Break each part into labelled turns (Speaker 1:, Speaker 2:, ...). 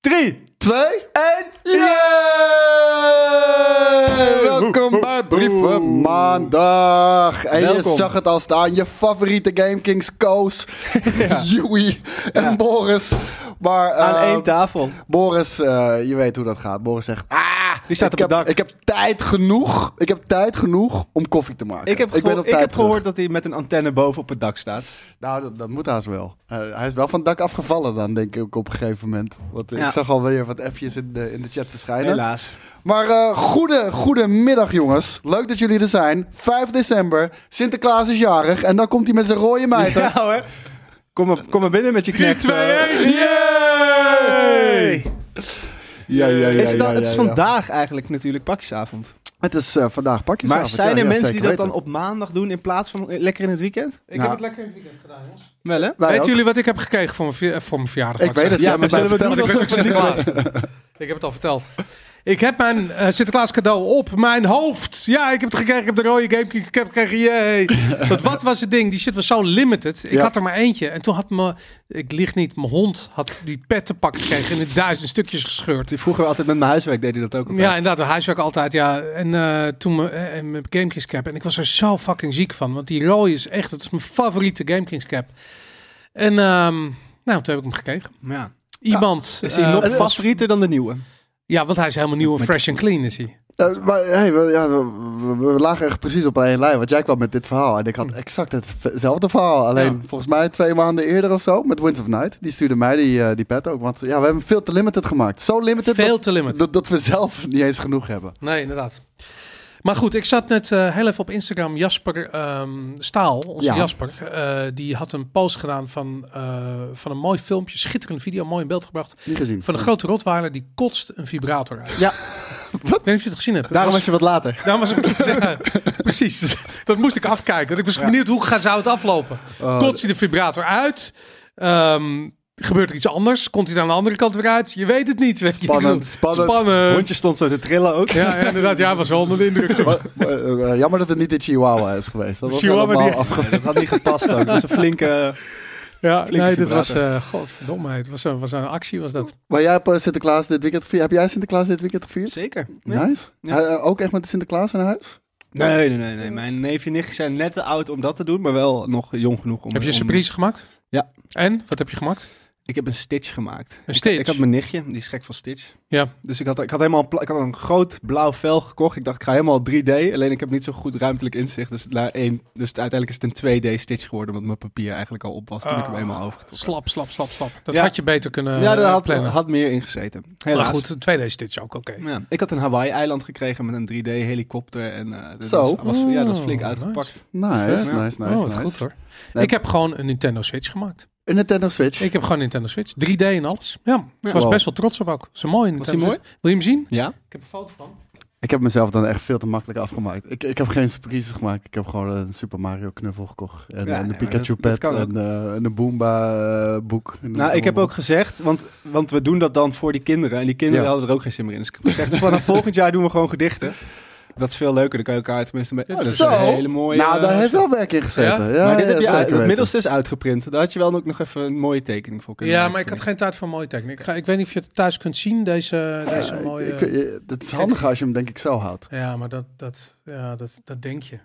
Speaker 1: 3,
Speaker 2: Twee.
Speaker 1: 1.
Speaker 2: Yay! Welkom bij Brieven Maandag. En je
Speaker 1: Welkom.
Speaker 2: zag het al staan. Je favoriete Game Kings Koos, Joey en Boris. Maar eh,
Speaker 1: Aan één tafel.
Speaker 2: Boris, eh, je weet hoe dat gaat. Boris zegt, ah,
Speaker 1: Die staat
Speaker 2: ik,
Speaker 1: op
Speaker 2: heb,
Speaker 1: het dak.
Speaker 2: ik heb tijd genoeg. Ik heb tijd genoeg om koffie te maken.
Speaker 1: Ik heb,
Speaker 2: ben
Speaker 1: gehoor-
Speaker 2: op
Speaker 1: ik
Speaker 2: tijd
Speaker 1: heb
Speaker 2: terug.
Speaker 1: gehoord dat hij met een antenne boven op het dak staat.
Speaker 2: Nou, dat, dat moet haast wel. Eh, hij is wel van het dak afgevallen dan, denk ik, op een gegeven moment. Want eh,
Speaker 1: Ja.
Speaker 2: ik zag alweer wat F'jes in de, in de chat verschijnen.
Speaker 1: Helaas.
Speaker 2: Maar eh goede, goedemiddag jongens. Leuk dat jullie er zijn. 5 december, Sinterklaas is jarig en dan komt hij met zijn rode mijter.
Speaker 1: Ja hoor. Kom maar, kom maar binnen met je knecht.
Speaker 3: 2,
Speaker 1: eh.
Speaker 3: 1,
Speaker 1: Yay!
Speaker 2: Ja, ja, ja.
Speaker 1: Is het, dan,
Speaker 2: ja,
Speaker 1: het is
Speaker 2: ja, ja.
Speaker 1: vandaag eigenlijk natuurlijk pakjesavond.
Speaker 2: Het is eh, vandaag pakjes.
Speaker 1: Maar zijn er mensen die dat dan op maandag doen in plaats van eh, lekker in het weekend?
Speaker 3: Ik
Speaker 2: Ja.
Speaker 3: heb het lekker in het weekend gedaan, jongens.
Speaker 1: Wel hè?
Speaker 2: Wij
Speaker 3: Weet
Speaker 2: ook.
Speaker 3: jullie wat ik heb gekregen voor mijn, vi- eh, voor mijn verjaardag?
Speaker 2: Ik weet het,
Speaker 1: Ja,
Speaker 2: ja,
Speaker 1: maar
Speaker 2: maar
Speaker 1: zullen we
Speaker 3: Want
Speaker 1: doen
Speaker 3: ik
Speaker 1: dat
Speaker 3: ben
Speaker 2: vertel
Speaker 1: alsof
Speaker 2: het.
Speaker 3: natuurlijk
Speaker 1: we niet
Speaker 3: Sinterklaas. ik heb het al verteld. Ik heb mijn eh, Sinterklaas cadeau op mijn hoofd. Ja, ik heb het gekregen. Ik heb de rode Game Geek- Ik heb het gekregen. Yay. Want wat was het ding? Die shit was zo limited. Ik
Speaker 2: Ja.
Speaker 3: had er maar eentje. En toen had me, ik lieg niet, mijn hond had die pet te pakken gekregen. En in duizend stukjes gescheurd.
Speaker 1: Vroeger altijd met mijn huiswerk deed hij dat ook altijd.
Speaker 3: Ja, inderdaad. Huiswerk altijd, ja. En eh, toen me- eh, en mijn Gamekings cap. En ik was er zo fucking ziek van. Want die rode is echt, het is mijn favoriete Gamekings cap. En ehm, nou, toen heb ik hem gekregen.
Speaker 1: Ja.
Speaker 3: Iemand.
Speaker 1: Is hij
Speaker 3: eh,
Speaker 1: nog
Speaker 2: het is-
Speaker 1: favorieter dan de nieuwe?
Speaker 3: Ja, want hij is helemaal nieuw en
Speaker 1: Met-
Speaker 3: fresh en clean is hij.
Speaker 2: Eh, maar hey, we, ja, we, we- we lagen echt precies op één lijn, want jij kwam met dit verhaal en ik had exact hetzelfde verhaal. Alleen
Speaker 3: Ja.
Speaker 2: volgens mij twee maanden eerder of zo, met Winds of Night. Die stuurde mij die, eh, die pet ook, want ja, we hebben hem veel te limited gemaakt. Zo limited
Speaker 3: Veel
Speaker 2: dat-
Speaker 3: te limit.
Speaker 2: dat, dat we zelf niet eens genoeg hebben.
Speaker 3: Nee, inderdaad. Maar goed, ik zat net eh, heel even op Instagram. Jasper ehm, Staal, onze
Speaker 2: Ja.
Speaker 3: Jasper, eh, die had een post gedaan van, eh, van een mooi filmpje, schitterende video, mooi in beeld gebracht.
Speaker 2: Niet gezien.
Speaker 3: Van een grote rotweiler die kotst een vibrator uit.
Speaker 1: Ja.
Speaker 3: Ik weet niet of je het gezien hebt.
Speaker 1: Daarom was
Speaker 3: was,
Speaker 1: je wat later.
Speaker 3: daarom was ik, ja, precies. Dat moest ik afkijken. want Ik was benieuwd hoe ga- zou het aflopen.
Speaker 2: Oh,
Speaker 3: Kotst hij de vibrator uit? Ehm, gebeurt er iets anders? Komt hij er aan de andere kant weer uit? Je weet het niet. Weet je.
Speaker 2: Spannend, spannend.
Speaker 1: Het
Speaker 3: Spannend.
Speaker 1: hondje stond zo te trillen ook.
Speaker 3: Ja, ja, inderdaad. Ja, hij was wel onder de indruk.
Speaker 2: Maar, eh, eh, jammer dat het niet de Chihuahua is geweest. Dat was
Speaker 3: Chihuahua
Speaker 2: helemaal
Speaker 3: die-
Speaker 2: afge-
Speaker 1: Dat had niet gepast ook. Dat is een flinke...
Speaker 3: Ja,
Speaker 1: Flinke
Speaker 3: nee, dit was...
Speaker 1: vibrator.
Speaker 3: eh godverdomme, het was, een- was een actie, was dat.
Speaker 2: Maar jij hebt eh, Sinterklaas dit weekend gevierd. Heb jij Sinterklaas dit weekend gevierd?
Speaker 1: Zeker.
Speaker 2: Nice.
Speaker 1: Ja.
Speaker 2: Eh, eh, ook echt met de Sinterklaas in huis?
Speaker 1: Nee, nee, nee, nee. Mijn neefje en nichtje zijn net te oud om dat te doen, maar wel nog jong genoeg om...
Speaker 3: Heb je een
Speaker 1: om-
Speaker 3: surprise gemaakt?
Speaker 1: Ja.
Speaker 3: En? Wat heb je gemaakt?
Speaker 1: Ik heb een Stitch gemaakt.
Speaker 3: Een stitch?
Speaker 1: Ik had mijn nichtje, die is gek van Stitch.
Speaker 3: Ja.
Speaker 1: Dus ik had, ik had helemaal een, pla- ik had een groot blauw vel gekocht. Ik dacht, ik ga helemaal 3D. Alleen ik heb niet zo goed ruimtelijk inzicht. Dus, naar één, dus uiteindelijk is het een 2D Stitch geworden, omdat mijn papier eigenlijk al op was toen ik hem
Speaker 3: Ah.
Speaker 1: helemaal overgetrokken
Speaker 3: Slap, slap, slap, slap. Dat
Speaker 1: Ja.
Speaker 3: had je beter kunnen eh,
Speaker 1: had. Ja, daar had,
Speaker 3: plannen.
Speaker 1: had meer in gezeten.
Speaker 3: maar
Speaker 1: Helaas.
Speaker 3: goed, een tweede stitch ook, oké.
Speaker 1: Ja. Ik had een Hawaii-eiland gekregen met een 3D-helikopter. En, eh, dat
Speaker 2: Zo.
Speaker 1: Was, was- ja, dat is flink
Speaker 3: Oh,
Speaker 1: uitgepakt.
Speaker 2: Nice,
Speaker 3: Vet.
Speaker 2: nice, nice,
Speaker 3: oh, wat
Speaker 2: nice.
Speaker 3: goed hoor.
Speaker 2: Nee.
Speaker 3: Ik heb gewoon een Nintendo Switch gemaakt.
Speaker 2: Een Nintendo Switch.
Speaker 3: Ik heb gewoon een Nintendo Switch. 3D en alles. Ja, ik was
Speaker 2: Wow.
Speaker 3: best wel trots op ook. Ze mooi.
Speaker 1: Was
Speaker 3: Nintendo
Speaker 1: die mooi?
Speaker 3: Switch. Wil je hem zien?
Speaker 1: Ja?
Speaker 3: Ik heb een foto van.
Speaker 2: Ik heb mezelf dan echt veel te makkelijk afgemaakt. Ik, ik heb geen surprises gemaakt. Ik heb gewoon een Super Mario knuffel gekocht. En,
Speaker 1: Ja,
Speaker 2: en
Speaker 1: nee,
Speaker 2: een
Speaker 1: maar
Speaker 2: Pikachu
Speaker 1: dat- dat
Speaker 2: pet.
Speaker 1: kan ook.
Speaker 2: En, eh, en een Boomba eh, boek. En
Speaker 1: Nou,
Speaker 2: een-
Speaker 1: ik heb ook gezegd, want, want we doen dat dan voor die kinderen. En die kinderen
Speaker 2: Ja.
Speaker 1: hadden er ook geen zin meer in. Dus ik heb gezegd, vanaf volgend jaar doen we gewoon gedichten. Dat is veel leuker, dan kan je elkaar tenminste mee.
Speaker 3: Ja,
Speaker 1: dat is
Speaker 2: zo.
Speaker 1: een hele mooie...
Speaker 2: Nou, daar
Speaker 1: eh,
Speaker 2: heeft wel werk in gezeten. Ja,
Speaker 1: maar dit
Speaker 2: ja,
Speaker 1: heb je
Speaker 2: zeker
Speaker 1: uit- het
Speaker 2: weten.
Speaker 1: middelste is uitgeprint. Daar had je wel ook nog even een mooie tekening voor kunnen
Speaker 3: Ja,
Speaker 1: maken,
Speaker 3: maar ik had
Speaker 1: vind
Speaker 3: geen tijd voor mooie techniek. Ik, ga- ik weet niet of je het thuis kunt zien, deze,
Speaker 2: Ja,
Speaker 3: deze
Speaker 2: ik-
Speaker 3: mooie...
Speaker 2: ik- eh, Het is handig als je hem denk ik zo houdt.
Speaker 3: Ja, maar dat, dat, ja, dat, dat denk je.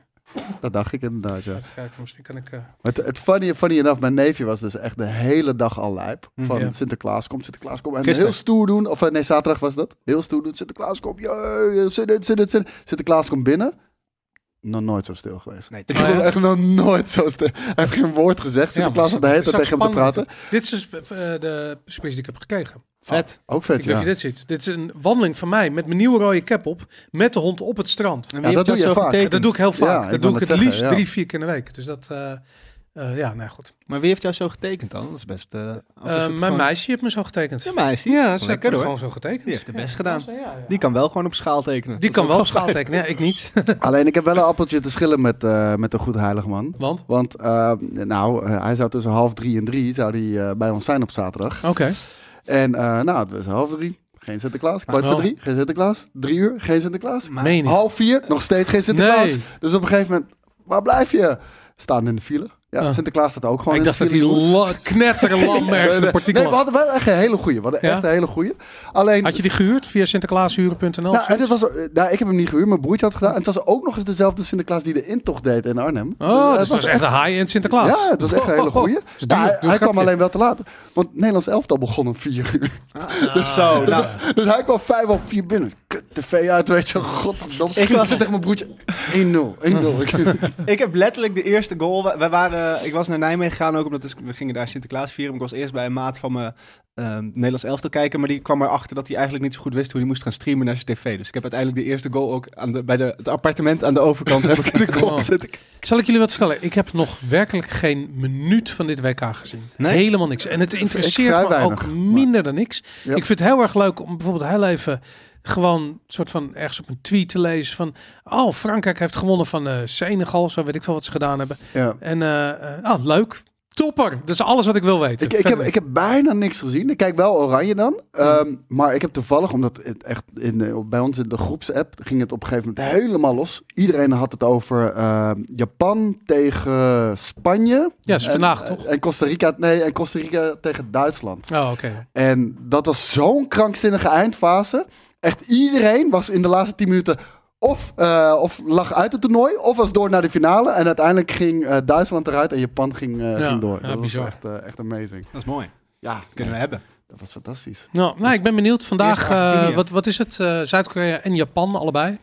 Speaker 2: Dat dacht ik inderdaad, ja.
Speaker 3: Even kijken, misschien kan ik... eh,
Speaker 2: Maar Het, het funny, funny enough, mijn neefje was dus echt de hele dag al lijp.
Speaker 1: Hm.
Speaker 2: Van
Speaker 3: Ja.
Speaker 2: Sinterklaas komt, Sinterklaas komt. En
Speaker 1: Gisteren.
Speaker 2: heel stoer doen. Of eh, nee, zaterdag was dat. Heel stoer doen. Sinterklaas komt, jee, zin in, zin in, zin in. Sinterklaas komt binnen. Nog nooit zo stil geweest.
Speaker 1: Nee,
Speaker 2: ik
Speaker 3: toch?
Speaker 2: heb hem
Speaker 3: Ja.
Speaker 2: echt nog nooit zo stil. Hij heeft geen woord gezegd. Sinterklaas had
Speaker 3: maar
Speaker 2: de hele
Speaker 3: het is
Speaker 2: tijd tegen
Speaker 3: ook
Speaker 2: hem te praten.
Speaker 3: spannend. Dit is dus, eh, de surprise die ik heb gekregen.
Speaker 1: Vet.
Speaker 2: Ook
Speaker 3: Ik
Speaker 2: vet,
Speaker 3: weet
Speaker 2: ja.
Speaker 3: of je dit ziet. Dit is een wandeling van mij met mijn nieuwe rode cap op, met de hond op het strand.
Speaker 1: En
Speaker 2: Ja,
Speaker 1: wie
Speaker 2: dat
Speaker 1: heeft
Speaker 2: doe je
Speaker 1: zo
Speaker 2: vaak.
Speaker 1: getekend?
Speaker 3: Dat doe ik heel vaak.
Speaker 2: ik wou
Speaker 3: dat doe ik het
Speaker 2: net zeggen,
Speaker 3: liefst
Speaker 2: ja.
Speaker 3: drie, vier keer in de week. Dus dat, eh, eh, ja, nou goed.
Speaker 1: Maar wie heeft jou zo getekend dan? Dat is best... eh, of is het
Speaker 3: Eh, mijn
Speaker 1: gewoon-
Speaker 3: meisje heeft me zo getekend.
Speaker 1: Ja, meisje.
Speaker 3: Ja, ze
Speaker 1: Lekker,
Speaker 3: heeft het
Speaker 1: hoor.
Speaker 3: gewoon zo getekend.
Speaker 1: Die heeft het best
Speaker 3: Ja,
Speaker 1: gedaan.
Speaker 3: ja, ja, ja.
Speaker 1: Die kan wel gewoon op schaal tekenen.
Speaker 3: Die
Speaker 1: Dat
Speaker 3: kan
Speaker 1: is
Speaker 3: wel op
Speaker 1: ook
Speaker 3: schaal
Speaker 1: fijn.
Speaker 3: tekenen, ja, ik niet.
Speaker 2: Alleen ik heb wel een appeltje te schillen met, eh, met een goed heilig man.
Speaker 3: Want?
Speaker 2: Want eh, nou, eh, hij zou tussen half drie en drie zou die, eh, bij ons zijn op zaterdag.
Speaker 3: Oké.
Speaker 2: En eh, nou, het was half drie. Geen Sinterklaas. Kwart voor
Speaker 3: wel.
Speaker 2: drie. Geen Sinterklaas. Drie uur. Geen Sinterklaas.
Speaker 1: Maar-
Speaker 3: Meen je niet.
Speaker 2: Half vier. Nog steeds geen Sinterklaas.
Speaker 3: Nee.
Speaker 2: Dus op een gegeven moment, waar blijf je? Staan in de file. Ja,
Speaker 3: Ah.
Speaker 2: Sinterklaas staat ook gewoon
Speaker 3: ik
Speaker 2: in
Speaker 3: dacht
Speaker 2: de
Speaker 3: dat hij
Speaker 2: file.
Speaker 3: la- knetterlam ergens in een partikel
Speaker 2: Nee, we
Speaker 3: had.
Speaker 2: hadden wel echt een hele goeie. We hadden
Speaker 3: Ja?
Speaker 2: echt een hele goeie. Alleen...
Speaker 3: Had je die gehuurd via sinterklaashuren.nl?
Speaker 2: nou, en dit was, eh, nou, ik heb hem niet gehuurd, mijn broertje had het gedaan. En het was ook nog eens dezelfde Sinterklaas die de intocht deed in Arnhem.
Speaker 3: oh,
Speaker 2: Eh,
Speaker 3: dus dat is echt een high-end Sinterklaas.
Speaker 2: Ja, het was echt een hele goeie.
Speaker 3: is duur,
Speaker 2: Ja, hij-
Speaker 3: duur
Speaker 2: hij kwam
Speaker 3: grapje.
Speaker 2: alleen wel te laat. Want het Nederlands elftal begon om vier uur.
Speaker 1: Zo, nou,
Speaker 2: Dus hij kwam vijf of vier binnen. Kut, tv uit, weet je. Godverdomme. Ik was tegen mijn broertje. 1-0, 1-0. Ik-
Speaker 1: ik heb letterlijk de eerste goal. We- Wij waren, ik was naar Nijmegen gegaan ook, omdat dus- we gingen daar Sinterklaas vieren. Ik was eerst bij een maat van mijn ehm Nederlands elftal kijken, maar die kwam erachter dat hij eigenlijk niet zo goed wist hoe hij moest gaan streamen naar zijn tv. Dus ik heb uiteindelijk de eerste goal ook aan de, bij de, het appartement aan de overkant heb ik de goal
Speaker 3: Oh.
Speaker 1: gezet.
Speaker 3: Zal ik jullie wat vertellen? Ik heb nog werkelijk geen minuut van dit WK gezien.
Speaker 1: Nee?
Speaker 3: Helemaal niks. En het interesseert
Speaker 2: vrij
Speaker 3: me
Speaker 2: weinig,
Speaker 3: ook minder dan niks.
Speaker 2: Ja.
Speaker 3: Ik vind het heel erg leuk om bijvoorbeeld heel even gewoon soort van ergens op een tweet te lezen van... Oh, Frankrijk heeft gewonnen van eh, Senegal, zo weet ik veel wat ze gedaan hebben.
Speaker 2: Ja.
Speaker 3: En, eh, eh, ah, leuk. Topper. Dat is alles wat ik wil weten.
Speaker 2: Ik, ik, heb,
Speaker 3: Verder.
Speaker 2: ik heb bijna niks gezien. Ik kijk wel Oranje dan. Ehm, maar ik heb toevallig, omdat het echt in, de- bij ons in de groepsapp ging het op een gegeven moment helemaal los. Iedereen had het over ehm, Japan tegen Spanje.
Speaker 3: Ja, is
Speaker 2: En-
Speaker 3: vandaag toch?
Speaker 2: En Costa Rica, nee, en Costa Rica tegen Duitsland.
Speaker 3: Oh, oké.
Speaker 2: En dat was zo'n krankzinnige eindfase. Echt iedereen was in de laatste 10 minuten of, eh, of lag uit het toernooi, of was door naar de finale. En uiteindelijk ging eh, Duitsland eruit en Japan ging, eh,
Speaker 3: Ja,
Speaker 2: ging door.
Speaker 3: ja,
Speaker 2: dat was
Speaker 3: bizar.
Speaker 2: echt, eh, echt amazing.
Speaker 1: Dat is mooi.
Speaker 2: Ja,
Speaker 1: Kunnen we hebben.
Speaker 2: dat was fantastisch.
Speaker 3: Nou, nou, ik ben benieuwd. Vandaag,
Speaker 1: Eerst Argentinië.
Speaker 3: eh, wat, wat is het? Eh, Zuid-Korea en Japan allebei.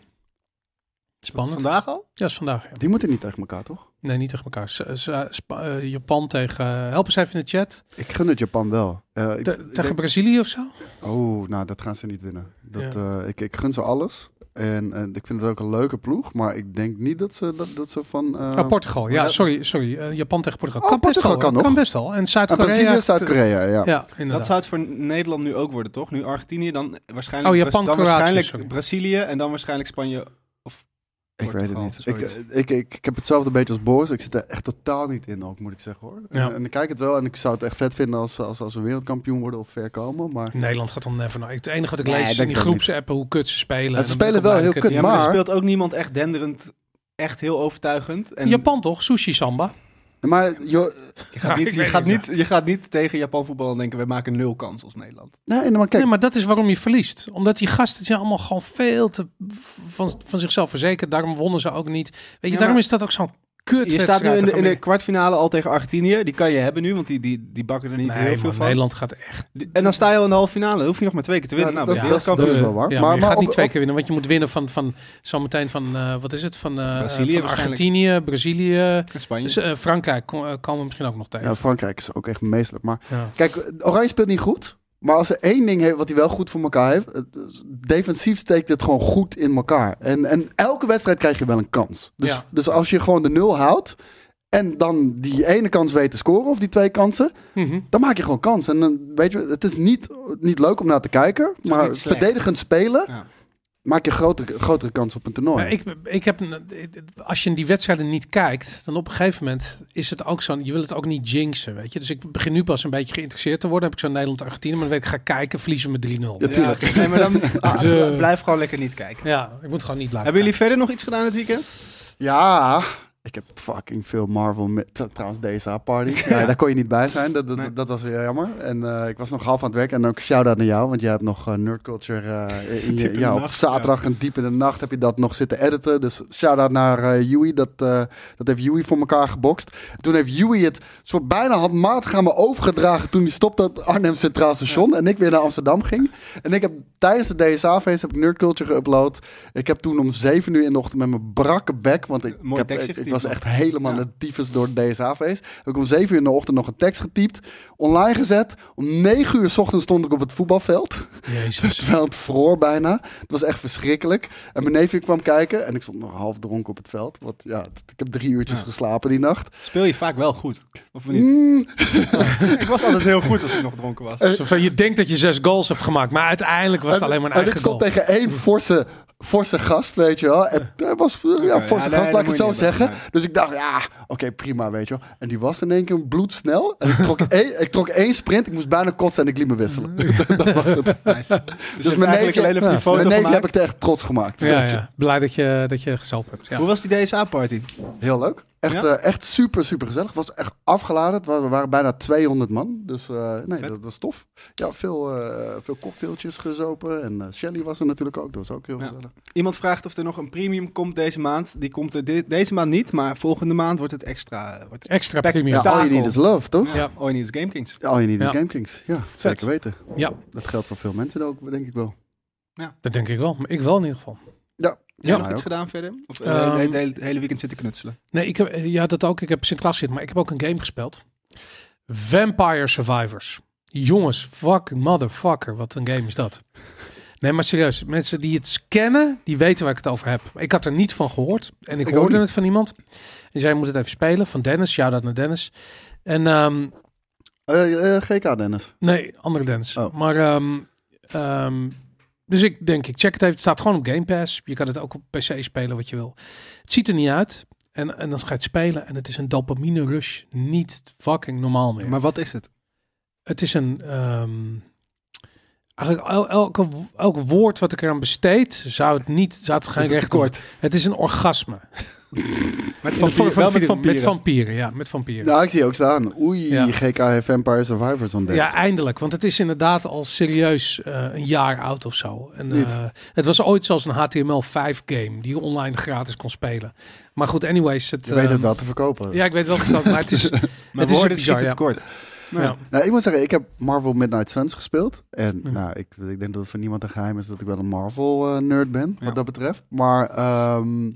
Speaker 3: Spannend.
Speaker 1: Vandaag al?
Speaker 3: Ja, is vandaag. ja.
Speaker 2: Die moeten niet tegen elkaar, toch?
Speaker 3: Nee, niet tegen elkaar. Ze- ze- Spa- eh, Japan tegen... eh, help eens even in de chat.
Speaker 2: Ik gun het Japan wel. Eh, ik-
Speaker 3: Te-
Speaker 2: ik
Speaker 3: tegen
Speaker 2: denk-
Speaker 3: Brazilië of zo?
Speaker 2: oh, nou, dat gaan ze niet winnen. Dat, eh, ik, ik gun ze alles. En, en ik vind het ook een leuke ploeg. Maar ik denk niet dat ze, dat, dat ze van... eh,
Speaker 3: oh, Portugal. Ja,
Speaker 1: ja.
Speaker 3: sorry. sorry. Eh, Japan tegen Portugal.
Speaker 2: Oh,
Speaker 3: kan
Speaker 2: Portugal
Speaker 3: best wel.
Speaker 2: kan nog.
Speaker 3: best wel. En
Speaker 2: aan
Speaker 3: Zuid-Korea...
Speaker 2: Ah,
Speaker 3: eh,
Speaker 2: Brazilië, Zuid-Korea, ja.
Speaker 3: Ja,
Speaker 1: Dat
Speaker 3: inderdaad.
Speaker 1: zou het voor Nederland nu ook worden, toch? Nu Argentinië, dan waarschijnlijk,
Speaker 3: Oh, Japan,
Speaker 1: dan
Speaker 3: Kroatië,
Speaker 1: waarschijnlijk
Speaker 3: sorry.
Speaker 1: Brazilië en dan waarschijnlijk Spanje.
Speaker 2: Ik weet het
Speaker 1: Portugal,
Speaker 2: niet. Ik,
Speaker 1: zoiets.
Speaker 2: ik, ik, ik heb hetzelfde beetje als Boris. Ik zit er echt totaal niet in ook, moet ik zeggen hoor. En-
Speaker 3: Ja.
Speaker 2: En, ik kijk het wel en ik zou het echt vet vinden als, we- als, als we wereldkampioen worden of ver komen. Maar
Speaker 3: Nederland gaat dan never naar. Het enige wat ik
Speaker 2: Nee,
Speaker 3: lees is in
Speaker 2: denk
Speaker 3: die
Speaker 2: ik ook niet.
Speaker 3: groepsappen hoe kut ze spelen.
Speaker 2: Ja, ze
Speaker 3: En dan
Speaker 2: spelen
Speaker 3: ben ik
Speaker 2: wel
Speaker 3: ook
Speaker 2: heel
Speaker 3: blij dat ik het
Speaker 1: Ja,
Speaker 2: kut,
Speaker 3: niet
Speaker 1: maar, er
Speaker 2: maar-
Speaker 1: speelt ook niemand echt denderend, echt heel overtuigend. En
Speaker 3: heb. Japan toch? Sushi Samba.
Speaker 2: maar joh,
Speaker 1: Je gaat
Speaker 3: Ik
Speaker 1: niet, je
Speaker 3: weet
Speaker 1: gaat
Speaker 3: het
Speaker 1: niet, je gaat niet tegen Japan voetbal en denken, wij maken nul kans als Nederland.
Speaker 2: nee, maar kijk.
Speaker 3: Nee, maar dat is waarom je verliest. Omdat die gasten zijn allemaal gewoon veel te v- van, van zichzelf verzekerd. Daarom wonnen ze ook niet. Weet je,
Speaker 1: maar-
Speaker 3: daarom is dat ook zo'n kut.
Speaker 1: Je staat nu in de, in de kwartfinale al tegen Argentinië. Die kan je hebben nu, want die, die, die bakken er niet
Speaker 3: Nee,
Speaker 1: heel
Speaker 3: man,
Speaker 1: veel van.
Speaker 3: Nederland gaat echt.
Speaker 1: Die- En dan sta je al in de halve finale. Dan hoef je nog maar twee keer te winnen.
Speaker 2: Ja,
Speaker 1: nou,
Speaker 2: dat-
Speaker 1: ben je
Speaker 2: dat-
Speaker 1: wereldkampioen.
Speaker 2: is
Speaker 3: de-
Speaker 2: wel waar.
Speaker 3: eh, Ja,
Speaker 2: Maar-
Speaker 3: maar, je
Speaker 2: maar
Speaker 3: gaat
Speaker 2: op-
Speaker 3: niet twee
Speaker 2: op-
Speaker 3: keer winnen, want je moet winnen van, van zometeen van, eh, wat is het, van, eh,
Speaker 1: Brazilië
Speaker 3: van
Speaker 1: waarschijnlijk.
Speaker 3: Argentinië, Brazilië,
Speaker 1: En Spanje.
Speaker 3: dus, eh, Frankrijk ko- eh, komen we misschien ook nog tegen.
Speaker 2: Ja, Frankrijk is ook echt meestelijk. Maar
Speaker 3: Ja.
Speaker 2: kijk, Oranje speelt niet goed. Maar als er één ding heeft wat hij wel goed voor elkaar heeft, het is- defensief steekt het gewoon goed in elkaar. En, en elke wedstrijd krijg je wel een kans. Dus,
Speaker 3: Ja.
Speaker 2: dus als je gewoon de nul houdt en dan die ene kans weet te scoren of die twee kansen,
Speaker 3: Mhm.
Speaker 2: dan maak je gewoon kans. En dan weet je, het is niet, niet leuk om naar te kijken,
Speaker 1: ook
Speaker 2: maar
Speaker 1: niet slecht.
Speaker 2: verdedigend spelen
Speaker 1: Ja.
Speaker 2: maak je grotere, grotere kans op een toernooi.
Speaker 3: Maar Oh, ik, ik heb, een- als je die wedstrijden niet kijkt, dan op een gegeven moment is het ook zo. Je wil het ook niet jinxen, weet je. Dus ik begin nu pas een beetje geïnteresseerd te worden. Heb ik zo'n Nederland-Argentinië, maar dan weet ik, ga ik kijken, verliezen we met 3-0.
Speaker 2: Ja,
Speaker 3: Ja.
Speaker 2: tuurlijk.
Speaker 1: Ja, nee, maar dan, ah,
Speaker 3: De-
Speaker 1: blijf gewoon lekker niet kijken.
Speaker 3: ik moet gewoon niet blijven.
Speaker 1: Hebben jullie verder nog iets gedaan dit weekend?
Speaker 2: Ja, ik heb fucking veel Marvel. Met, tr- trouwens, DSA Party. Ja, daar kon je niet bij zijn. Dat, dat,
Speaker 1: Nee.
Speaker 2: dat was weer jammer. En eh, ik was nog half aan het werk. En ook shout-out naar jou, want jij hebt nog eh, Nerd Culture. eh, in je-
Speaker 1: Diep in de
Speaker 2: ja, op
Speaker 1: nacht,
Speaker 2: zaterdag en diep in de nacht heb je dat nog zitten editen. Dus shout-out naar eh Yui. Dat, eh, dat heeft Yui voor elkaar gebokst. Toen heeft Yui het soort bijna handmatig aan me overgedragen. toen hij stopte op Arnhem Centraal Station. En ik weer naar Amsterdam ging. En ik heb tijdens de DSA-feest heb ik Nerd Culture geüpload. Ik heb toen om 7 uur in de ochtend met mijn brakke bek, want ik, ik,
Speaker 1: Mooi
Speaker 2: heb-
Speaker 1: tekstje
Speaker 2: ik- ik
Speaker 1: getypt,
Speaker 2: was
Speaker 1: man.
Speaker 2: echt helemaal
Speaker 1: Ja.
Speaker 2: naar de tyfus door de DSA-feest. Heb ik om 7 uur in de ochtend nog een tekst getypt, online gezet. Om 9 uur 's ochtends stond ik op het voetbalveld,
Speaker 3: Jezus.
Speaker 2: terwijl het vroor bijna. Het was echt verschrikkelijk. En mijn neefje kwam kijken en ik stond nog half dronken op het veld. Want ja, t- ik heb drie uurtjes
Speaker 1: Ja.
Speaker 2: geslapen die nacht.
Speaker 1: Speel je vaak wel goed? Of niet?
Speaker 2: Mm,
Speaker 1: Ik was altijd heel goed als ik nog dronken was.
Speaker 3: Zo van, je denkt dat je zes goals hebt gemaakt, maar uiteindelijk was het
Speaker 1: Eh,
Speaker 2: en-
Speaker 3: alleen maar een
Speaker 2: en ik
Speaker 3: eigen
Speaker 2: stond
Speaker 3: goal.
Speaker 2: tegen één forse, forse gast, weet je wel. En hij was ja,
Speaker 1: ja,
Speaker 2: forse
Speaker 1: nee,
Speaker 2: gast,
Speaker 1: dat
Speaker 2: laat ik het
Speaker 1: moet je
Speaker 2: zo
Speaker 1: niet
Speaker 2: zeggen.
Speaker 1: hebben, nee.
Speaker 2: Dus ik dacht, ja, oké, prima, weet je wel. En die was in één keer bloedsnel. En ik trok, één, ik trok één sprint, ik moest bijna kotsen en ik liet me wisselen. dat was het.
Speaker 1: Nice. Dus,
Speaker 2: Dus
Speaker 1: dus
Speaker 2: mijn
Speaker 1: eigenlijk
Speaker 2: neefje-
Speaker 1: alleen even die
Speaker 2: Mijn
Speaker 1: foto
Speaker 2: neefje
Speaker 1: gemaakt.
Speaker 2: heb ik er echt trots gemaakt.
Speaker 3: Ja,
Speaker 2: weet je.
Speaker 3: ja. Blij dat je, dat je gezelp hebt. Ja.
Speaker 1: Hoe was die DSA-party?
Speaker 2: Heel leuk. Echt,
Speaker 1: Ja?
Speaker 2: eh, echt super, super gezellig. Het was echt afgeladen. Het wa- We waren bijna 200 man. Dus eh, nee,
Speaker 1: Vet.
Speaker 2: dat was tof. Ja, veel, eh, veel cocktailtjes gezopen. En eh, Shelly was er natuurlijk ook. Dat was ook heel
Speaker 1: Ja.
Speaker 2: gezellig.
Speaker 1: Iemand vraagt of er nog een premium komt deze maand. Die komt er de- deze maand niet, maar volgende maand wordt het extra. eh, Wordt het
Speaker 3: Extra
Speaker 1: spek-
Speaker 3: premium.
Speaker 2: Ja,
Speaker 1: Tafel.
Speaker 2: all you need is love, toch?
Speaker 1: Ja. All you need is Game Kings.
Speaker 2: Ja, all you need is
Speaker 3: Ja.
Speaker 2: Game Kings. Ja, zeker weten.
Speaker 3: Ja.
Speaker 2: Dat geldt voor veel mensen ook, denk ik wel.
Speaker 3: Dat denk ik wel. Maar ik wel in ieder geval.
Speaker 1: Heb je
Speaker 3: Ja.
Speaker 1: nog
Speaker 2: Mij
Speaker 1: iets
Speaker 2: ook.
Speaker 1: gedaan verder? Of eh,
Speaker 3: Ehm,
Speaker 1: het hele- het hele weekend zitten knutselen?
Speaker 3: Nee, ik heb, eh, ja, dat ook. Ik heb Sinterklaas zitten, maar ik heb ook een game gespeeld. Vampire Survivors. Jongens, fuck, motherfucker, wat een game is dat. Nee, maar serieus, mensen die het kennen, die weten waar ik het over heb. Ik had er niet van gehoord en ik,
Speaker 2: Ik ook
Speaker 3: hoorde
Speaker 2: niet.
Speaker 3: het van iemand. Die zei, je moet het even spelen, van Dennis, shout-out naar Dennis. En, ehm,
Speaker 2: Eh, eh, GK, Dennis.
Speaker 3: nee, andere Dennis.
Speaker 2: Oh.
Speaker 3: Maar, ehm, ehm, dus ik denk, ik check het even. Het staat gewoon op Game Pass. Je kan het ook op PC spelen wat je wil. Het ziet er niet uit. En, en dan ga je het spelen en het is een dopamine rush. Niet fucking normaal meer.
Speaker 1: Maar wat is het?
Speaker 3: Het is een. ehm, eigenlijk el- elke, elk woord wat ik eraan besteed, zou het niet. Zou het geen
Speaker 1: Is het
Speaker 3: recht
Speaker 1: tekort?
Speaker 3: doen. Het is een orgasme.
Speaker 1: Met
Speaker 3: Voor- voor-
Speaker 1: vampieren.
Speaker 3: voor-
Speaker 1: Wel met vampieren.
Speaker 3: Met vampieren, ja. Met vampieren.
Speaker 2: Nou, ik zie je ook staan. Oei,
Speaker 3: Ja.
Speaker 2: GK heeft Vampire Survivors ontdekt.
Speaker 3: Ja, eindelijk. Want het is inderdaad al serieus eh, een jaar oud of zo. En, eh,
Speaker 2: Niet.
Speaker 3: het was ooit zelfs een HTML5 game die je online gratis kon spelen. Maar goed, anyways. Het,
Speaker 2: Je weet het
Speaker 3: ehm,
Speaker 2: wel te verkopen.
Speaker 3: Ja, ik weet wel verkopen, maar het is...
Speaker 1: Maar
Speaker 3: Het is
Speaker 1: woorden
Speaker 3: bizar,
Speaker 1: schieten
Speaker 3: ja.
Speaker 1: tekort.
Speaker 3: nou, ja.
Speaker 2: Nou, ik moet zeggen, ik heb Marvel Midnight Suns gespeeld. En
Speaker 3: Ja.
Speaker 2: nou, ik, ik denk dat het voor niemand een geheim is dat ik wel een Marvel-nerd ben, wat
Speaker 1: Ja.
Speaker 2: dat betreft. Maar ehm,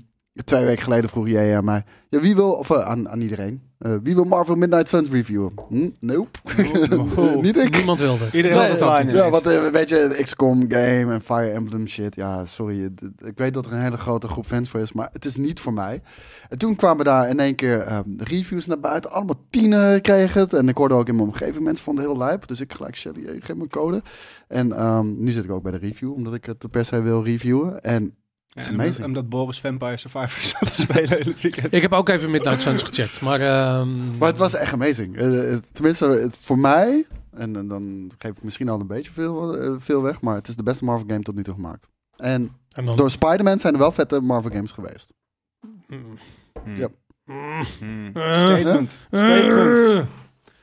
Speaker 2: twee weken geleden vroeg jij aan mij, ja, wie wil, of eh, aan, aan iedereen, eh, wie wil Marvel Midnight Suns reviewen? Hm? Nope.
Speaker 1: Wow.
Speaker 2: Niet ik.
Speaker 3: Oh, niemand wil dat.
Speaker 1: Iedereen was
Speaker 2: Nee,
Speaker 1: online.
Speaker 2: ja, wat, eh, weet je, XCOM game en Fire Emblem shit. Ja, sorry. d- d- Ik weet dat er een hele grote groep fans voor is, maar het is niet voor mij. En toen kwamen daar in één keer ehm, reviews naar buiten. Allemaal tienen kregen het. En ik hoorde ook in mijn omgeving mensen vonden het heel lijp. Dus ik gelijk, Shelly, eh, geef me een code. En ehm, nu zit ik ook bij de review, omdat ik het per se wil reviewen. En
Speaker 1: Ja,
Speaker 2: It's
Speaker 1: en omdat,
Speaker 2: amazing.
Speaker 1: omdat Boris Vampire Survivor zat te spelen in het weekend.
Speaker 3: Ik heb ook even Midnight Suns gecheckt, maar... ehm,
Speaker 2: Maar het was echt amazing. Eh, eh, Tenminste, het- voor mij, en, en dan geef ik misschien al een beetje veel, eh, veel weg, maar het is de beste Marvel game tot nu toe gemaakt. En
Speaker 3: en dan,
Speaker 2: Door Spider-Man zijn er wel vette Marvel games geweest.
Speaker 3: Mm,
Speaker 2: Ja.
Speaker 3: mm,
Speaker 1: Hmm.
Speaker 3: Eh,
Speaker 1: Statement.
Speaker 3: eh,
Speaker 1: Statement.
Speaker 3: Oké,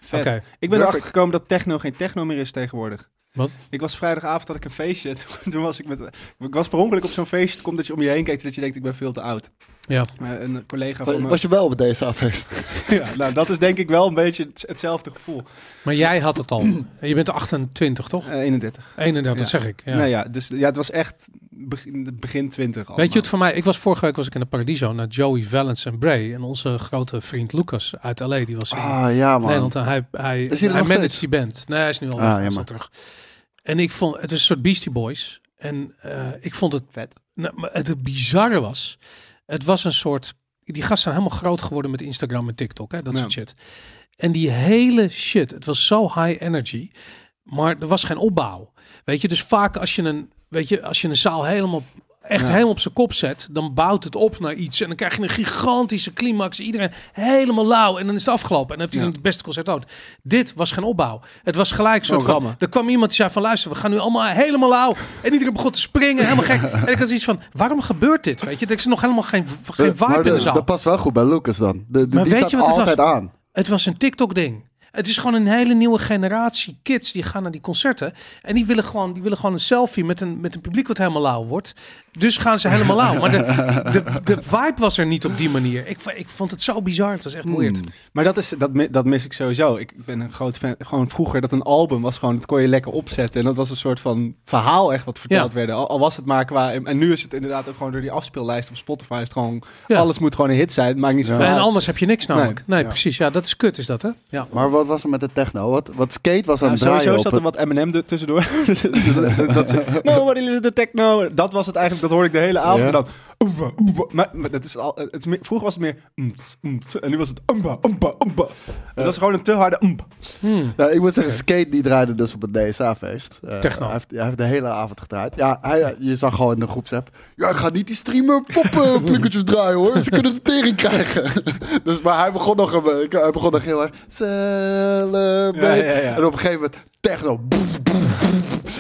Speaker 1: Vet. Ik ben
Speaker 2: Perfect.
Speaker 1: erachter gekomen dat techno geen techno meer is tegenwoordig.
Speaker 3: Wat?
Speaker 1: Ik was vrijdagavond had ik een feestje. Toen, toen was ik met. Ik was per ongeluk op zo'n feestje. Het komt dat je om je heen kijkt en dat je denkt ik ben veel te oud.
Speaker 3: Ja.
Speaker 1: Maar een collega van
Speaker 2: Was,
Speaker 1: me.
Speaker 2: was je wel op deze feest?
Speaker 1: Ja, nou, dat is denk ik wel een beetje het- hetzelfde gevoel.
Speaker 3: maar jij had het al. En Je bent 28, toch?
Speaker 1: Eh, 31.
Speaker 3: 31,
Speaker 1: Ja.
Speaker 3: dat zeg ik. Oh, Ja.
Speaker 1: Nou ja, dus ja, het was echt begin, begin 20 al.
Speaker 3: Weet je het voor mij? Ik was vorige week was ik in de Paradiso naar Joey Valence en Bray. En onze grote vriend Lucas uit LA, die was in
Speaker 2: Ah ja man.
Speaker 3: Nederland. En hij, hij,
Speaker 2: Is hij er
Speaker 3: hij
Speaker 2: nog
Speaker 3: managed
Speaker 2: steeds?
Speaker 3: die band. Nee, hij is nu
Speaker 2: Ah,
Speaker 3: al, weg, hij is
Speaker 2: jammer.
Speaker 3: al terug. En ik vond, het is een soort Beastie Boys. En eh, ik vond het
Speaker 1: vet?
Speaker 3: nou, maar het bizarre was, het was een soort. Die gasten zijn helemaal groot geworden met Instagram en TikTok, hè, dat
Speaker 1: Ja.
Speaker 3: soort shit. En die hele shit, het was zo high energy, maar er was geen opbouw. Weet je, dus vaak als je een, weet je, als je een zaal helemaal echt
Speaker 1: Ja.
Speaker 3: helemaal op zijn kop zet, dan bouwt het op naar iets en dan krijg je een gigantische climax. Iedereen helemaal lauw en dan is het afgelopen en dan heb je
Speaker 1: Ja.
Speaker 3: dan het beste concert ooit. Dit was geen opbouw. Het was gelijk een soort
Speaker 1: Oh,
Speaker 3: van.
Speaker 1: rammen.
Speaker 3: Er kwam iemand die zei van luister, we gaan nu allemaal helemaal lauw. En iedereen begon te springen, helemaal gek. En ik had iets van, waarom gebeurt dit? Weet je, er is nog helemaal geen, geen
Speaker 2: Eh, maar
Speaker 3: vibe in de
Speaker 2: dat-
Speaker 3: zaal.
Speaker 2: Dat past wel goed bij Lucas dan. De, de,
Speaker 3: Maar
Speaker 2: die
Speaker 3: weet
Speaker 2: staat
Speaker 3: je wat het
Speaker 2: altijd aan.
Speaker 3: Het was een TikTok-ding. Het is gewoon een hele nieuwe generatie kids die gaan naar die concerten. En die willen gewoon, die willen gewoon een selfie met een, met een publiek wat helemaal lauw wordt. Dus gaan ze helemaal lauw. Maar de, de, de vibe was er niet op die manier. Ik, v- ik vond het zo bizar. Het was echt weird.
Speaker 2: Hmm.
Speaker 1: Maar dat, is, dat, mi- dat mis ik sowieso. Ik, ik ben een groot fan. Gewoon vroeger dat een album was gewoon, dat kon je lekker opzetten. En dat was een soort van verhaal echt wat verteld
Speaker 3: Ja.
Speaker 1: werd. Al, al was het maar qua... En nu is het inderdaad ook gewoon door die afspeellijst op Spotify. Is het gewoon,
Speaker 3: Ja.
Speaker 1: Alles moet gewoon een hit zijn. Het maakt niet
Speaker 2: Ja.
Speaker 1: zoveel
Speaker 3: En
Speaker 1: uit.
Speaker 3: anders heb je niks namelijk. Nee,
Speaker 2: Ja.
Speaker 3: precies. Ja, dat is kut is dat, hè? Ja.
Speaker 2: Maar wat was er met de techno? Wat, wat skate was aan
Speaker 1: Nou,
Speaker 2: het draaien
Speaker 1: sowieso
Speaker 2: op
Speaker 1: zat er
Speaker 2: het-
Speaker 1: wat M&M er tussendoor. Dus dat- dat Nou, ze- Nobody listen to techno. Dat was het eigenlijk, dat hoorde ik de hele avond.
Speaker 2: Ja.
Speaker 1: En dan, oemba, oemba. Maar, maar dat is al, het is meer- vroeger was het meer oemt, oemt. en nu was het umba, umba, umba. Het was gewoon een te harde umba.
Speaker 3: Hmm.
Speaker 2: Nou, ik moet zeggen, Skate die draaide dus op het DSA-feest.
Speaker 3: Techno.
Speaker 2: Eh, hij, heeft, hij heeft de hele avond gedraaid. Ja, hij, eh, je zag gewoon in de groepsapp... Ja, ik ga niet die streamer poppenklikkertjes draaien hoor. Ze kunnen de tering krijgen. dus, maar hij begon nog, een- hij begon nog heel erg... Celebrate.
Speaker 1: Ja, ja, ja.
Speaker 2: En op een gegeven moment techno. boem, boem, boem.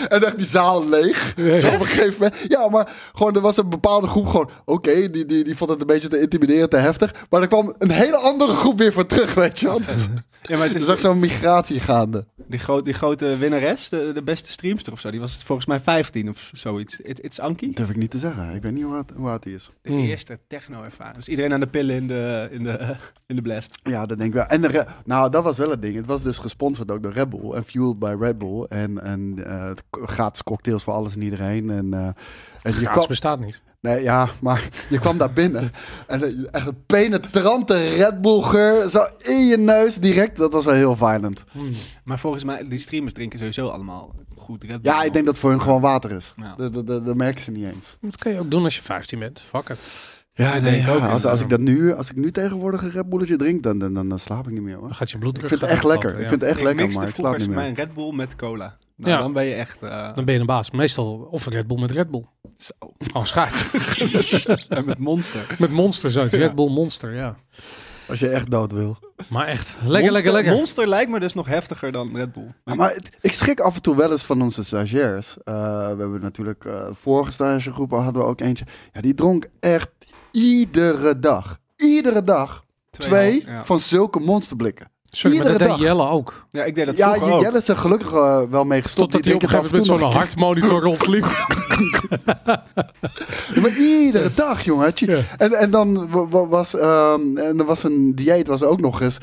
Speaker 2: En echt die zaal leeg. Zo op een gegeven moment. Ja, maar gewoon, er was een bepaalde groep gewoon... Oké, die, die, die vond het een beetje te intimiderend, te heftig. Maar er kwam een hele andere groep weer voor terug, weet je wel. Dus
Speaker 1: Ja, maar het
Speaker 2: Er
Speaker 1: is
Speaker 2: is ook zo'n migratie gaande.
Speaker 1: die, groot, die grote winnares, de, de beste streamster of zo, die was volgens mij 15 of zoiets. It, it's Anki.
Speaker 2: Dat durf ik niet te zeggen. Ik weet niet hoe oud, hoe oud die is.
Speaker 1: De eerste techno-ervaring. Dus iedereen aan de pillen in de, in de, in de blast.
Speaker 2: Ja, dat denk ik wel. En de Re- nou, dat was wel het ding. Het was dus gesponsord ook door Red Bull en fueled by Red Bull. En, en eh, het k- gratis cocktails voor alles en iedereen. En, eh, en je
Speaker 3: Kaas
Speaker 2: kwam,
Speaker 3: bestaat niet.
Speaker 2: nee, ja, maar je kwam daar binnen. En eh, echt een penetrante Red Bull geur zo in je neus direct. Dat was wel heel violent.
Speaker 3: Hmm.
Speaker 1: Maar volgens mij, die streamers drinken sowieso allemaal goed Red Bull. Nou.
Speaker 2: Ja, ik denk dat voor hun gewoon water is.
Speaker 1: Ja.
Speaker 2: Dat, dat, dat, dat merken ze niet eens.
Speaker 3: Dat kan je ook doen als je 15 bent. Fuck it.
Speaker 2: Ja,
Speaker 1: denk ik ook,
Speaker 2: Als, als,
Speaker 1: inderdaad.
Speaker 2: ik dat nu, als ik nu tegenwoordig een Red Bulletje drink, dan, dan, dan, dan slaap ik niet meer hoor.
Speaker 3: Dan gaat je bloeddruk...
Speaker 2: Ik vind het
Speaker 3: gaat
Speaker 2: echt
Speaker 3: oplopen,
Speaker 2: lekker. Ik
Speaker 3: ja.
Speaker 2: vind het echt
Speaker 1: Ik
Speaker 2: lekker,
Speaker 1: mixte
Speaker 2: maar ik slaap
Speaker 1: vroeger
Speaker 2: niet meer.
Speaker 1: mijn Red Bull met cola. Nou,
Speaker 3: Ja.
Speaker 1: dan ben je echt... eh,
Speaker 3: Dan ben je een baas. Meestal of een Red Bull met Red Bull.
Speaker 1: zo.
Speaker 3: Oh, schaart.
Speaker 1: En met Monster.
Speaker 3: met Monster zo. Red Bull Monster, ja.
Speaker 2: Als je echt dood wil.
Speaker 3: Maar echt. Lekker,
Speaker 1: Monster-
Speaker 3: lekker, lekker.
Speaker 1: Monster lijkt me dus nog heftiger dan Red Bull.
Speaker 2: Ja, maar het- ik schrik af en toe wel eens van onze stagiairs. Eh, we hebben natuurlijk eh, vorige stagegroep hadden we ook eentje. Ja, die dronk echt iedere dag. Iedere dag twee,
Speaker 1: ja.
Speaker 2: van zulke monsterblikken.
Speaker 3: Sorry, maar dat
Speaker 2: Iedere
Speaker 3: deed Jelle ook.
Speaker 1: Ja, ik deed dat
Speaker 2: ja,
Speaker 1: vroeger ook.
Speaker 2: Jelle is er gelukkig eh, wel mee gestopt.
Speaker 3: Totdat hij op een gegeven moment zo'n hartmonitor rondliep.
Speaker 2: Ja, Maar iedere dag, jongen. had je-
Speaker 3: Ja.
Speaker 2: En, en, dan wa- wa- was, ehm, en er was een dieet, was ook nog eens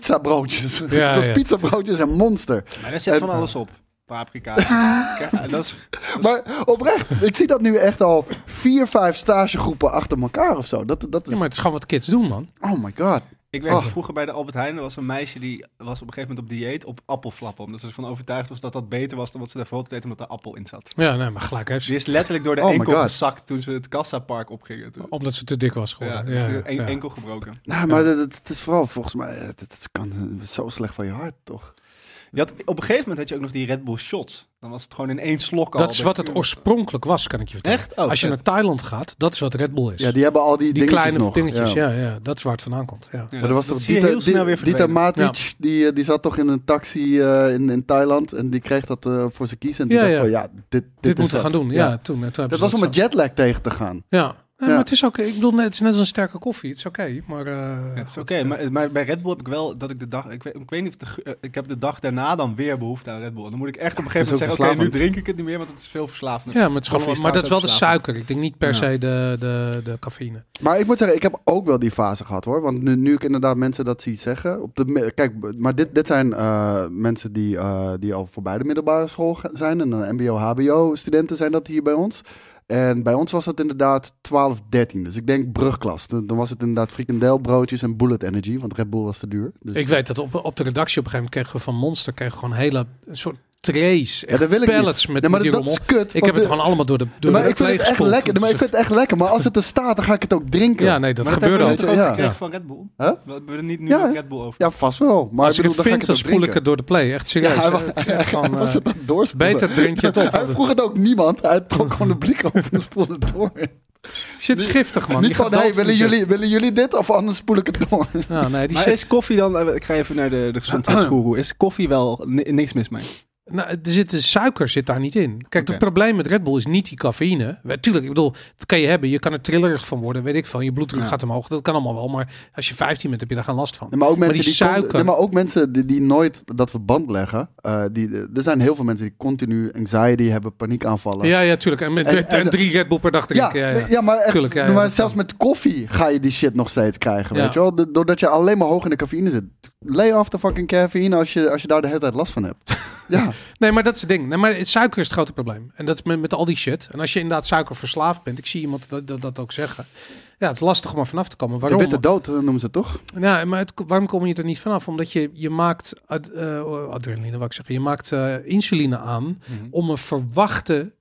Speaker 2: pizzabroodjes.
Speaker 3: Ja,
Speaker 2: het was
Speaker 3: ja.
Speaker 2: pizzabroodjes en monster.
Speaker 1: Maar daar zit
Speaker 2: En-
Speaker 1: van alles op. Paprika. Ja, dat is,
Speaker 3: Dus-
Speaker 2: Maar oprecht, ik zie dat nu echt al vier, vijf stagegroepen achter elkaar of zo. Dat, dat is...
Speaker 3: Ja, maar het is gewoon wat kids doen, man.
Speaker 2: Oh my god.
Speaker 1: ik werkte
Speaker 2: Oh.
Speaker 1: vroeger bij de Albert Heijn. Er was een meisje die was op een gegeven moment op dieet op appelflappen. Omdat ze ervan overtuigd was dat dat beter was dan wat ze daarvoor altijd deed omdat er appel in zat.
Speaker 3: Ja, nee, maar gelijk heeft ze.
Speaker 1: Die is letterlijk door de
Speaker 2: Oh my
Speaker 1: enkel
Speaker 2: God.
Speaker 1: gezakt toen ze het kassapark opgingen. Toen.
Speaker 3: Omdat ze te dik was
Speaker 1: Ja,
Speaker 3: geworden.
Speaker 1: dus
Speaker 3: Oh, Ja,
Speaker 1: ze een-
Speaker 3: ja.
Speaker 1: enkel gebroken.
Speaker 2: Nou, maar dat- dat- het is vooral volgens mij, eh, dat dat kan zo slecht van je hart, toch?
Speaker 1: Je had, op een gegeven moment had je ook nog die Red Bull shots. Dan was het gewoon in één slok al.
Speaker 3: Dat is wat het oorspronkelijk was, kan ik je vertellen.
Speaker 1: Echt? Oh,
Speaker 3: Als je
Speaker 1: vet.
Speaker 3: naar Thailand gaat, dat is wat Red Bull is.
Speaker 2: Ja, die hebben al die,
Speaker 3: Dus die
Speaker 2: dingetjes
Speaker 3: kleine
Speaker 2: nog.
Speaker 3: dingetjes, ja. Ja, dat is waar het vandaan komt. Ja.
Speaker 1: Ja,
Speaker 2: Maar er was
Speaker 1: dat
Speaker 2: toch
Speaker 1: zie je
Speaker 2: Dieter,
Speaker 1: heel snel
Speaker 2: Die-
Speaker 1: weer
Speaker 2: Dieter
Speaker 1: verdwenen.
Speaker 2: Matic, die, eh, die zat toch in een taxi eh, in, in Thailand en die kreeg dat eh, voor zijn kiezen. En die
Speaker 3: Ja,
Speaker 2: dacht
Speaker 3: ja.
Speaker 2: van, ja, dit, dit,
Speaker 3: Dit
Speaker 2: is
Speaker 3: moeten we gaan
Speaker 2: het.
Speaker 3: doen. Ja, toen, toen hebben
Speaker 2: Dat
Speaker 3: ze
Speaker 2: was om
Speaker 3: zo-
Speaker 2: het jetlag tegen te gaan.
Speaker 3: Ja. Nee,
Speaker 2: Ja.
Speaker 3: maar het is ook, ik bedoel, net- het is net als een sterke koffie. Het is oké, maar... eh,
Speaker 1: Ja, het is
Speaker 3: goed,
Speaker 1: oké,
Speaker 3: ja.
Speaker 1: maar, maar bij Red Bull heb ik wel dat ik de dag. Ik weet, ik weet niet of de, ge- eh, ik heb de dag daarna dan weer behoefte aan Red Bull. Dan moet ik echt op een
Speaker 2: Het
Speaker 1: gegeven
Speaker 2: is
Speaker 1: moment
Speaker 2: ook
Speaker 1: zeggen: oké, nu
Speaker 2: verslavend.
Speaker 1: drink ik het niet meer, want het is veel verslavender.
Speaker 3: Ja, maar, het is
Speaker 1: Koffie
Speaker 3: gewoon,
Speaker 1: is
Speaker 3: maar dat is wel de
Speaker 1: trouwens ook
Speaker 3: suiker. Ik denk niet per
Speaker 1: Ja.
Speaker 3: se de, de, de cafeïne.
Speaker 2: Maar ik moet zeggen, ik heb ook wel die fase gehad hoor. Want nu, nu ik inderdaad mensen dat zie zeggen. Op de, mi- kijk, maar dit, dit zijn eh, mensen die, eh, die al voorbij de middelbare school ge- zijn. En dan MBO-HBO-studenten zijn dat hier bij ons. En bij ons was dat inderdaad 12, 13. Dus ik denk brugklas. Dan, dan was het inderdaad frikandelbroodjes en bullet energy. Want Red Bull was te duur. Dus,
Speaker 3: Ik weet dat op, op de redactie op een gegeven moment kregen we van Monster kregen we gewoon hele een soort trays.
Speaker 2: ja,
Speaker 3: Echt
Speaker 2: dat wil ik
Speaker 3: pallets
Speaker 2: niet.
Speaker 3: met,
Speaker 2: Nee, maar
Speaker 3: met die
Speaker 2: dat, dat
Speaker 3: rommel.
Speaker 2: is kut.
Speaker 3: Ik
Speaker 2: want
Speaker 3: heb het
Speaker 2: de-
Speaker 3: gewoon allemaal door de door
Speaker 2: maar
Speaker 3: de Dus
Speaker 2: ik vind het echt
Speaker 3: pleegspoeld.
Speaker 2: lekker. Nee, Maar ik vind het echt lekker. Maar als het er staat, dan ga ik het ook drinken.
Speaker 3: Ja, nee, dat
Speaker 2: Maar
Speaker 3: gebeurde
Speaker 2: heb
Speaker 3: ook.
Speaker 2: ik
Speaker 1: Heb
Speaker 2: niet-
Speaker 1: je
Speaker 2: Ja.
Speaker 1: ook gekregen van Red Bull?
Speaker 2: Huh?
Speaker 1: We hebben er niet nu
Speaker 2: Ja.
Speaker 1: nog Red Bull over.
Speaker 2: Ja, vast wel. Maar
Speaker 3: Als ik
Speaker 2: bedoel,
Speaker 3: het
Speaker 2: ga ik
Speaker 3: vind, dan
Speaker 2: het ook
Speaker 3: spoel ik
Speaker 2: drinken.
Speaker 3: het door de play. Echt serieus.
Speaker 2: Ja, hij wa-
Speaker 3: Echt gewoon,
Speaker 2: was
Speaker 3: eh,
Speaker 2: het dat doorspoelen?
Speaker 3: beter drink je het op.
Speaker 2: Hij vroeg het ook niemand. Hij trok gewoon de blik over en spoelde het door.
Speaker 3: Shit is giftig, man. Je
Speaker 2: Niet van,
Speaker 3: gaat
Speaker 2: hey,
Speaker 3: dood
Speaker 2: willen,
Speaker 3: met
Speaker 2: jullie, willen jullie dit of anders spoel ik het door?
Speaker 3: dit. Ja, nee, die
Speaker 1: Maar
Speaker 3: shit-
Speaker 1: is koffie dan, eh, ik ga even naar de, de gezondheidsgoeroe, is koffie wel ni- niks mis mee?
Speaker 3: nou, er zit, de suiker zit daar niet in. Kijk, het
Speaker 1: Oké.
Speaker 3: probleem met Red Bull is niet die cafeïne. We- Tuurlijk, ik bedoel, dat kan je hebben. Je kan er trillerig van worden, weet ik veel. Je bloeddruk
Speaker 1: Ja.
Speaker 3: gaat omhoog. Dat kan allemaal wel. Maar als je 15 bent, heb je daar geen last van.
Speaker 2: Nee, maar ook mensen
Speaker 3: die
Speaker 2: die, con-
Speaker 3: suiker.
Speaker 2: nee, maar ook mensen die, die nooit dat verband leggen. eh, die, er zijn heel veel mensen die continu anxiety hebben, paniekaanvallen.
Speaker 3: Ja, ja, tuurlijk. En, met,
Speaker 2: En-
Speaker 3: en,
Speaker 2: en-
Speaker 3: drie Red Bull per dag
Speaker 2: Ja,
Speaker 3: drinken. Ja, ja.
Speaker 2: nee, ja, maar, echt,
Speaker 3: Tuurlijk, ja, ja,
Speaker 2: maar
Speaker 3: dat
Speaker 2: zelfs
Speaker 3: kan.
Speaker 2: met koffie ga je die shit nog steeds krijgen,
Speaker 3: Ja.
Speaker 2: weet je wel? Do- Doordat je alleen maar hoog in de cafeïne zit. Lay off de fucking cafeïne als je, als je daar de hele tijd last van hebt. ja.
Speaker 3: Nee, maar dat is het ding. Nee, maar het suiker is het grote probleem. En dat is met, met al die shit. En als je inderdaad suikerverslaafd bent, ik zie iemand dat, dat, dat ook zeggen. Ja, het is lastig om er vanaf te komen.
Speaker 2: De
Speaker 3: Waarom?
Speaker 2: witte dood eh, noemen ze het toch?
Speaker 3: Ja, maar het, waarom kom je er niet vanaf? Omdat je, je maakt ad- eh, adrenaline, wat ik zeg. Je maakt eh, insuline aan om een verwachte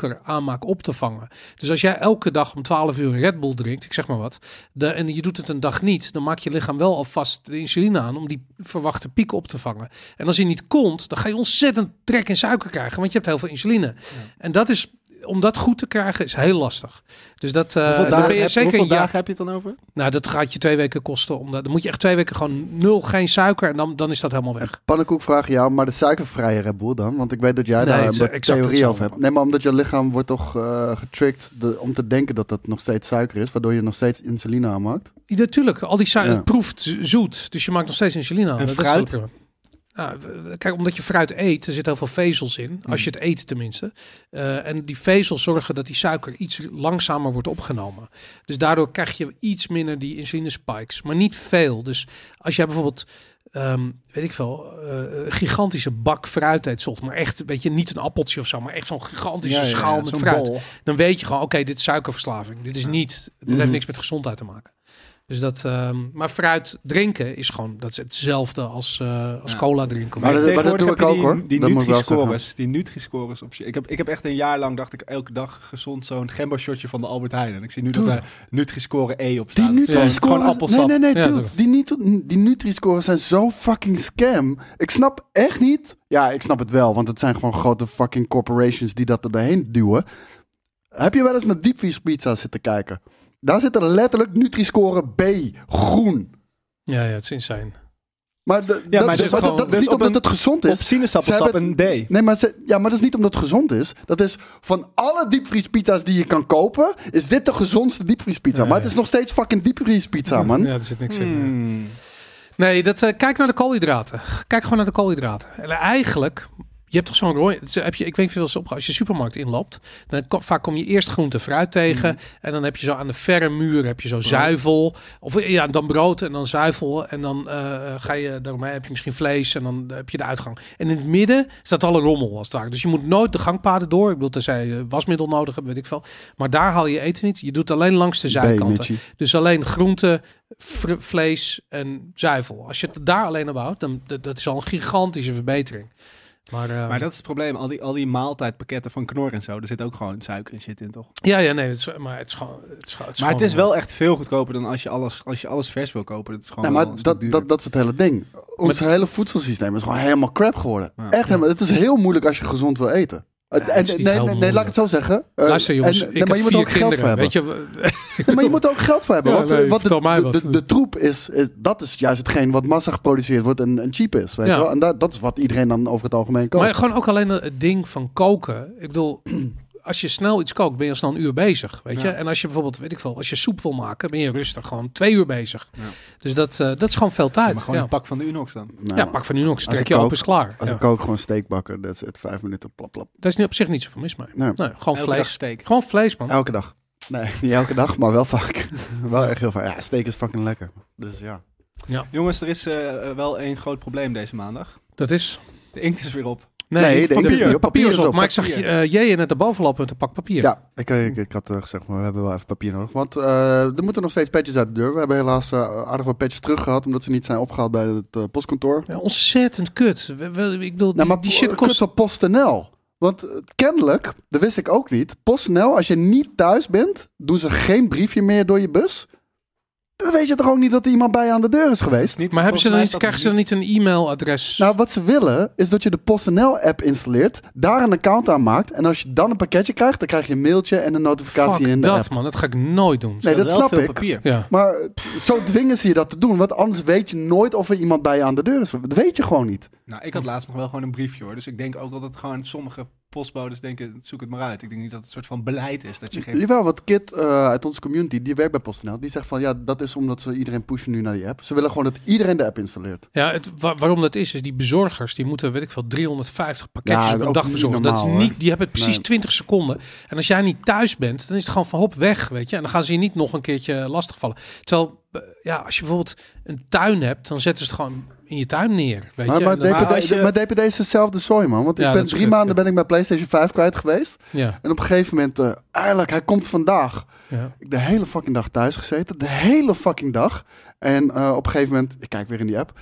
Speaker 3: suikeraanmaak op te vangen. Dus als jij elke dag om 12 uur Red Bull drinkt, ik zeg maar wat, de, en je doet het een dag niet, dan maakt je lichaam wel alvast de insuline aan om die verwachte piek op te vangen. En als die niet komt, dan ga je ontzettend trek in suiker krijgen, want je hebt heel veel insuline. En dat is om dat goed te krijgen is heel lastig. Dus dat, eh,
Speaker 1: hoeveel
Speaker 3: daar
Speaker 1: dagen,
Speaker 3: ben je
Speaker 1: heb,
Speaker 3: zeker
Speaker 1: hoeveel
Speaker 3: een jaar-
Speaker 1: dagen heb je het dan over?
Speaker 3: Nou, dat gaat je twee weken kosten. Om dat, dan moet je echt twee weken gewoon nul, geen suiker. En dan, dan is dat helemaal weg.
Speaker 2: Pannenkoek vraag je jou, maar de suikervrije Red Bull dan? Want ik weet dat jij
Speaker 3: Nee,
Speaker 2: daar
Speaker 3: het is
Speaker 2: een
Speaker 3: exact
Speaker 2: theorie
Speaker 3: hetzelfde.
Speaker 2: over hebt. Nee, maar omdat je lichaam wordt toch eh getriggerd de- om te denken dat dat nog steeds suiker is, waardoor je nog steeds insuline aanmaakt.
Speaker 3: Ja, Natuurlijk, al die suiker,
Speaker 2: Ja.
Speaker 3: het proeft z- zoet. Dus je maakt nog steeds insuline aan.
Speaker 1: En
Speaker 3: Dat is
Speaker 1: fruit?
Speaker 3: wel prima. Nou, w- w- kijk, omdat je fruit eet, er zit heel veel vezels in.
Speaker 1: Hmm.
Speaker 3: Als je het eet tenminste. Eh, en die vezels zorgen dat die suiker iets langzamer wordt opgenomen. Dus daardoor krijg je iets minder die insuline spikes. Maar niet veel. Dus als jij bijvoorbeeld, ehm, weet ik veel, eh, een gigantische bak fruit eet. 's ochtends, Maar echt, weet je, niet een appeltje of zo. Maar echt zo'n gigantische schaal met
Speaker 1: zo'n
Speaker 3: fruit
Speaker 1: bol.
Speaker 3: dan weet je gewoon, oké, dit is suikerverslaving. Dit is niet, dit
Speaker 2: Mhm.
Speaker 3: heeft niks met gezondheid te maken. Dus dat, ehm, maar fruit drinken is gewoon, dat is hetzelfde als, eh, als
Speaker 1: Ja.
Speaker 3: cola drinken.
Speaker 2: Maar
Speaker 1: Maar
Speaker 2: dat- maar dat
Speaker 1: tegenwoordig
Speaker 2: doe
Speaker 1: heb
Speaker 2: ik
Speaker 1: je
Speaker 2: ook,
Speaker 1: die,
Speaker 2: hoor.
Speaker 1: Die
Speaker 2: Dat moet ik wel
Speaker 1: Nutri-scores. Die Nutri-scores op je. Ik heb, ik heb echt een jaar lang, dacht ik, elke dag gezond zo'n Gembo-shotje van de Albert Heijn. En ik zie nu dat
Speaker 2: Doe.
Speaker 1: daar Nutri-score E op
Speaker 2: Die
Speaker 1: staat. Het is gewoon-
Speaker 2: Nutri-score.
Speaker 1: Gewoon
Speaker 2: nee,
Speaker 1: appelsap.
Speaker 2: nee, nee,
Speaker 3: eh, Ja,
Speaker 2: dude.
Speaker 3: tuurlijk.
Speaker 2: Die, Nutri- die Nutri-scores zijn zo fucking scam. Ik snap echt niet. Ja, ik snap het wel, want het zijn gewoon grote fucking corporations die dat er doorheen duwen. Heb je wel eens naar diepvriespizza zitten kijken? Daar zit er letterlijk Nutri-score B, groen.
Speaker 3: Ja, ja, het is insane.
Speaker 2: Maar, de-
Speaker 1: Ja,
Speaker 2: dat,
Speaker 1: maar
Speaker 3: dus
Speaker 2: maar
Speaker 3: gewoon-
Speaker 2: dat is
Speaker 1: dus
Speaker 2: niet
Speaker 1: op
Speaker 2: omdat
Speaker 1: een-
Speaker 2: het gezond
Speaker 1: Op
Speaker 2: is.
Speaker 1: sinaasappelsap
Speaker 2: Ze
Speaker 1: een
Speaker 2: hebben
Speaker 1: D.
Speaker 2: Nee, maar, ze- ja, maar dat is niet omdat het gezond is. Dat is van alle diepvriespizza's die je kan kopen, is dit de gezondste diepvriespizza.
Speaker 3: Ja,
Speaker 2: maar
Speaker 3: ja.
Speaker 2: het is nog steeds fucking diepvriespizza, man.
Speaker 3: Ja, er zit niks in. eh. ja.
Speaker 1: Hmm.
Speaker 3: Nee, dat, eh, kijk naar de koolhydraten. Kijk gewoon naar de koolhydraten. En eigenlijk, je hebt toch zo'n rooi, het is- heb je, ik weet niet veel opgehaald. Als je de supermarkt inloopt, dan ko- vaak kom je eerst groente en fruit tegen. En dan heb je zo aan de verre muur heb je zo zuivel. Of ja, dan brood en dan zuivel. En dan eh, ga je, daarmee heb je misschien vlees en dan heb je de uitgang. En in het midden staat alle rommel als het ware. Dus je moet nooit de gangpaden door. Ik bedoel, tenzij je wasmiddel nodig hebt, weet ik veel. Maar daar haal je eten niet. Je doet alleen langs de
Speaker 2: B,
Speaker 3: zijkanten.
Speaker 2: Mitchie.
Speaker 3: Dus alleen groente, vr- vlees en zuivel. Als je het daar alleen op houdt, dan dat, dat is al een gigantische verbetering. Maar, eh,
Speaker 1: Maar dat is het probleem. Al die, al die maaltijdpakketten van Knor en zo. Er zit ook gewoon suiker en shit in, toch?
Speaker 3: ja, ja, nee, het is, maar het is gewoon. Het is, gewoon- het is
Speaker 1: Maar het
Speaker 3: gewoon-
Speaker 1: is wel echt veel goedkoper dan als je alles, als je alles vers wil kopen. Dat is gewoon
Speaker 2: Nee,
Speaker 1: wel
Speaker 2: maar
Speaker 1: een stuk
Speaker 2: dat,
Speaker 1: duurder.
Speaker 2: dat, dat is het hele ding. Ons hele voedselsysteem is gewoon helemaal crap geworden.
Speaker 1: Ja.
Speaker 2: Echt helemaal. Het is heel moeilijk als je gezond wil eten. Het-
Speaker 3: Ja,
Speaker 2: en-
Speaker 3: het is
Speaker 2: nee,
Speaker 3: niet
Speaker 2: nee,
Speaker 3: heel
Speaker 2: nee, laat
Speaker 3: moeilijk.
Speaker 2: ik het zo zeggen. Eh,
Speaker 3: Luister jongens,
Speaker 2: en- nee,
Speaker 3: ik
Speaker 2: maar
Speaker 3: heb
Speaker 2: je moet er
Speaker 3: vier
Speaker 2: ook geld voor
Speaker 3: kinderen.
Speaker 2: hebben.
Speaker 3: Weet je, we-
Speaker 2: Nee, maar je moet er ook geld voor hebben.
Speaker 3: Ja,
Speaker 2: want
Speaker 3: nee,
Speaker 2: eh, wat, de,
Speaker 3: vertel mij
Speaker 2: de,
Speaker 3: wat.
Speaker 2: De, de troep is, is- dat is juist hetgeen wat massa geproduceerd wordt en, en cheap is. Weet
Speaker 3: Ja.
Speaker 2: je wel? En dat, dat is wat iedereen dan over het algemeen koopt.
Speaker 3: Maar gewoon ook alleen het ding van koken. Ik bedoel, als je snel iets kookt, ben je al snel een uur bezig. Weet je?
Speaker 1: Ja.
Speaker 3: En als je bijvoorbeeld, weet ik veel, als je soep wil maken, ben je rustig gewoon twee uur bezig.
Speaker 1: Ja.
Speaker 3: Dus dat, eh, dat is gewoon veel
Speaker 1: Ja,
Speaker 3: tijd.
Speaker 1: maar
Speaker 3: Ja,
Speaker 1: gewoon een pak van de Unox dan.
Speaker 2: Nou,
Speaker 3: Ja, pak van nu nog,
Speaker 2: ik
Speaker 3: trek je op,
Speaker 2: kook-
Speaker 3: is klaar.
Speaker 2: Als
Speaker 3: Ja.
Speaker 2: ik kook gewoon steak bakken, dat is het. Vijf minuten, plap, plap.
Speaker 3: Daar is nu op zich niet zoveel mis mee.
Speaker 2: Nee.
Speaker 3: Nee, gewoon
Speaker 1: Elke dag
Speaker 3: vlees.
Speaker 1: steak.
Speaker 3: Gewoon vlees, man.
Speaker 2: Elke dag. Nee, niet elke dag, maar wel vaak. wel echt heel vaak. Ja, steak is fucking lekker. Dus ja.
Speaker 1: Jongens, er is eh, eh, wel één groot probleem deze maandag.
Speaker 3: Dat is.
Speaker 1: De inkt is weer op.
Speaker 2: Nee, de inkt is niet op.
Speaker 3: papier is op. Maar ik zag
Speaker 1: Papier.
Speaker 3: eh jij net erboven lopen met een pak papier.
Speaker 2: Ja, ik, ik, ik had eh, gezegd, maar we hebben wel even papier nodig. Want eh, er moeten nog steeds patches uit de deur. We hebben helaas eh, aardig wat patches terug gehad, omdat ze niet zijn opgehaald bij het eh, postkantoor.
Speaker 3: Ja, ontzettend kut. We- we- ik bedoel,
Speaker 2: Nou,
Speaker 3: die,
Speaker 2: maar
Speaker 3: die shit
Speaker 2: kost
Speaker 3: kost...
Speaker 2: op PostNL. Want eh, kennelijk, dat wist ik ook niet, PostNL, als je niet thuis bent, doen ze geen briefje meer door je bus. Dan weet je toch ook niet dat er iemand bij je aan de deur is geweest?
Speaker 1: Niet,
Speaker 3: Maar hebben ze dan
Speaker 1: volgens
Speaker 3: niet,
Speaker 1: mij
Speaker 3: krijgen
Speaker 1: is
Speaker 3: ze
Speaker 1: dat
Speaker 3: dan niet een e-mailadres?
Speaker 2: Nou, wat ze willen is dat je de PostNL-app installeert, daar een account aan maakt. En als je dan een pakketje krijgt, dan krijg je een mailtje en een notificatie
Speaker 3: Fuck
Speaker 2: in de
Speaker 3: dat,
Speaker 2: app.
Speaker 3: man. Dat ga ik nooit doen.
Speaker 2: Nee, dat
Speaker 1: wel
Speaker 2: snap
Speaker 1: veel
Speaker 2: ik.
Speaker 1: papier.
Speaker 3: Ja.
Speaker 2: Maar eh, zo dwingen ze je dat te doen, want anders weet je nooit of er iemand bij je aan de deur is. Dat weet je gewoon niet.
Speaker 1: Nou, ik had laatst nog wel gewoon een briefje hoor. Dus ik denk ook wel dat gewoon sommige postbodes denken, zoek het maar uit. Ik denk niet dat het een soort van beleid is dat je geen...
Speaker 2: Jawel, wat Kit eh, uit onze community, die werkt bij PostNL, die zegt van ja, dat is omdat ze iedereen pushen nu naar die app. Ze willen gewoon dat iedereen de app installeert.
Speaker 3: Ja, het, wa- waarom dat is, is die bezorgers die moeten, weet ik veel, 350 pakketjes
Speaker 2: Ja,
Speaker 3: op een
Speaker 2: ook
Speaker 3: dag
Speaker 2: niet
Speaker 3: bezorgen. dat
Speaker 2: normaal,
Speaker 3: is
Speaker 2: hoor.
Speaker 3: niet, die hebben het precies
Speaker 2: Nee.
Speaker 3: 20 seconden. En als jij niet thuis bent, dan is het gewoon van hop weg, weet je. En dan gaan ze je niet nog een keertje lastigvallen. Terwijl, eh, ja, als je bijvoorbeeld een tuin hebt, dan zetten ze het gewoon in je tuin neer, weet
Speaker 2: Maar,
Speaker 3: je.
Speaker 2: maar,
Speaker 3: En dat-
Speaker 1: maar
Speaker 2: DPD,
Speaker 1: als je-
Speaker 2: maar DPD is dezelfde zooi, man. Want
Speaker 3: Ja,
Speaker 2: ik ben
Speaker 3: dat is
Speaker 2: drie
Speaker 3: kut,
Speaker 2: maanden
Speaker 3: ja.
Speaker 2: ben ik mijn PlayStation 5 kwijt geweest.
Speaker 3: ja,
Speaker 2: En op een gegeven moment, eh eigenlijk, hij komt vandaag.
Speaker 3: ja.
Speaker 2: Ik de hele fucking dag thuis gezeten. De hele fucking dag. En eh, op een gegeven moment, ik kijk weer in die app.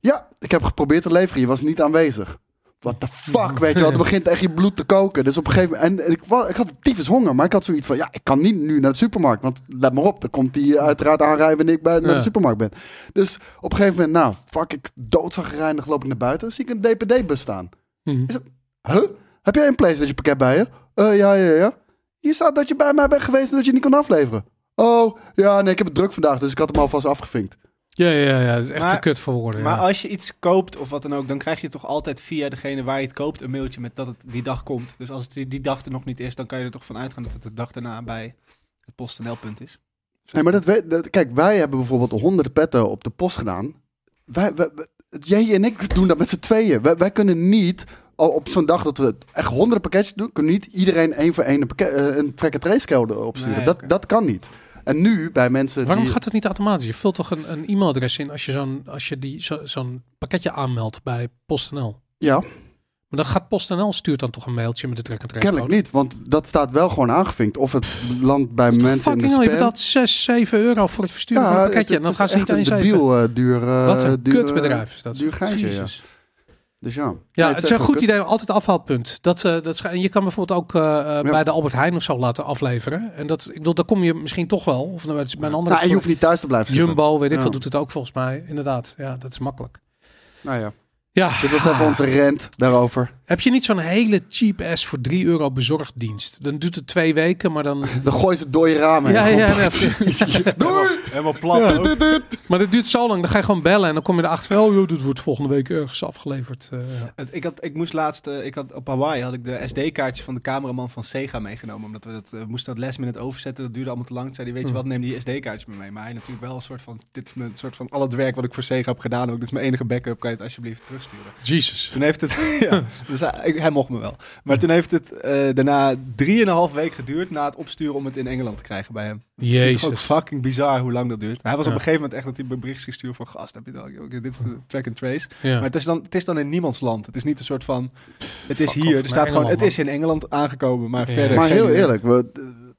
Speaker 2: Ja, ik heb geprobeerd te leveren. Je was niet aanwezig. What the fuck, weet je wel. Dan begint echt je bloed te koken. Dus op een gegeven moment... En ik, wa- ik had tyfus honger, maar ik had zoiets van... Ja, ik kan niet nu naar de supermarkt. Want let maar op, dan komt die eh, uiteraard aanrijden... wanneer ik bij, naar
Speaker 3: Ja.
Speaker 2: de supermarkt ben. Dus op een gegeven moment, nou, fuck, ik doodzagrijnig loop ik naar buiten. zie ik een DPD-bus staan.
Speaker 3: Mhm.
Speaker 2: Huh? Heb jij een PlayStation pakket bij je? Eh, ja, ja, ja. Hier staat dat je bij mij bent geweest en dat je niet kon afleveren. Oh, ja, nee, ik heb het druk vandaag, dus ik had hem alvast afgevinkt.
Speaker 3: Ja, ja, ja. Het is echt
Speaker 1: Maar-
Speaker 3: te kut voor woorden.
Speaker 1: Maar
Speaker 3: ja.
Speaker 1: als je iets koopt of wat dan ook, dan krijg je toch altijd via degene waar je het koopt een mailtje met dat het die dag komt. Dus als het die, die dag er nog niet is, dan kan je er toch van uitgaan dat het de dag daarna bij het PostNL-punt is.
Speaker 2: Nee, maar dat weet, dat- kijk, wij hebben bijvoorbeeld honderden petten op de post gedaan. Wij, wij- wij- jij en ik doen dat met z'n tweeën. Wij, wij kunnen niet, al op zo'n dag dat we echt honderden pakketjes doen, kunnen niet iedereen één voor één een, pakket, eh, een track and trace code opsturen.
Speaker 1: Nee,
Speaker 2: dat,
Speaker 1: oké.
Speaker 2: dat kan niet. En nu, bij mensen
Speaker 3: Waarom
Speaker 2: eh, die...
Speaker 3: gaat het niet automatisch? Je vult toch een, een e-mailadres in als je zo'n als je die zo- zo'n pakketje aanmeldt bij PostNL.
Speaker 2: Ja,
Speaker 3: Maar dan gaat PostNL stuurt dan toch een mailtje met de track and trace
Speaker 2: kennelijk
Speaker 3: code?
Speaker 2: niet, want dat staat wel gewoon aangevinkt. Of het landt bij
Speaker 3: Dat is toch
Speaker 2: mensen in de
Speaker 3: fucking hell,
Speaker 2: spam.
Speaker 3: Je betaalt 6, 7 euro voor het versturen van een
Speaker 2: het-
Speaker 3: pakketje.
Speaker 2: Nou, het
Speaker 3: En dan
Speaker 2: is
Speaker 3: gaan ze niet
Speaker 2: echt
Speaker 3: eens
Speaker 2: een
Speaker 3: even.
Speaker 2: debiel, eh, duur, eh,
Speaker 3: Wat een
Speaker 2: duur, eh,
Speaker 3: kutbedrijf is dat.
Speaker 2: duur geintje, ja.
Speaker 3: Jezus.
Speaker 2: Dus ja.
Speaker 3: Ja,
Speaker 2: Nee,
Speaker 3: het
Speaker 2: echt
Speaker 3: is een
Speaker 2: wel
Speaker 3: goed
Speaker 2: kut.
Speaker 3: idee. Altijd afhaalpunt. Dat, eh, dat is, en je kan bijvoorbeeld ook eh, eh, bij de Albert Heijn of zo laten afleveren. En dat, ik bedoel, daar kom je misschien toch wel. Of nou, het is bij een andere
Speaker 2: Nou, en je hoeft niet thuis te blijven zitten.
Speaker 3: Jumbo, weet ik
Speaker 2: Ja.
Speaker 3: veel, doet het ook volgens mij. Inderdaad, ja, dat is makkelijk.
Speaker 2: Nou ja,
Speaker 3: Ja.
Speaker 2: dit was even onze rant daarover.
Speaker 3: Heb je niet zo'n hele cheap ass voor 3 euro bezorgdienst? Dan duurt het twee weken, maar dan...
Speaker 2: Dan gooi ze het door je raam heen.
Speaker 3: Ja,
Speaker 2: Gewoon,
Speaker 3: ja,
Speaker 2: pat. Doei!
Speaker 1: Helemaal plat
Speaker 2: Doet, doet, doet.
Speaker 3: Maar dat duurt zo lang. Dan ga je gewoon bellen en dan kom je erachter van... Oh, joh, dit wordt volgende week ergens afgeleverd. Eh, ja.
Speaker 1: Het- Ik, had, ik moest laatst, eh, ik had, op Hawaii had ik de SD-kaartje van de cameraman van Sega meegenomen. Omdat we dat, eh, moesten dat les minute overzetten, dat duurde allemaal te lang. Toen zei hij, weet je
Speaker 3: Hm.
Speaker 1: wat, neem die SD-kaartjes mee mee. Maar hij natuurlijk wel een soort van, dit is mijn soort van, al het werk wat ik voor Sega heb gedaan, ook dit is mijn enige backup, kan je het alsjeblieft terugsturen.
Speaker 3: Jesus.
Speaker 1: Toen heeft het, ja, dus hij, ik- hij mocht me wel. Maar toen heeft het eh, daarna drieënhalf week geduurd na het opsturen om het in Engeland te krijgen bij hem. Ik vind het
Speaker 3: Jezus.
Speaker 1: Ook fucking bizar hoe lang dat duurt. Hij was
Speaker 3: Ja.
Speaker 1: op een gegeven moment echt dat hij een berichtjes gestuurd van, gast, heb je dat? ook? Dit is de track and trace.
Speaker 3: Ja.
Speaker 1: Maar het is, dan, het is dan in niemands land. Het is niet een soort van. Het is
Speaker 3: fuck
Speaker 1: hier.
Speaker 3: off,
Speaker 1: Er staat gewoon.
Speaker 3: Engeland,
Speaker 1: Het is in Engeland aangekomen. Maar
Speaker 3: Ja.
Speaker 1: verder.
Speaker 2: Maar
Speaker 1: geen
Speaker 2: heel
Speaker 1: idee.
Speaker 2: eerlijk, we,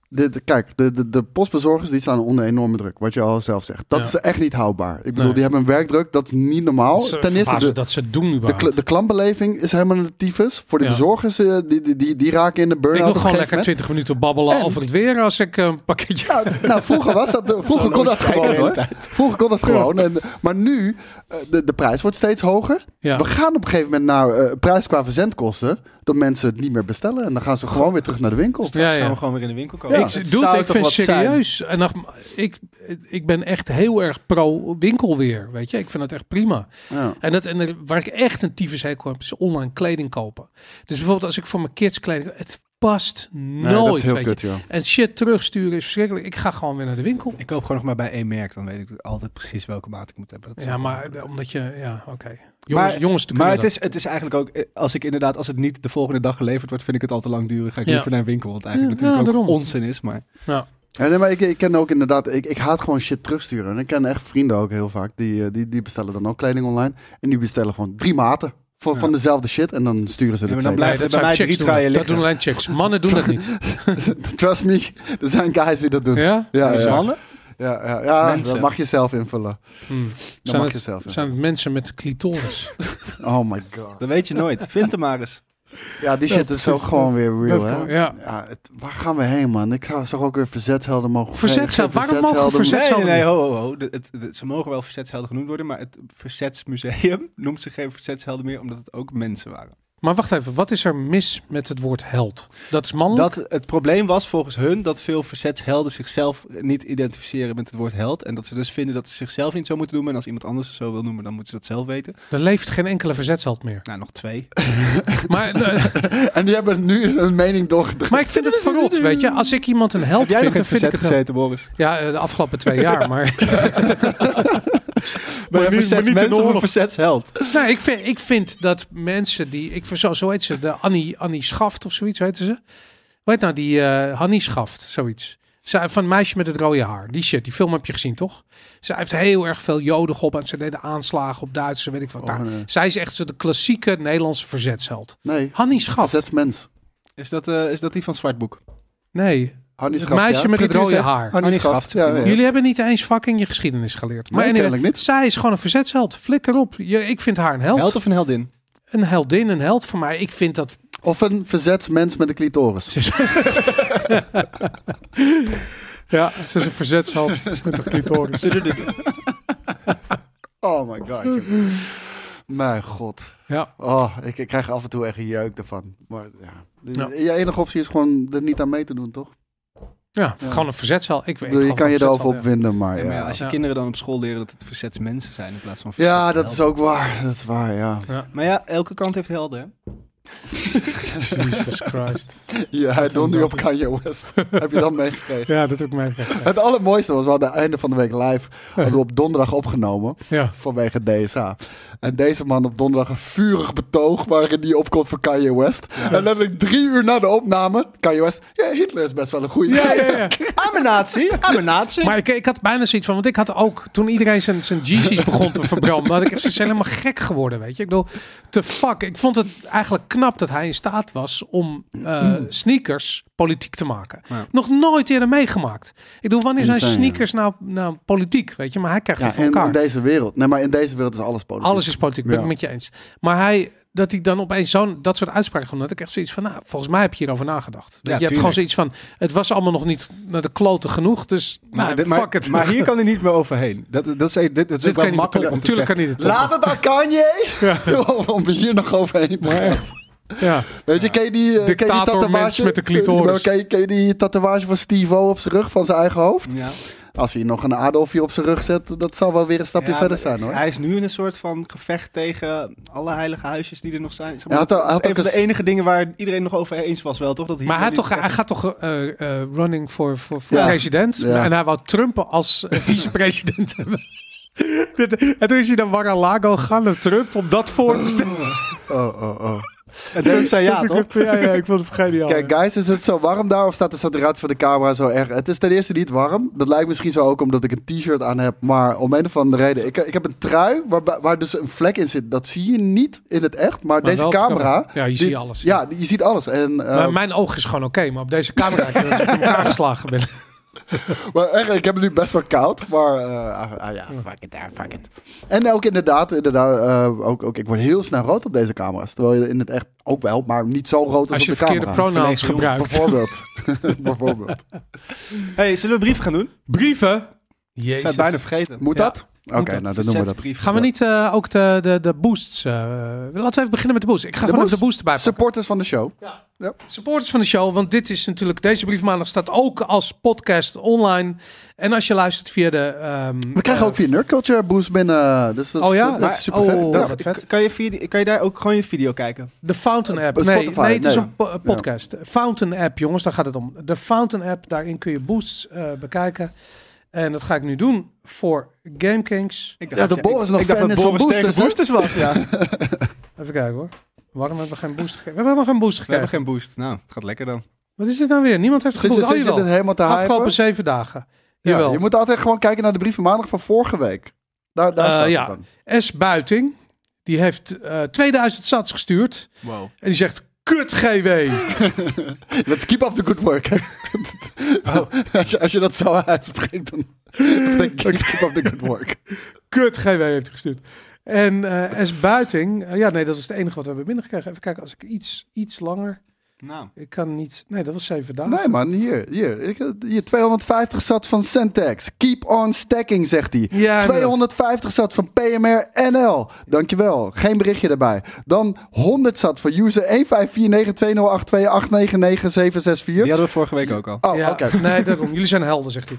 Speaker 2: de, de- kijk, de, de, de postbezorgers die staan onder enorme druk. Wat je al zelf zegt. Dat
Speaker 3: Ja.
Speaker 2: is echt niet houdbaar. Ik bedoel,
Speaker 3: Nee.
Speaker 2: die hebben een werkdruk, dat is niet normaal.
Speaker 3: Het is, eh,
Speaker 2: nou, Ten eerste,
Speaker 3: verbazend
Speaker 2: de,
Speaker 3: dat ze het doen
Speaker 2: de,
Speaker 3: überhaupt.
Speaker 2: kl- de klantbeleving is helemaal een tyfus. Voor de
Speaker 3: Ja.
Speaker 2: bezorgers, eh, die, die, die, die raken in de
Speaker 3: ik
Speaker 2: burn-out.
Speaker 3: wil
Speaker 2: op een
Speaker 3: gewoon
Speaker 2: gegeven
Speaker 3: lekker 20 minuten babbelen
Speaker 2: En-
Speaker 3: over het weer als ik eh, een pakketje...
Speaker 2: moment- Ja, nou, vroeger was dat, vroeger kon dat
Speaker 1: Kijken de
Speaker 2: gewoon
Speaker 1: hele
Speaker 2: hoor.
Speaker 1: tijd.
Speaker 2: Vroeger kon dat gewoon. En, maar nu, eh, de, de prijs wordt steeds hoger.
Speaker 3: Ja.
Speaker 2: We gaan op een gegeven moment naar eh, prijs qua verzendkosten. Dat mensen het niet meer bestellen. En dan gaan ze gewoon weer terug naar de winkel.
Speaker 1: Straks
Speaker 3: Ja, ja.
Speaker 1: gaan we gewoon weer in de winkel komen.
Speaker 3: Ik,
Speaker 1: Het
Speaker 3: doe
Speaker 1: zou
Speaker 3: het, ik
Speaker 1: toch
Speaker 3: vind
Speaker 1: wat zijn?
Speaker 3: serieus. En dan, ik, ik ben echt heel erg pro winkelweer, weet je. Ik vind het echt prima.
Speaker 2: Ja.
Speaker 3: En, dat, en er- waar ik echt een tyfus hekel heb, is online kleding kopen. Dus bijvoorbeeld als ik voor mijn kids kleding... Het past
Speaker 2: Nee, dat is
Speaker 3: nooit,
Speaker 2: heel
Speaker 3: weet
Speaker 2: kut,
Speaker 3: je.
Speaker 2: joh.
Speaker 3: En shit terugsturen is verschrikkelijk. Ik ga gewoon weer naar de winkel.
Speaker 1: Ik koop gewoon nog maar bij één merk. Dan weet ik altijd precies welke maat ik moet hebben. Dat is
Speaker 3: Ja,
Speaker 1: wel-
Speaker 3: maar eh, omdat je... Ja, oké. Jongens,
Speaker 1: Maar-
Speaker 3: jongens te
Speaker 1: Maar
Speaker 3: kunnen
Speaker 1: het is, het is eigenlijk ook, eh, als ik inderdaad, als het niet de volgende dag geleverd wordt, vind ik het al te lang duren. Ga ik
Speaker 3: Ja.
Speaker 1: liever naar een winkel, wat eigenlijk
Speaker 3: Ja,
Speaker 1: natuurlijk
Speaker 3: ja,
Speaker 1: ook
Speaker 3: daarom.
Speaker 1: onzin is. Maar
Speaker 2: Ja, nee, maar ik, ik ken ook inderdaad, ik, ik haat gewoon shit terugsturen. En ik ken echt vrienden ook heel vaak, die, eh, die, die bestellen dan ook kleding online. En die bestellen gewoon drie maten van,
Speaker 1: Ja.
Speaker 2: van dezelfde shit. En dan sturen ze de
Speaker 1: Ja, maar dan
Speaker 2: twee.
Speaker 3: dat.
Speaker 1: blijft
Speaker 3: Nee, dat
Speaker 1: bij
Speaker 3: zijn
Speaker 1: mij
Speaker 3: chicks
Speaker 1: drie
Speaker 3: doen.
Speaker 1: traaien
Speaker 3: Dat
Speaker 1: liggen.
Speaker 3: doen alleen chicks. Mannen doen dat niet.
Speaker 2: Trust me, er zijn guys die dat doen. Ja,
Speaker 3: Ja?
Speaker 2: ja,
Speaker 1: Dus
Speaker 2: ja.
Speaker 1: mannen?
Speaker 2: ja, ja,
Speaker 1: Mensen.
Speaker 2: dat mag je zelf invullen.
Speaker 3: Hm.
Speaker 2: Dat
Speaker 3: Zijn,
Speaker 2: mag je
Speaker 3: het,
Speaker 2: zelf
Speaker 3: zijn
Speaker 2: invullen.
Speaker 3: het mensen met clitoris?
Speaker 2: Oh my god.
Speaker 1: Dat weet je nooit. Vind hem maar eens.
Speaker 2: Ja, die shit is ook
Speaker 1: precies,
Speaker 2: gewoon weer real,
Speaker 1: dat
Speaker 2: hè?
Speaker 1: kan-
Speaker 3: ja.
Speaker 2: Ja, het- waar gaan we heen, man? Ik zou- zag ook weer verzetshelden mogen...
Speaker 3: Verzetshelden?
Speaker 2: Nee, geen
Speaker 3: Waarom mogen
Speaker 2: verzetshelden.
Speaker 1: Nee, nee, nee,
Speaker 3: Verzetshelden.
Speaker 1: ho, ho, ho. De- het- de- ze mogen wel verzetshelden genoemd worden, maar het verzetsmuseum noemt zich geen verzetshelden meer, omdat het ook mensen waren.
Speaker 3: Maar wacht even, wat is er mis met het woord held? Dat is mannelijk.
Speaker 1: Dat het probleem was volgens hun dat veel verzetshelden zichzelf niet identificeren met het woord held. En dat ze dus vinden dat ze zichzelf niet zo moeten noemen. En als iemand anders het zo wil noemen, dan moeten ze dat zelf weten.
Speaker 3: Er leeft geen enkele verzetsheld meer.
Speaker 1: Nou, nog twee.
Speaker 3: Maar, eh,
Speaker 2: En die hebben nu hun mening doorgedrukt.
Speaker 3: maar ik vind het verrot, weet je. Als ik iemand een held
Speaker 1: Heb jij
Speaker 3: vind,
Speaker 1: nog in
Speaker 3: dan vind ik
Speaker 1: verzet
Speaker 3: het... wel-
Speaker 1: gezeten, Boris?
Speaker 3: Ja, eh, de afgelopen twee jaar. Maar
Speaker 1: Ben je
Speaker 3: nu- maar niet in
Speaker 1: verzetsmens
Speaker 3: de
Speaker 1: of een
Speaker 3: oorlog.
Speaker 1: verzetsheld?
Speaker 3: nee, Nou, ik, vind, ik vind dat mensen die... Ik, zo, zo heet ze, de Annie, Annie Schaft of zoiets heette ze. Weet nou, die eh, Hannie Schaft, zoiets. Zij, van meisje met het rode haar. Die shit, die film heb je gezien, toch? Zij heeft heel erg veel joden op en ze deden aanslagen op Duitsers, weet ik wat.
Speaker 2: Oh,
Speaker 3: Nou,
Speaker 2: nee.
Speaker 3: Zij is echt zo de klassieke Nederlandse verzetsheld.
Speaker 2: Nee,
Speaker 3: Hannie Schaft.
Speaker 2: verzetsmens.
Speaker 1: Is dat, eh, is dat die van Zwartboek?
Speaker 3: Nee.
Speaker 2: Hannie
Speaker 3: Het
Speaker 2: Schaft,
Speaker 3: meisje
Speaker 2: ja.
Speaker 3: met het
Speaker 2: Friet
Speaker 3: rode
Speaker 2: zegt
Speaker 3: haar.
Speaker 2: Hannie
Speaker 1: Hannie
Speaker 2: Schaft,
Speaker 1: Schaft,
Speaker 2: ja,
Speaker 1: zegt
Speaker 2: ja.
Speaker 3: Jullie hebben niet eens fucking je geschiedenis geleerd. Maar anyway,
Speaker 2: kennelijk niet.
Speaker 3: zij is gewoon een verzetsheld. Flikker op. Je, ik vind haar een held.
Speaker 1: Held of een heldin?
Speaker 3: Een heldin, een held voor mij. Ik vind dat...
Speaker 2: Of een verzetsmens met een clitoris.
Speaker 3: Ja, ze is een verzetsheld met een clitoris.
Speaker 2: Oh my god. joh. Mijn god.
Speaker 3: Ja.
Speaker 2: Oh, ik, ik krijg af en toe echt een jeuk ervan. Maar ja.
Speaker 3: Ja.
Speaker 2: Je enige optie is gewoon er niet aan mee te doen, toch? Ik
Speaker 3: Ja,
Speaker 2: Ja.
Speaker 3: gewoon een verzetzaal. Ik weet
Speaker 2: bedoel, je
Speaker 3: gewoon
Speaker 2: kan je
Speaker 3: een
Speaker 2: erover
Speaker 3: verzetzaal, ja.
Speaker 2: opwinden, maar
Speaker 1: Ja,
Speaker 2: ja.
Speaker 1: maar ja, als je
Speaker 3: Ja.
Speaker 1: kinderen dan op school leren dat het verzetsmensen zijn in plaats van
Speaker 2: Ja, dat
Speaker 1: verzetshelden.
Speaker 2: is ook waar. Dat is waar, ja.
Speaker 1: Maar ja, elke kant heeft helden, hè?
Speaker 3: Jesus Christ.
Speaker 2: Ja, hij doet nu op Kanye West. Heb je dat meegekregen?
Speaker 3: Ja, dat heb ik meegekregen.
Speaker 2: Het allermooiste was, we hadden einde van de week live. Hadden we op donderdag opgenomen.
Speaker 3: Ja.
Speaker 2: Vanwege DSA. En deze man op donderdag een vurig betoog. waarin hij opkomt voor Kanye West. En letterlijk drie uur na de opname. Kanye West. Ja, Hitler is best wel een goede.
Speaker 3: Ja, ja, ja.
Speaker 1: I'm een nazi, I'm een nazi.
Speaker 3: Maar ik, ik had bijna zoiets van, want ik had ook, toen iedereen zijn, zijn GC's begon te verbranden, had ik echt zoiets helemaal gek geworden, weet je. Ik bedoel, te fuck. Ik vond het eigenlijk knap dat hij in staat was om eh, sneakers politiek te maken.
Speaker 1: Mm. Ja.
Speaker 3: Nog nooit eerder meegemaakt. Ik bedoel, wanneer zijn
Speaker 2: Insane,
Speaker 3: sneakers nou, nou politiek, weet je. Maar hij krijgt
Speaker 2: Ja,
Speaker 3: het voor
Speaker 2: en in
Speaker 3: elkaar.
Speaker 2: deze wereld. Nee, maar in deze wereld is alles politiek.
Speaker 3: Alles is politiek, ben ik
Speaker 2: Ja.
Speaker 3: met je eens. Maar hij, dat hij dan opeens zo'n, dat soort uitspraken vond, dat ik echt zoiets van, nou, volgens mij heb je hierover nagedacht. Weet je, je hebt
Speaker 1: tuurlijk.
Speaker 3: gewoon zoiets van, het was allemaal nog niet naar de kloten genoeg, dus
Speaker 1: Maar
Speaker 3: nou,
Speaker 1: dit- maar,
Speaker 3: fuck het.
Speaker 1: maar hier kan hij niet meer overheen. Dat, dat is, dit, dat is ook
Speaker 3: dit kan je
Speaker 1: wel
Speaker 3: niet
Speaker 1: makkelijk
Speaker 3: makkelijk
Speaker 1: om te zeggen.
Speaker 3: Natuurlijk kan hij het
Speaker 2: Laat het aan Kanye. om hier nog overheen te gaan.
Speaker 3: Ja.
Speaker 2: Weet je, ken je die, eh, ken je die
Speaker 3: Dictator mens
Speaker 2: tatoeage?
Speaker 3: met de clitoris.
Speaker 2: Eh, Ken je, ken je die tatoeage van Steve-O op zijn rug van zijn eigen hoofd?
Speaker 1: Ja.
Speaker 2: Als hij nog een Adolfje op zijn rug zet, dat zal wel weer een stapje
Speaker 1: Ja,
Speaker 2: verder
Speaker 1: maar
Speaker 2: zijn hoor.
Speaker 1: Hij is nu in een soort van gevecht tegen alle heilige huisjes die er nog zijn. Zeg maar,
Speaker 2: Hij had
Speaker 1: dat
Speaker 2: al- hij
Speaker 1: is
Speaker 2: had
Speaker 1: een
Speaker 2: ook
Speaker 1: van de
Speaker 2: eens-
Speaker 1: enige dingen waar iedereen nog over eens was wel, toch? Dat
Speaker 3: Maar hij,
Speaker 1: hier
Speaker 3: had toch,
Speaker 1: niet-
Speaker 3: hij gaat toch eh, eh, running voor, voor, voor
Speaker 2: Ja.
Speaker 3: president?
Speaker 2: Ja.
Speaker 3: En hij wou Trump als eh, vicepresident hebben. Dit- en toen is hij naar Mar-a-Lago gegaan naar Trump om dat voor te stellen.
Speaker 2: Oh, oh, oh.
Speaker 1: En Trump zei ja,
Speaker 3: Dat
Speaker 1: toch?
Speaker 3: ik- ja, ja, ik vond het geniaal.
Speaker 2: Kijk, guys, is het zo warm daar of staat de saturatie van de camera zo erg? Het is ten eerste niet warm. Dat lijkt misschien zo ook omdat ik een t-shirt aan heb. Maar om een of andere reden. Ik, ik heb een trui waar, waar dus een vlek in zit. Dat zie je niet in het echt. Maar,
Speaker 3: Maar
Speaker 2: deze
Speaker 3: wel op de
Speaker 2: camera.
Speaker 3: Ja, je
Speaker 2: die-
Speaker 3: ziet alles.
Speaker 2: Ja, je ziet alles. En, eh,
Speaker 3: Maar mijn oog is gewoon oké, maar op deze camera ik dat ik in elkaar geslagen ben.
Speaker 2: Maar echt, ik heb het nu best wel koud. Maar eh, ah, ah, ja, fuck it, ah, fuck it. En ook inderdaad, inderdaad eh, ook, ook, ik word heel snel rood op deze camera's. Terwijl je in het echt ook wel, maar niet zo rood als,
Speaker 3: Als je
Speaker 2: op de camera.
Speaker 3: verkeerde pronouns
Speaker 1: Verlegen jongen.
Speaker 3: gebruikt.
Speaker 2: Bijvoorbeeld. Bijvoorbeeld.
Speaker 1: hey, zullen we brieven gaan doen? Ik
Speaker 3: Brieven?
Speaker 1: zou het
Speaker 3: Jezus.
Speaker 1: bijna vergeten.
Speaker 2: Moet
Speaker 3: Ja.
Speaker 2: dat? Oké,
Speaker 3: Moet dat.
Speaker 2: nou dan noemen we dat.
Speaker 1: Verzetsbrieven.
Speaker 3: Gaan we niet eh, ook de, de, de boosts... eh, laten we even beginnen met de boosts. Ik ga
Speaker 2: De
Speaker 3: gewoon
Speaker 2: boost?
Speaker 3: even de boost erbij pakken.
Speaker 2: Supporters van de show.
Speaker 3: supporters van de show, want dit is natuurlijk, deze brief maandag staat ook als podcast online. En als je luistert via de. ehm,
Speaker 2: We krijgen
Speaker 3: eh,
Speaker 2: ook via Nerd Culture Boost binnen. Dus dat, is-
Speaker 3: Oh ja?
Speaker 2: dat
Speaker 3: Maar-
Speaker 2: is super vet.
Speaker 3: oh,
Speaker 2: ja.
Speaker 3: dat- wat vet.
Speaker 1: Kan je, via- kan je daar ook gewoon je video kijken?
Speaker 3: De Fountain app.
Speaker 2: Eh,
Speaker 3: Nee,
Speaker 2: Spotify,
Speaker 3: nee, het is
Speaker 2: nee.
Speaker 3: een po- eh, podcast. Fountain app, jongens, daar gaat het om. De Fountain app, daarin kun je boosts eh, bekijken. En dat ga ik nu doen voor GameKings.
Speaker 1: Ik
Speaker 2: Ja, de Boris nog
Speaker 1: ik dacht
Speaker 2: fan
Speaker 1: dat
Speaker 2: is van
Speaker 1: Boris tegen
Speaker 2: boosters, hè?
Speaker 1: boosters was. Ja. We
Speaker 3: Even kijken hoor. Waarom hebben we geen boost gekregen? We hebben helemaal geen boost gekregen.
Speaker 1: hebben geen boost. Nou, het gaat lekker dan.
Speaker 3: Wat is dit nou weer? Niemand heeft
Speaker 2: Zit je,
Speaker 3: geboekt. Oh,
Speaker 2: zit je
Speaker 3: jawel.
Speaker 2: dit helemaal te
Speaker 3: Afgelopen
Speaker 2: hypen?
Speaker 3: zeven dagen.
Speaker 2: Ja,
Speaker 3: Jawel.
Speaker 2: je moet altijd gewoon kijken naar de brieven maandag van vorige week. Daar, daar
Speaker 3: Eh,
Speaker 2: staat het
Speaker 3: ja.
Speaker 2: dan.
Speaker 3: S. Buiting, die heeft eh, 2000 sats gestuurd.
Speaker 1: Wow.
Speaker 3: En die zegt, kut GW.
Speaker 2: Let's keep up the good work.
Speaker 3: Oh.
Speaker 2: als, je, als je dat zo uitspreekt, dan denk ik let's keep up the good work.
Speaker 3: Kut GW heeft hij gestuurd. En eh, S. Buiting, eh, ja nee, dat is het enige wat we hebben binnengekregen. Even kijken, als ik iets, iets langer,
Speaker 1: Nou.
Speaker 3: ik kan niet, nee dat was zeven dagen.
Speaker 2: Nee man, hier, hier, ik- hier 250 zat van Sentex. Keep on stacking, zegt hij.
Speaker 3: Ja,
Speaker 2: 250 zat van PMR NL. Dankjewel. Geen berichtje erbij. Dan 100 zat van user 154920828999764.
Speaker 1: Die hadden we vorige week ook al.
Speaker 2: Oh,
Speaker 3: ja,
Speaker 2: oké.
Speaker 3: Nee, daarom. Jullie zijn helden, zegt hij.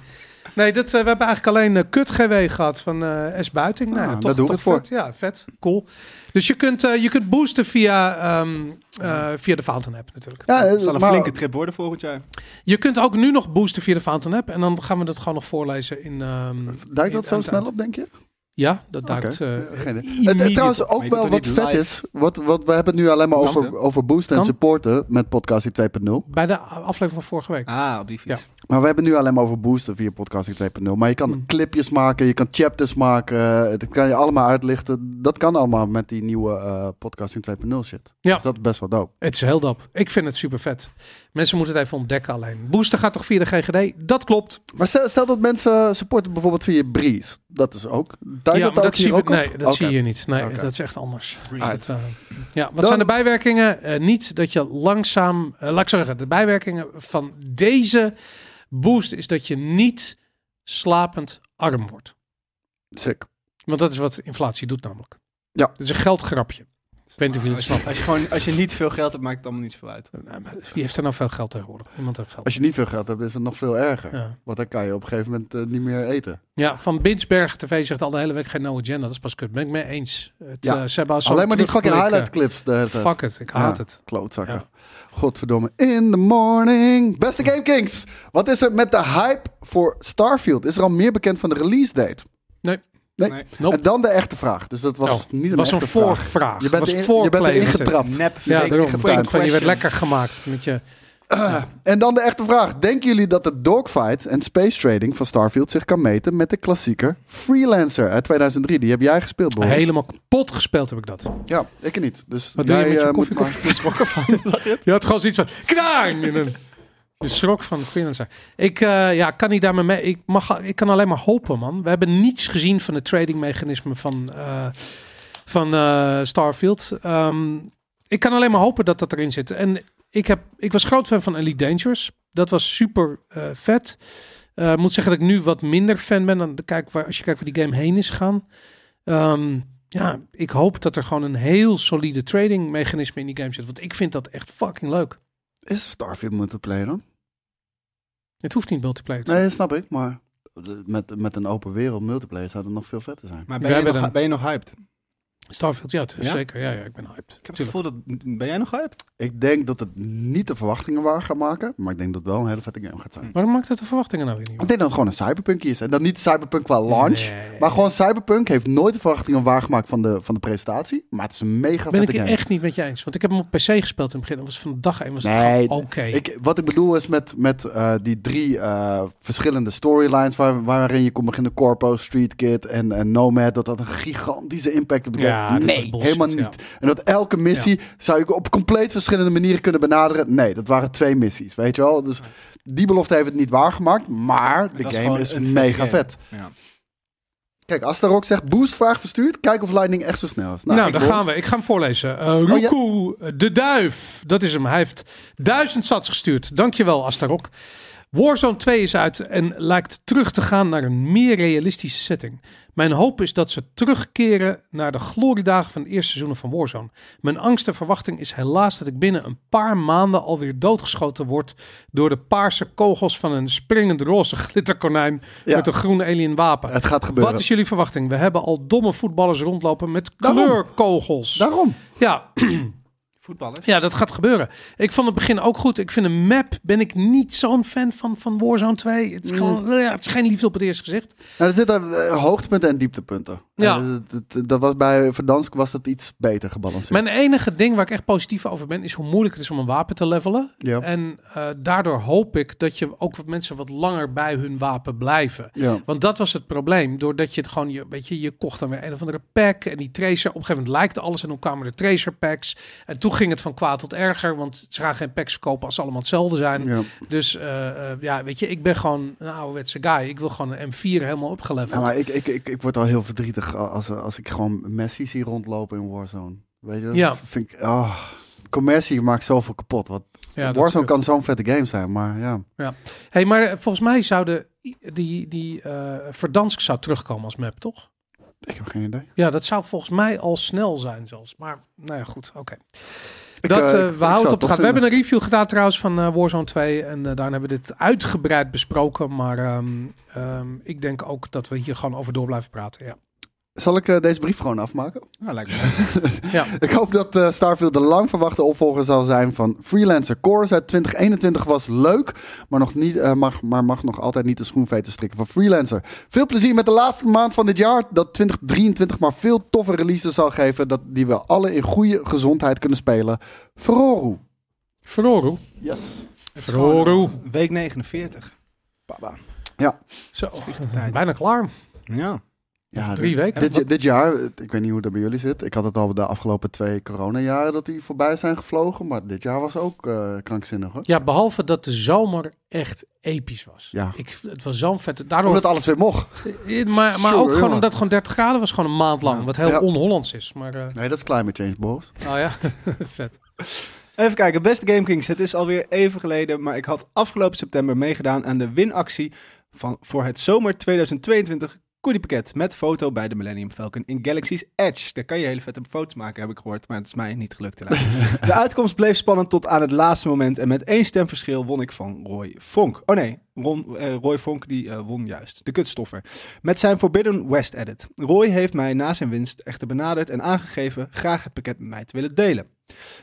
Speaker 3: Nee, dat, eh, we hebben eigenlijk alleen eh, kut GW gehad van eh, S. Buiting. Nou,
Speaker 2: Ah,
Speaker 3: ja, toch,
Speaker 2: daar doe ik
Speaker 3: toch
Speaker 2: het voor.
Speaker 3: vet. Ja, vet. Cool. Dus je kunt, eh, je kunt boosten via, ehm, eh, via de Fountain app natuurlijk.
Speaker 2: Ja, eh,
Speaker 1: Het zal een
Speaker 2: maar-
Speaker 1: flinke trip worden volgend jaar.
Speaker 3: Je kunt ook nu nog boosten via de Fountain app. En dan gaan we dat gewoon nog voorlezen in... ehm,
Speaker 2: Duikt
Speaker 3: in-
Speaker 2: dat zo
Speaker 3: aan het
Speaker 2: snel
Speaker 3: eind.
Speaker 2: op, denk je?
Speaker 3: Ja, dat duikt...
Speaker 2: Oké.
Speaker 3: eh,
Speaker 2: Ja, geen idee.
Speaker 3: immediate-
Speaker 2: Het- het trouwens ook
Speaker 1: Maar je
Speaker 2: wel
Speaker 1: doet
Speaker 2: wat
Speaker 1: het
Speaker 2: vet
Speaker 1: live.
Speaker 2: is. Wat, wat, we hebben het nu alleen maar
Speaker 1: Kan,
Speaker 2: over,
Speaker 1: hè?
Speaker 2: over boosten en
Speaker 3: Kan.
Speaker 2: supporten met podcasting 2.0.
Speaker 3: bij de aflevering van vorige week.
Speaker 1: Ah, op die fiets.
Speaker 3: Ja.
Speaker 2: Maar we hebben het nu alleen maar over boosten via podcasting 2.0. Maar je kan
Speaker 3: Hmm.
Speaker 2: clipjes maken, je kan chapters maken. eh, Dat kan je allemaal uitlichten. Dat kan allemaal met die nieuwe eh, podcasting 2.0 shit.
Speaker 3: Ja.
Speaker 2: Dus dat is best wel dope.
Speaker 3: Het is heel dap. Ik vind het super vet. Mensen moeten het even ontdekken alleen. Booster gaat toch via de GGD? Dat klopt.
Speaker 2: Maar stel, stel dat mensen supporten bijvoorbeeld via Breeze. Dat is ook. Duikt
Speaker 3: ja,
Speaker 2: dat,
Speaker 3: maar
Speaker 2: ook
Speaker 3: dat,
Speaker 2: hier
Speaker 3: zie,
Speaker 2: ook
Speaker 3: we,
Speaker 2: op?
Speaker 3: nee, dat
Speaker 2: Oké. Ah,
Speaker 3: zie je niet. Nee,
Speaker 2: Oké.
Speaker 3: dat is echt anders.
Speaker 2: Uit.
Speaker 3: Dat, eh, ja, wat
Speaker 2: Dan-
Speaker 3: zijn de bijwerkingen? Eh, niet dat je langzaam... eh, laat ik zeggen, de bijwerkingen van deze boost is dat je niet slapend arm wordt.
Speaker 2: Sick.
Speaker 3: Want dat is wat inflatie doet namelijk.
Speaker 2: Ja.
Speaker 3: Dat is een geldgrapje. Ik weet niet of jullie het
Speaker 1: Als je,
Speaker 3: snappen.
Speaker 1: als, je gewoon, als je niet veel geld hebt, maakt het allemaal niet zoveel uit.
Speaker 3: Nou, maar Wie heeft er nou veel geld tegenwoordig? Niemand heeft geld.
Speaker 2: Als je niet veel geld hebt, is het nog veel erger.
Speaker 3: Ja.
Speaker 2: Want dan kan je op een gegeven moment eh, niet meer eten.
Speaker 3: ja, Van Binsberg TV zegt al de hele week geen no agenda. Dat is pas kut. Ben ik mee eens. Het,
Speaker 2: Ja.
Speaker 3: eh, ze hebben al zo'n
Speaker 2: Alleen maar die fucking
Speaker 3: terugblik,
Speaker 2: highlight clips. De hele
Speaker 3: eh,
Speaker 2: tijd.
Speaker 3: Fuck het, ik haat
Speaker 2: Ja.
Speaker 3: het.
Speaker 2: Klootzakken.
Speaker 3: Ja.
Speaker 2: Godverdomme. In the morning. Beste Game Kings. Wat is er met de hype voor Starfield? Is er al meer bekend van de release date?
Speaker 3: Nee.
Speaker 2: Nee.
Speaker 1: Nee.
Speaker 3: Nope.
Speaker 2: En dan de echte vraag. Dus dat was
Speaker 3: Oh,
Speaker 2: niet een
Speaker 3: was
Speaker 2: echte
Speaker 3: een
Speaker 2: vraag.
Speaker 3: voorvraag.
Speaker 2: Je bent,
Speaker 3: was
Speaker 2: erin- je bent
Speaker 3: voorplay
Speaker 2: erin
Speaker 3: was het.
Speaker 2: getrapt.
Speaker 1: Nep,
Speaker 3: Ja,
Speaker 1: fake
Speaker 2: daarom.
Speaker 1: question.
Speaker 3: Van, je werd lekker gemaakt met je...
Speaker 2: En dan de echte vraag. Denken jullie dat de dogfight en space trading van Starfield zich kan meten met de klassieker Freelancer uit 2003? Die heb jij gespeeld, Boris.
Speaker 3: Helemaal kapot gespeeld heb ik dat.
Speaker 2: Ja, ik niet. Dus
Speaker 3: Wat doe je
Speaker 2: jij,
Speaker 3: met je
Speaker 2: eh,
Speaker 3: koffie?
Speaker 2: moet maar-
Speaker 3: Koffie is wakker van. Je had gewoon zoiets van knaan. in een- Je schrok van de freelancer. Ik eh, ja, kan niet daarmee mee. Ik, mag, ik kan alleen maar hopen, man. We hebben niets gezien van de tradingmechanismen van, eh, van eh, Starfield. Ehm, ik kan alleen maar hopen dat dat erin zit. En ik, heb, ik was groot fan van Elite Dangerous. Dat was super eh, vet. Eh, Ik moet zeggen dat ik nu wat minder fan ben dan de kijk waar, als je kijkt waar die game heen is Ehm, gaan. ja, ik hoop dat er gewoon een heel solide trading mechanisme in die game zit. Want ik vind dat echt fucking leuk.
Speaker 2: Is Starfield multiplayer dan?
Speaker 3: Het hoeft niet multiplayer te zijn.
Speaker 2: Nee, dat snap ik. Maar met, met een open wereld multiplayer zou het nog veel vetter zijn.
Speaker 1: Maar
Speaker 3: Wij
Speaker 1: ben je,
Speaker 3: hebben
Speaker 1: nog,
Speaker 3: dan-
Speaker 1: ben je nog hyped? Ik
Speaker 3: Starfield, ja, t-
Speaker 1: Ja?
Speaker 3: zeker. Ja, ja, ik ben hyped.
Speaker 1: heb het
Speaker 3: Tuurlijk.
Speaker 1: gevoel dat... Ben jij nog hyped?
Speaker 2: Ik denk dat het niet de verwachtingen waar gaat maken. Maar ik denk dat het wel een hele vette game gaat zijn.
Speaker 3: Waarom maakt dat de verwachtingen nou weer niet?
Speaker 2: Ik denk dat het gewoon een cyberpunk is. En dan niet cyberpunk qua launch.
Speaker 3: Nee.
Speaker 2: Maar gewoon cyberpunk heeft nooit de verwachtingen waargemaakt van de, van de presentatie. Maar het is een mega
Speaker 3: ben ik
Speaker 2: vette
Speaker 3: het
Speaker 2: game.
Speaker 3: echt niet met je eens. Want ik heb hem op PC gespeeld in het begin. Dat was van dag één was het
Speaker 2: Nee,
Speaker 3: gewoon oké.
Speaker 2: Ik, wat ik bedoel is met, met eh, die drie eh, verschillende storylines waar, waarin je kon beginnen. Corpo, Street Kid en, en Nomad. Dat had een gigantische impact op de
Speaker 3: Ja,
Speaker 2: game.
Speaker 3: dat
Speaker 2: Nee,
Speaker 3: was bullshit,
Speaker 2: helemaal niet.
Speaker 3: ja.
Speaker 2: En dat elke missie zou je op compleet verschillende manieren kunnen benaderen. Nee, dat waren twee missies, weet je wel. Dus die belofte heeft het niet waargemaakt. Maar de
Speaker 1: was
Speaker 2: game
Speaker 1: gewoon
Speaker 2: is
Speaker 1: een vette
Speaker 2: mega
Speaker 1: game.
Speaker 2: vet.
Speaker 1: Ja.
Speaker 2: Kijk, Astaroth zegt boostvraag verstuurd. Kijk of Lightning echt zo snel is.
Speaker 3: Nou,
Speaker 2: ik
Speaker 3: daar
Speaker 2: wil
Speaker 3: gaan
Speaker 2: het.
Speaker 3: we. Ik ga hem voorlezen. Eh
Speaker 2: Oh, ja.
Speaker 3: Ruku, eh, de duif. Dat is hem. Hij heeft duizend sats gestuurd. Dankjewel, Astarok. Warzone 2 is uit en lijkt terug te gaan naar een meer realistische setting. Mijn hoop is dat ze terugkeren naar de gloriedagen van het eerste seizoen van Warzone. Mijn angst en verwachting is helaas dat ik binnen een paar maanden alweer doodgeschoten word door de paarse kogels van een springend roze glitterkonijn
Speaker 2: Ja.
Speaker 3: met een groen alien wapen.
Speaker 2: Het gaat gebeuren.
Speaker 3: Wat is jullie verwachting? We hebben al domme voetballers rondlopen met
Speaker 2: Daarom.
Speaker 3: kleurkogels.
Speaker 2: Daarom.
Speaker 3: Ja,
Speaker 1: Voetballers?
Speaker 3: ja, dat gaat gebeuren. Ik vond het begin ook goed. Ik vind een map, ben ik niet zo'n fan van, van Warzone 2. Het is, gewoon, ja, het is geen liefde op het eerste gezicht.
Speaker 2: Nou, er zitten eh, hoogtepunten en dieptepunten.
Speaker 3: Ja.
Speaker 2: Eh, dat- dat, dat was bij Verdansk was dat iets beter gebalanceerd.
Speaker 3: Mijn enige ding waar ik echt positief over ben, is hoe moeilijk het is om een wapen te levelen.
Speaker 2: Ja.
Speaker 3: En eh, daardoor hoop ik dat je ook wat mensen wat langer bij hun wapen blijven.
Speaker 2: Ja.
Speaker 3: Want dat was het probleem. Doordat je het gewoon, je, weet je, je kocht dan weer een of andere pack. En die tracer, op een gegeven moment lijkt alles. En toen kwamen de tracer packs. En toen ging het van kwaad tot erger. Want ze gaan geen packs verkopen als ze allemaal hetzelfde zijn.
Speaker 2: Ja.
Speaker 3: Dus eh, eh, ja, weet je, ik ben gewoon een ouderwetse guy. Ik wil gewoon een M4 helemaal
Speaker 2: Ja,
Speaker 3: opgeleverd.
Speaker 2: Nou, maar ik, ik, ik, ik word al heel verdrietig als, als ik gewoon Messi zie rondlopen in Warzone. Weet je, dat
Speaker 3: Ja.
Speaker 2: vind ik... ah, commercie maakt zoveel kapot. Want
Speaker 3: Ja, dat is
Speaker 2: Warzone
Speaker 3: kut.
Speaker 2: kan zo'n vette game zijn, maar ja.
Speaker 3: hey, maar eh, volgens mij zouden die, die eh Verdansk zou terugkomen als map, toch?
Speaker 2: Ik heb geen idee.
Speaker 3: Ja, dat zou volgens mij al snel zijn zelfs. Maar nou ja, goed, oké.
Speaker 2: Ik,
Speaker 3: Dat
Speaker 2: eh,
Speaker 3: eh,
Speaker 2: ik- ik
Speaker 3: we
Speaker 2: zou
Speaker 3: houden het
Speaker 2: het
Speaker 3: op de
Speaker 2: tof
Speaker 3: gaten. We hebben een review gedaan trouwens van eh, Warzone 2. En daar daarna hebben we dit uitgebreid besproken. Maar ehm, ehm, ik denk ook dat we hier gewoon over door blijven praten. Ja.
Speaker 2: Zal ik eh, deze brief gewoon afmaken?
Speaker 1: Nou, lijkt me.
Speaker 2: Ik hoop dat eh, Starfield de lang verwachte opvolger zal zijn van Freelancer. Chorus uit 2021 was leuk, maar, nog niet, eh, mag, maar mag nog altijd niet de schoenveten strikken van Freelancer. Veel plezier met de laatste maand van dit jaar, dat 2023 maar veel toffe releases zal geven, dat die we alle in goede gezondheid kunnen spelen. Ferroru.
Speaker 3: Verroru.
Speaker 2: Yes.
Speaker 1: Het is gewoon,
Speaker 3: Verroru.
Speaker 1: eh, Week 49. Baba.
Speaker 3: eh, Zo, oh,
Speaker 1: de tijd.
Speaker 3: bijna klaar.
Speaker 1: Ja.
Speaker 2: Ja,
Speaker 3: Drie
Speaker 2: dit-
Speaker 3: weken.
Speaker 2: Dit, dit jaar, eh, ik weet niet hoe dat bij jullie zit. Ik had het al de afgelopen twee coronajaren dat die voorbij zijn gevlogen. Maar dit jaar was ook eh, krankzinnig hoor.
Speaker 3: Ja, behalve dat de zomer echt episch was.
Speaker 2: Ja.
Speaker 3: Ik, het was zo'n vette... Daardoor,
Speaker 2: Omdat alles weer mocht.
Speaker 3: Eh, maar maar
Speaker 2: Zo,
Speaker 3: ook gewoon
Speaker 2: jongen.
Speaker 3: omdat het gewoon 30 graden was, gewoon een maand lang.
Speaker 1: Ja.
Speaker 3: Wat heel
Speaker 2: Ja.
Speaker 3: on-Hollands is. Maar eh
Speaker 2: Nee, dat is climate change, Boris.
Speaker 3: nou ja, vet.
Speaker 1: Even kijken, beste GameKings. Het is alweer even geleden, maar ik had afgelopen september meegedaan aan de winactie van, voor het zomer 2022 Koediepakket met foto bij de Millennium Falcon in Galaxy's Edge. Daar kan je hele vette foto's maken, heb ik gehoord. Maar het is mij niet gelukt helaas. De uitkomst bleef spannend tot aan het laatste moment. En met één stemverschil won ik van Roy Vonk. Oh nee, Ron, eh, Roy Vonk die eh, won juist. De kutstoffer. Met zijn Forbidden West edit. Roy heeft mij na zijn winst echter benaderd en aangegeven graag het pakket met mij te willen delen.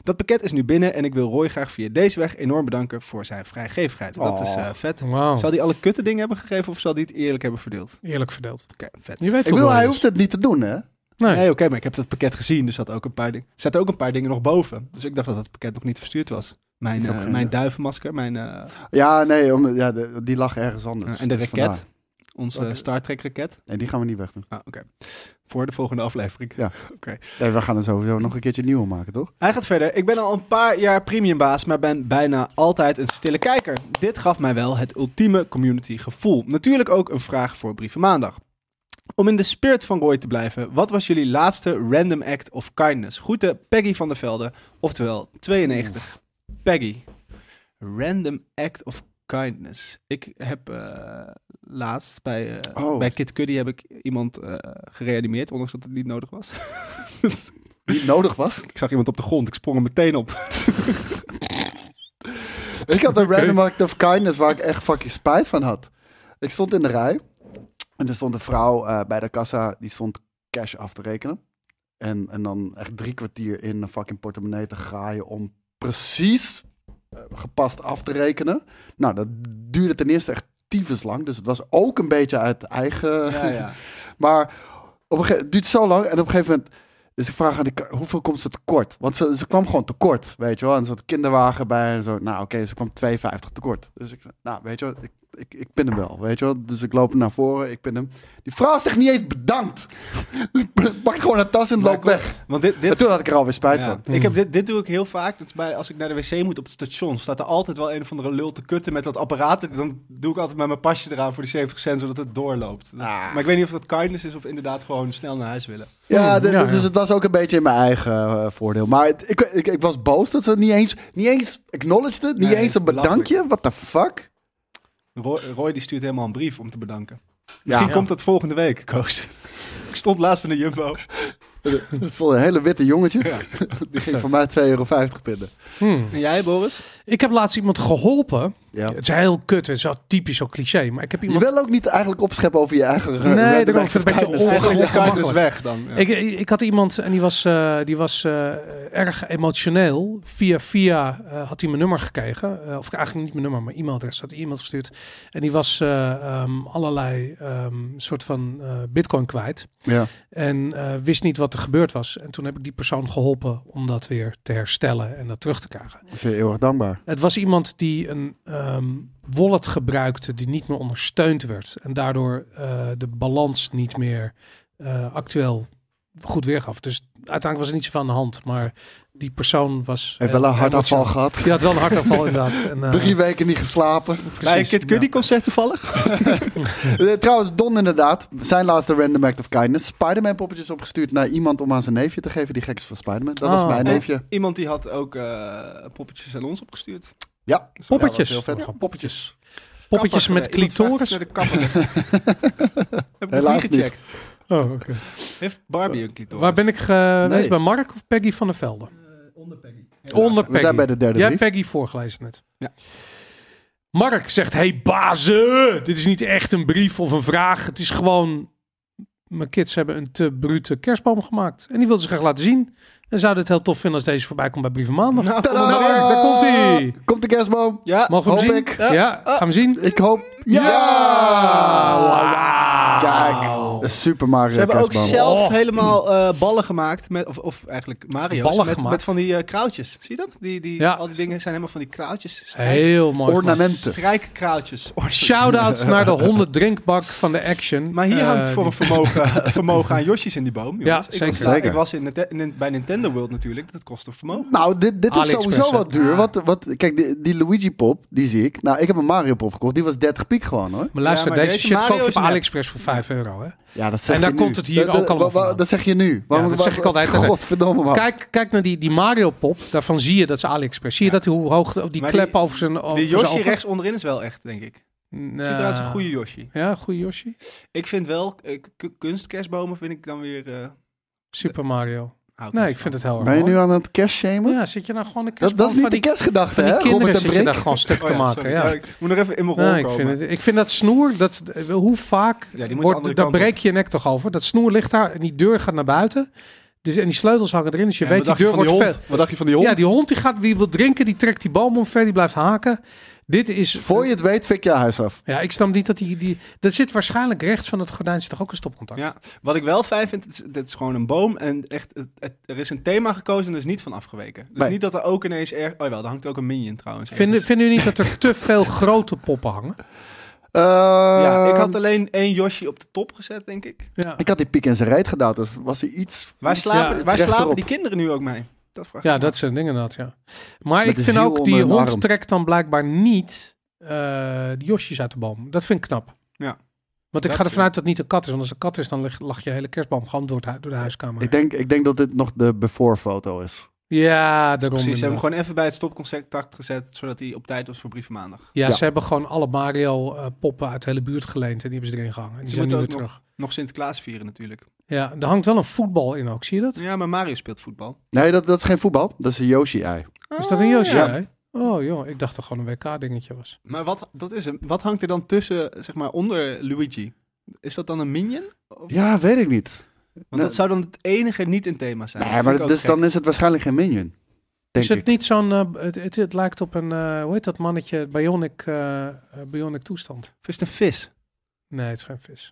Speaker 1: Dat pakket is nu binnen en ik wil Roy graag via deze weg enorm bedanken voor zijn vrijgevigheid. Dat is
Speaker 2: Oh.
Speaker 1: eh, vet. Zal
Speaker 3: Wauw,
Speaker 1: hij alle kutte dingen hebben gegeven of zal hij het eerlijk hebben verdeeld?
Speaker 3: eerlijk verdeeld.
Speaker 1: Oké, vet.
Speaker 3: Je weet
Speaker 2: Ik bedoel, hij hoeft het niet te doen, hè?
Speaker 3: Nee.
Speaker 1: Nee, oké, maar ik heb dat pakket gezien. Er zaten ook een paar, ding- er zaten ook een paar dingen nog boven. Dus ik dacht dat dat pakket nog niet verstuurd was. Mijn, eh,
Speaker 2: Ja.
Speaker 1: mijn duivenmasker, mijn, eh,
Speaker 2: Ja, nee, om, ja, de- die lag ergens anders.
Speaker 1: en de
Speaker 2: Dus
Speaker 1: raket.
Speaker 2: vandaar.
Speaker 1: onze
Speaker 2: Oké.
Speaker 1: Star Trek raket.
Speaker 2: Nee, die gaan we niet wegdoen.
Speaker 1: Ah, oké. Voor de volgende aflevering.
Speaker 2: Nee, we gaan er sowieso nog een keertje nieuw maken, toch?
Speaker 1: Hij gaat verder. Ik ben al een paar jaar premiumbaas, maar ben bijna altijd een stille kijker. Dit gaf mij wel het ultieme community gevoel. Natuurlijk ook een vraag voor Brieven Maandag. Om in de spirit van Roy te blijven, wat was jullie laatste random act of kindness? Groeten Peggy van der Velde, oftewel 92. Peggy. Random act of kindness. Ik heb eh, laatst bij, eh,
Speaker 2: Oh.
Speaker 1: bij Kid Cudi heb ik iemand eh, gereanimeerd, ondanks dat het niet nodig was.
Speaker 2: Die nodig was.
Speaker 1: Ik zag iemand op de grond, ik sprong er meteen op.
Speaker 2: Ik had een random act of kindness waar ik echt fucking spijt van had. Ik stond in de rij. En er stond een vrouw eh, bij de kassa. Die stond cash af te rekenen. En, en dan echt drie kwartier in een fucking portemonnee te graaien. Om precies eh, gepast af te rekenen. Nou, dat duurde ten eerste echt tyfus lang. Dus het was ook een beetje uit eigen... Maar op een gegeven het duurt zo lang. En op een gegeven moment. Dus ik vraag aan de ka- hoeveel komt ze tekort? Want ze, ze kwam gewoon tekort, weet je wel. En er zat een kinderwagen bij en zo. Nou, oké, ze kwam 2,50 tekort. Dus ik, zei, nou, weet je wel, ik, ik, ik pin hem wel, weet je wel. Dus ik loop naar voren, ik pin hem. Die vrouw zegt niet eens bedankt. Pakt gewoon een tas en
Speaker 1: Maar
Speaker 2: loopt weg.
Speaker 1: Want dit,
Speaker 2: En
Speaker 1: dit,
Speaker 2: toen had ik er alweer spijt
Speaker 1: ja.
Speaker 2: van.
Speaker 1: ik heb dit, dit doe ik heel vaak. Dat is bij, als ik naar de wc moet op het station, staat er altijd wel een of andere lul te kutten met dat apparaat. Dan doe ik altijd met mijn pasje eraan voor die 70 cent, zodat het doorloopt. Maar ik weet niet of dat kindness is of inderdaad gewoon snel naar huis willen.
Speaker 2: Ja, de-
Speaker 3: Ja,
Speaker 2: dus
Speaker 3: ja.
Speaker 2: het was ook een beetje in mijn eigen eh, voordeel. Maar het- ik, ik, ik was boos dat ze het niet eens, niet eens acknowledged het, niet
Speaker 1: Nee,
Speaker 2: eens een bedankje. What the fuck?
Speaker 1: Roy, Roy die stuurt helemaal een brief om te bedanken.
Speaker 2: Ja.
Speaker 1: Misschien komt dat volgende week, Koos. ik stond laatst in de Jumbo.
Speaker 2: Het stond een hele witte jongetje.
Speaker 1: Ja.
Speaker 2: Die ging voor mij 2,50 euro pinnen.
Speaker 3: Hmm.
Speaker 1: En jij, Boris?
Speaker 3: Ik heb laatst iemand geholpen.
Speaker 2: Ja.
Speaker 3: Het is heel kut. Het is wel typisch zo cliché. Maar ik heb
Speaker 2: Je
Speaker 3: iemand...
Speaker 2: wil ook niet eigenlijk opscheppen over je eigen...
Speaker 3: Nee,
Speaker 2: random
Speaker 3: daarom,
Speaker 2: act
Speaker 3: ik vind het
Speaker 2: of
Speaker 3: een
Speaker 2: kindness.
Speaker 3: beetje onge-
Speaker 1: Eigenlijk de kindness
Speaker 3: ongemakkelijk.
Speaker 1: weg dan. Ja.
Speaker 3: Ik, ik had iemand en die was, eh, die was eh, erg emotioneel. Via via eh, had hij mijn nummer gekregen. Eh, of eigenlijk niet mijn nummer, maar e-mailadres. Had hij iemand gestuurd. En die was eh, ehm, allerlei ehm, soort van eh, bitcoin kwijt.
Speaker 2: Ja.
Speaker 3: En eh, wist niet wat er gebeurd was. En toen heb ik die persoon geholpen om dat weer te herstellen en dat terug te krijgen.
Speaker 2: Dat is je heel erg dankbaar.
Speaker 3: Het was iemand die een ehm, wallet gebruikte die niet meer ondersteund werd. En daardoor eh, de balans niet meer eh, actueel goed weergaf. Dus uiteindelijk was er niet zoveel aan de hand. Maar die persoon was...
Speaker 2: Heeft
Speaker 3: eh,
Speaker 2: wel een hartafval
Speaker 3: emotioneel.
Speaker 2: gehad.
Speaker 3: Die had wel een hartafval inderdaad. En, eh,
Speaker 2: Drie weken niet geslapen.
Speaker 1: Bij een
Speaker 3: precies,
Speaker 1: Kid Cudi concert toevallig?
Speaker 2: Eh, Trouwens, Don inderdaad. Zijn laatste random act of kindness. Spider-Man poppetjes opgestuurd naar iemand om aan zijn neefje te geven. Die gek is van Spider-Man. Dat was
Speaker 3: Oh.
Speaker 2: mijn
Speaker 1: Nee.
Speaker 2: neefje.
Speaker 1: Iemand die had ook eh, poppetjes aan ons opgestuurd.
Speaker 2: Ja.
Speaker 3: ja. Poppetjes.
Speaker 2: Ja, dat was heel vet.
Speaker 3: Ja,
Speaker 2: poppetjes.
Speaker 3: Poppetjes
Speaker 1: Kapper,
Speaker 3: met
Speaker 1: eh, iemand
Speaker 3: clitoris.
Speaker 1: vraagt naar de kapper. Heb ik
Speaker 2: Helaas
Speaker 1: Helaas niet gecheckt.
Speaker 3: Oh,
Speaker 1: Heeft Barbie een clitoris?
Speaker 3: Waar ben ik geweest?
Speaker 2: Nee.
Speaker 3: Bij Mark of Peggy van der Velde?
Speaker 1: Onder Peggy.
Speaker 3: Onder
Speaker 2: We zijn bij de derde
Speaker 3: Jij
Speaker 2: brief.
Speaker 3: hebt Peggy voorgelezen net.
Speaker 1: Ja.
Speaker 3: Mark zegt: Hey bazen, dit is niet echt een brief of een vraag. Het is gewoon. Mijn kids hebben een te brute kerstboom gemaakt. En die wilden ze graag laten zien. En zouden het heel tof vinden als deze voorbij komt bij Brieven Maandag.
Speaker 1: Nou,
Speaker 2: Tadaa!
Speaker 3: Nou, Mark, daar komt hij.
Speaker 2: Komt de kerstboom.
Speaker 1: Ja,
Speaker 3: Mogen we hem
Speaker 2: Hoop
Speaker 3: zien?
Speaker 2: ik.
Speaker 3: Ja, gaan we hem zien.
Speaker 2: Ik hoop... Ja! Kijk. Een Super Mario
Speaker 1: ze hebben ook
Speaker 2: kerstboom.
Speaker 1: zelf
Speaker 3: Oh.
Speaker 1: helemaal eh, ballen gemaakt, met, of, of eigenlijk Mario's,
Speaker 3: Ballen
Speaker 1: met,
Speaker 3: gemaakt.
Speaker 1: met van die eh, kraaltjes. Zie je dat? Die, die,
Speaker 3: Ja.
Speaker 1: Al die dingen zijn helemaal van die kraaltjes. Strijk,
Speaker 3: Heel mooi.
Speaker 2: Ornamenten.
Speaker 1: strijkkraaltjes. Oh, sorry.
Speaker 3: Shout-out naar de 100 drinkbak van de Action.
Speaker 1: Maar hier
Speaker 3: Eh,
Speaker 1: hangt voor
Speaker 3: die-
Speaker 1: een vermogen, vermogen aan Yoshi's in die boom. jongens.
Speaker 3: Ja,
Speaker 1: ik
Speaker 3: zeker.
Speaker 1: Was, daar-
Speaker 2: Zeker.
Speaker 1: Ik was in, Nite- in- bij Nintendo World natuurlijk, dat kost een vermogen.
Speaker 2: Nou, dit, dit is
Speaker 3: AliExpress,
Speaker 2: sowieso
Speaker 3: hè? Ah.
Speaker 2: wat duur. Wat, wat, kijk, die, die Luigi pop, die zie ik. Nou, ik heb een Mario pop gekocht. Die was 30 piek gewoon hoor.
Speaker 3: Maar luister,
Speaker 1: Ja, maar
Speaker 3: deze,
Speaker 1: deze
Speaker 3: shit
Speaker 1: Mario
Speaker 3: koop je
Speaker 1: is
Speaker 3: op
Speaker 1: nep.
Speaker 3: AliExpress voor 5 euro. Hè?
Speaker 2: Ja, dat zeg
Speaker 3: En
Speaker 2: je
Speaker 3: daar
Speaker 2: nu.
Speaker 3: komt het hier
Speaker 2: Dat-
Speaker 3: ook
Speaker 2: dat-
Speaker 3: allemaal
Speaker 2: wa- wa-
Speaker 3: vandaan.
Speaker 2: Dat zeg je nu.
Speaker 3: dat zeg ik altijd.
Speaker 2: Godverdomme man.
Speaker 3: Kijk, kijk naar die, die Mario-pop. Daarvan zie je dat ze AliExpress. Zie je dat hoe hoog die
Speaker 1: Maar
Speaker 3: klep
Speaker 1: die-
Speaker 3: over Nou. zijn over
Speaker 1: Die
Speaker 3: zijn
Speaker 1: Yoshi
Speaker 3: ogen?
Speaker 1: rechts onderin is wel echt, denk ik. Het ziet eruit als een goede Yoshi.
Speaker 3: Ja, goede Yoshi.
Speaker 1: Ik vind wel, eh, k- kunstkerstbomen vind ik dan weer... eh,
Speaker 3: Super Mario.
Speaker 1: hou
Speaker 3: Nee,
Speaker 1: niet
Speaker 3: ik
Speaker 1: van.
Speaker 3: vind het heel erg
Speaker 2: Ben je
Speaker 3: mooi.
Speaker 2: nu aan het cash shamen?
Speaker 3: Ja, zit je nou gewoon een
Speaker 2: dat, dat is niet de
Speaker 3: kerstboom
Speaker 2: kerstgedachte,
Speaker 3: van die,
Speaker 2: hè?
Speaker 3: van die
Speaker 2: Robert
Speaker 3: kinderen
Speaker 2: en
Speaker 3: zit je
Speaker 2: Brink.
Speaker 3: daar gewoon stuk
Speaker 1: Oh
Speaker 3: te
Speaker 1: ja,
Speaker 3: maken.
Speaker 1: sorry.
Speaker 3: Ja.
Speaker 1: Ja, ik moet nog even in mijn rol
Speaker 3: Ja, ik,
Speaker 1: komen.
Speaker 3: vind het, ik vind dat snoer, dat, eh, hoe vaak
Speaker 1: die moet de andere
Speaker 3: wordt, daar
Speaker 1: kant op.
Speaker 3: breek je je nek toch over. Dat snoer ligt daar en die deur gaat naar buiten. Dus, en die sleutels hangen erin, dus je
Speaker 1: Ja,
Speaker 3: weet
Speaker 1: wat
Speaker 3: die
Speaker 1: dacht je
Speaker 3: deur
Speaker 1: van
Speaker 3: wordt
Speaker 1: die
Speaker 3: vet.
Speaker 1: hond? Wat dacht je van die hond?
Speaker 3: Ja, die hond die gaat, wie wil drinken, die trekt die boom omver, die blijft haken. Dit is...
Speaker 2: Voor je het weet, fik je huis af.
Speaker 3: Ja, ik snap niet dat die, die... Dat zit waarschijnlijk rechts van het gordijn, zit toch ook een stopcontact?
Speaker 1: Ja, wat ik wel fijn vind, het is, dit is gewoon een boom en echt, het, het- er is een thema gekozen en er is niet van afgeweken. Dus
Speaker 2: Nee.
Speaker 1: niet dat er ook ineens erg... Oh wel, daar hangt ook een minion trouwens.
Speaker 3: Vinden,
Speaker 1: ergens.
Speaker 3: vinden jullie niet dat er te veel grote poppen hangen?
Speaker 2: Eh,
Speaker 1: Ja,
Speaker 3: ehm,
Speaker 1: ik had alleen één Yoshi op de top gezet, denk ik.
Speaker 3: Ja,
Speaker 2: die piek in zijn reet gedaan, dus was hij iets...
Speaker 1: Waar
Speaker 2: iets-
Speaker 1: slapen,
Speaker 2: iets
Speaker 1: waar slapen
Speaker 2: rechterop.
Speaker 1: die kinderen nu ook mee? Dat vraag ik
Speaker 3: ja
Speaker 1: me
Speaker 3: dat zijn dingen inderdaad, ja. Maar
Speaker 2: Met
Speaker 3: ik
Speaker 2: de
Speaker 3: vind
Speaker 2: ziel
Speaker 3: ook, die
Speaker 2: onder een
Speaker 3: hond
Speaker 2: arm.
Speaker 3: trekt dan blijkbaar niet eh de Josjes uit de boom. Dat vind ik knap.
Speaker 1: Ja.
Speaker 3: Want
Speaker 1: Dat
Speaker 3: ik ga ervan
Speaker 1: vind-
Speaker 3: uit dat het niet een kat is. Want als het een kat is, dan lig- lag je hele kerstboom gewoon door, het hu- door de huiskamer.
Speaker 2: Ik denk, ik denk dat dit nog de before-foto is.
Speaker 3: Ja,
Speaker 1: af.
Speaker 3: daarom.
Speaker 1: Precies, ze hebben
Speaker 3: inderdaad.
Speaker 1: hem gewoon even bij het stopcontact gezet, zodat hij op tijd was voor brieven maandag.
Speaker 3: Ja,
Speaker 2: Ja.
Speaker 3: ze hebben gewoon alle Mario-poppen uit de hele buurt geleend. En die hebben ze erin gehangen. En die
Speaker 1: Ze
Speaker 3: zijn nu
Speaker 1: moeten
Speaker 3: weer
Speaker 1: ook
Speaker 3: terug.
Speaker 1: Nog Sinterklaas vieren natuurlijk.
Speaker 3: Ja, er hangt wel een voetbal in ook, zie je dat?
Speaker 1: Ja, maar Mario speelt voetbal.
Speaker 2: Nee, dat, dat is geen voetbal. Dat is een Yoshi-ei.
Speaker 3: Is dat een Yoshi?
Speaker 1: Ja.
Speaker 3: hè? Oh joh, ik dacht dat gewoon een WK-dingetje was.
Speaker 1: Maar wat, dat is hem. wat hangt er dan tussen, zeg maar, onder Luigi? Is dat dan een minion?
Speaker 2: Ja, weet ik niet.
Speaker 1: Want dat zou dan het enige niet in thema zijn.
Speaker 3: Nou,
Speaker 1: Dat
Speaker 2: Nee, maar
Speaker 1: vind ik ook
Speaker 2: dus
Speaker 1: gek.
Speaker 2: dan is het waarschijnlijk geen minion. Denk
Speaker 3: is het
Speaker 2: ik.
Speaker 3: niet zo'n... eh, het, het, het lijkt op een... eh, hoe heet dat mannetje? Het Bionic, eh, eh, bionic toestand.
Speaker 1: Of is het een vis?
Speaker 3: Nee, het is geen vis.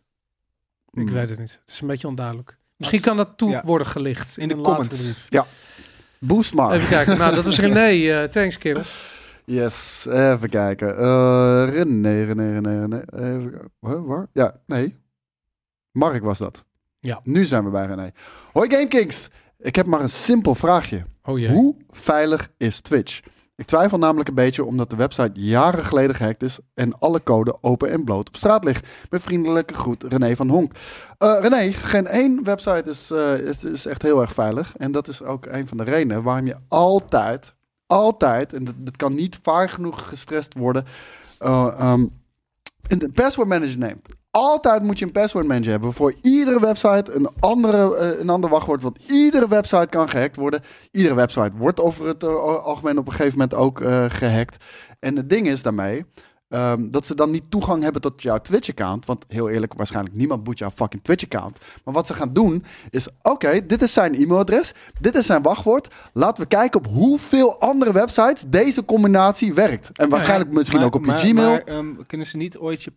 Speaker 3: Ik
Speaker 2: Hmm.
Speaker 3: weet het niet. Het is een beetje onduidelijk. Misschien kan dat toe
Speaker 1: ja.
Speaker 3: worden gelicht in,
Speaker 1: In de
Speaker 3: een latere
Speaker 1: comments.
Speaker 3: brief.
Speaker 2: Boost maar.
Speaker 3: Even kijken. Nou, dat was René. eh, thanks, kerel.
Speaker 2: Yes, even kijken. Eh René, René, René, René. Even, kijken. Huh, waar? Ja, nee. Mark was dat.
Speaker 3: Ja.
Speaker 2: Nu zijn we bij René. Hoi GameKings! Ik heb maar een simpel vraagje.
Speaker 3: Oh jee.
Speaker 2: Hoe veilig is Twitch? Ik twijfel namelijk een beetje omdat de website jaren geleden gehackt is en alle code open en bloot op straat ligt. Met vriendelijke groet René van Honk. Eh René, geen één website is, eh, is, is echt heel erg veilig. En dat is ook een van de redenen waarom je altijd, altijd, en dat, dat kan niet vaak genoeg gestrest worden, eh, ehm, een password manager neemt. Altijd moet je een password manager hebben. Voor iedere website een, andere, eh, een ander wachtwoord. Want iedere website kan gehackt worden. Iedere website wordt over het eh, algemeen op een gegeven moment ook eh, gehackt. En het ding is daarmee ehm, dat ze dan niet toegang hebben tot jouw Twitch-account. Want heel eerlijk, waarschijnlijk niemand boet jouw fucking Twitch-account. Maar wat ze gaan doen is: oké, dit is zijn e-mailadres. Dit is zijn wachtwoord. Laten we kijken op hoeveel andere websites deze combinatie werkt. En waarschijnlijk misschien
Speaker 1: Nou Maar-
Speaker 2: ook op je
Speaker 1: maar-
Speaker 2: Gmail.
Speaker 1: Maar, ehm, kunnen ze niet ooit je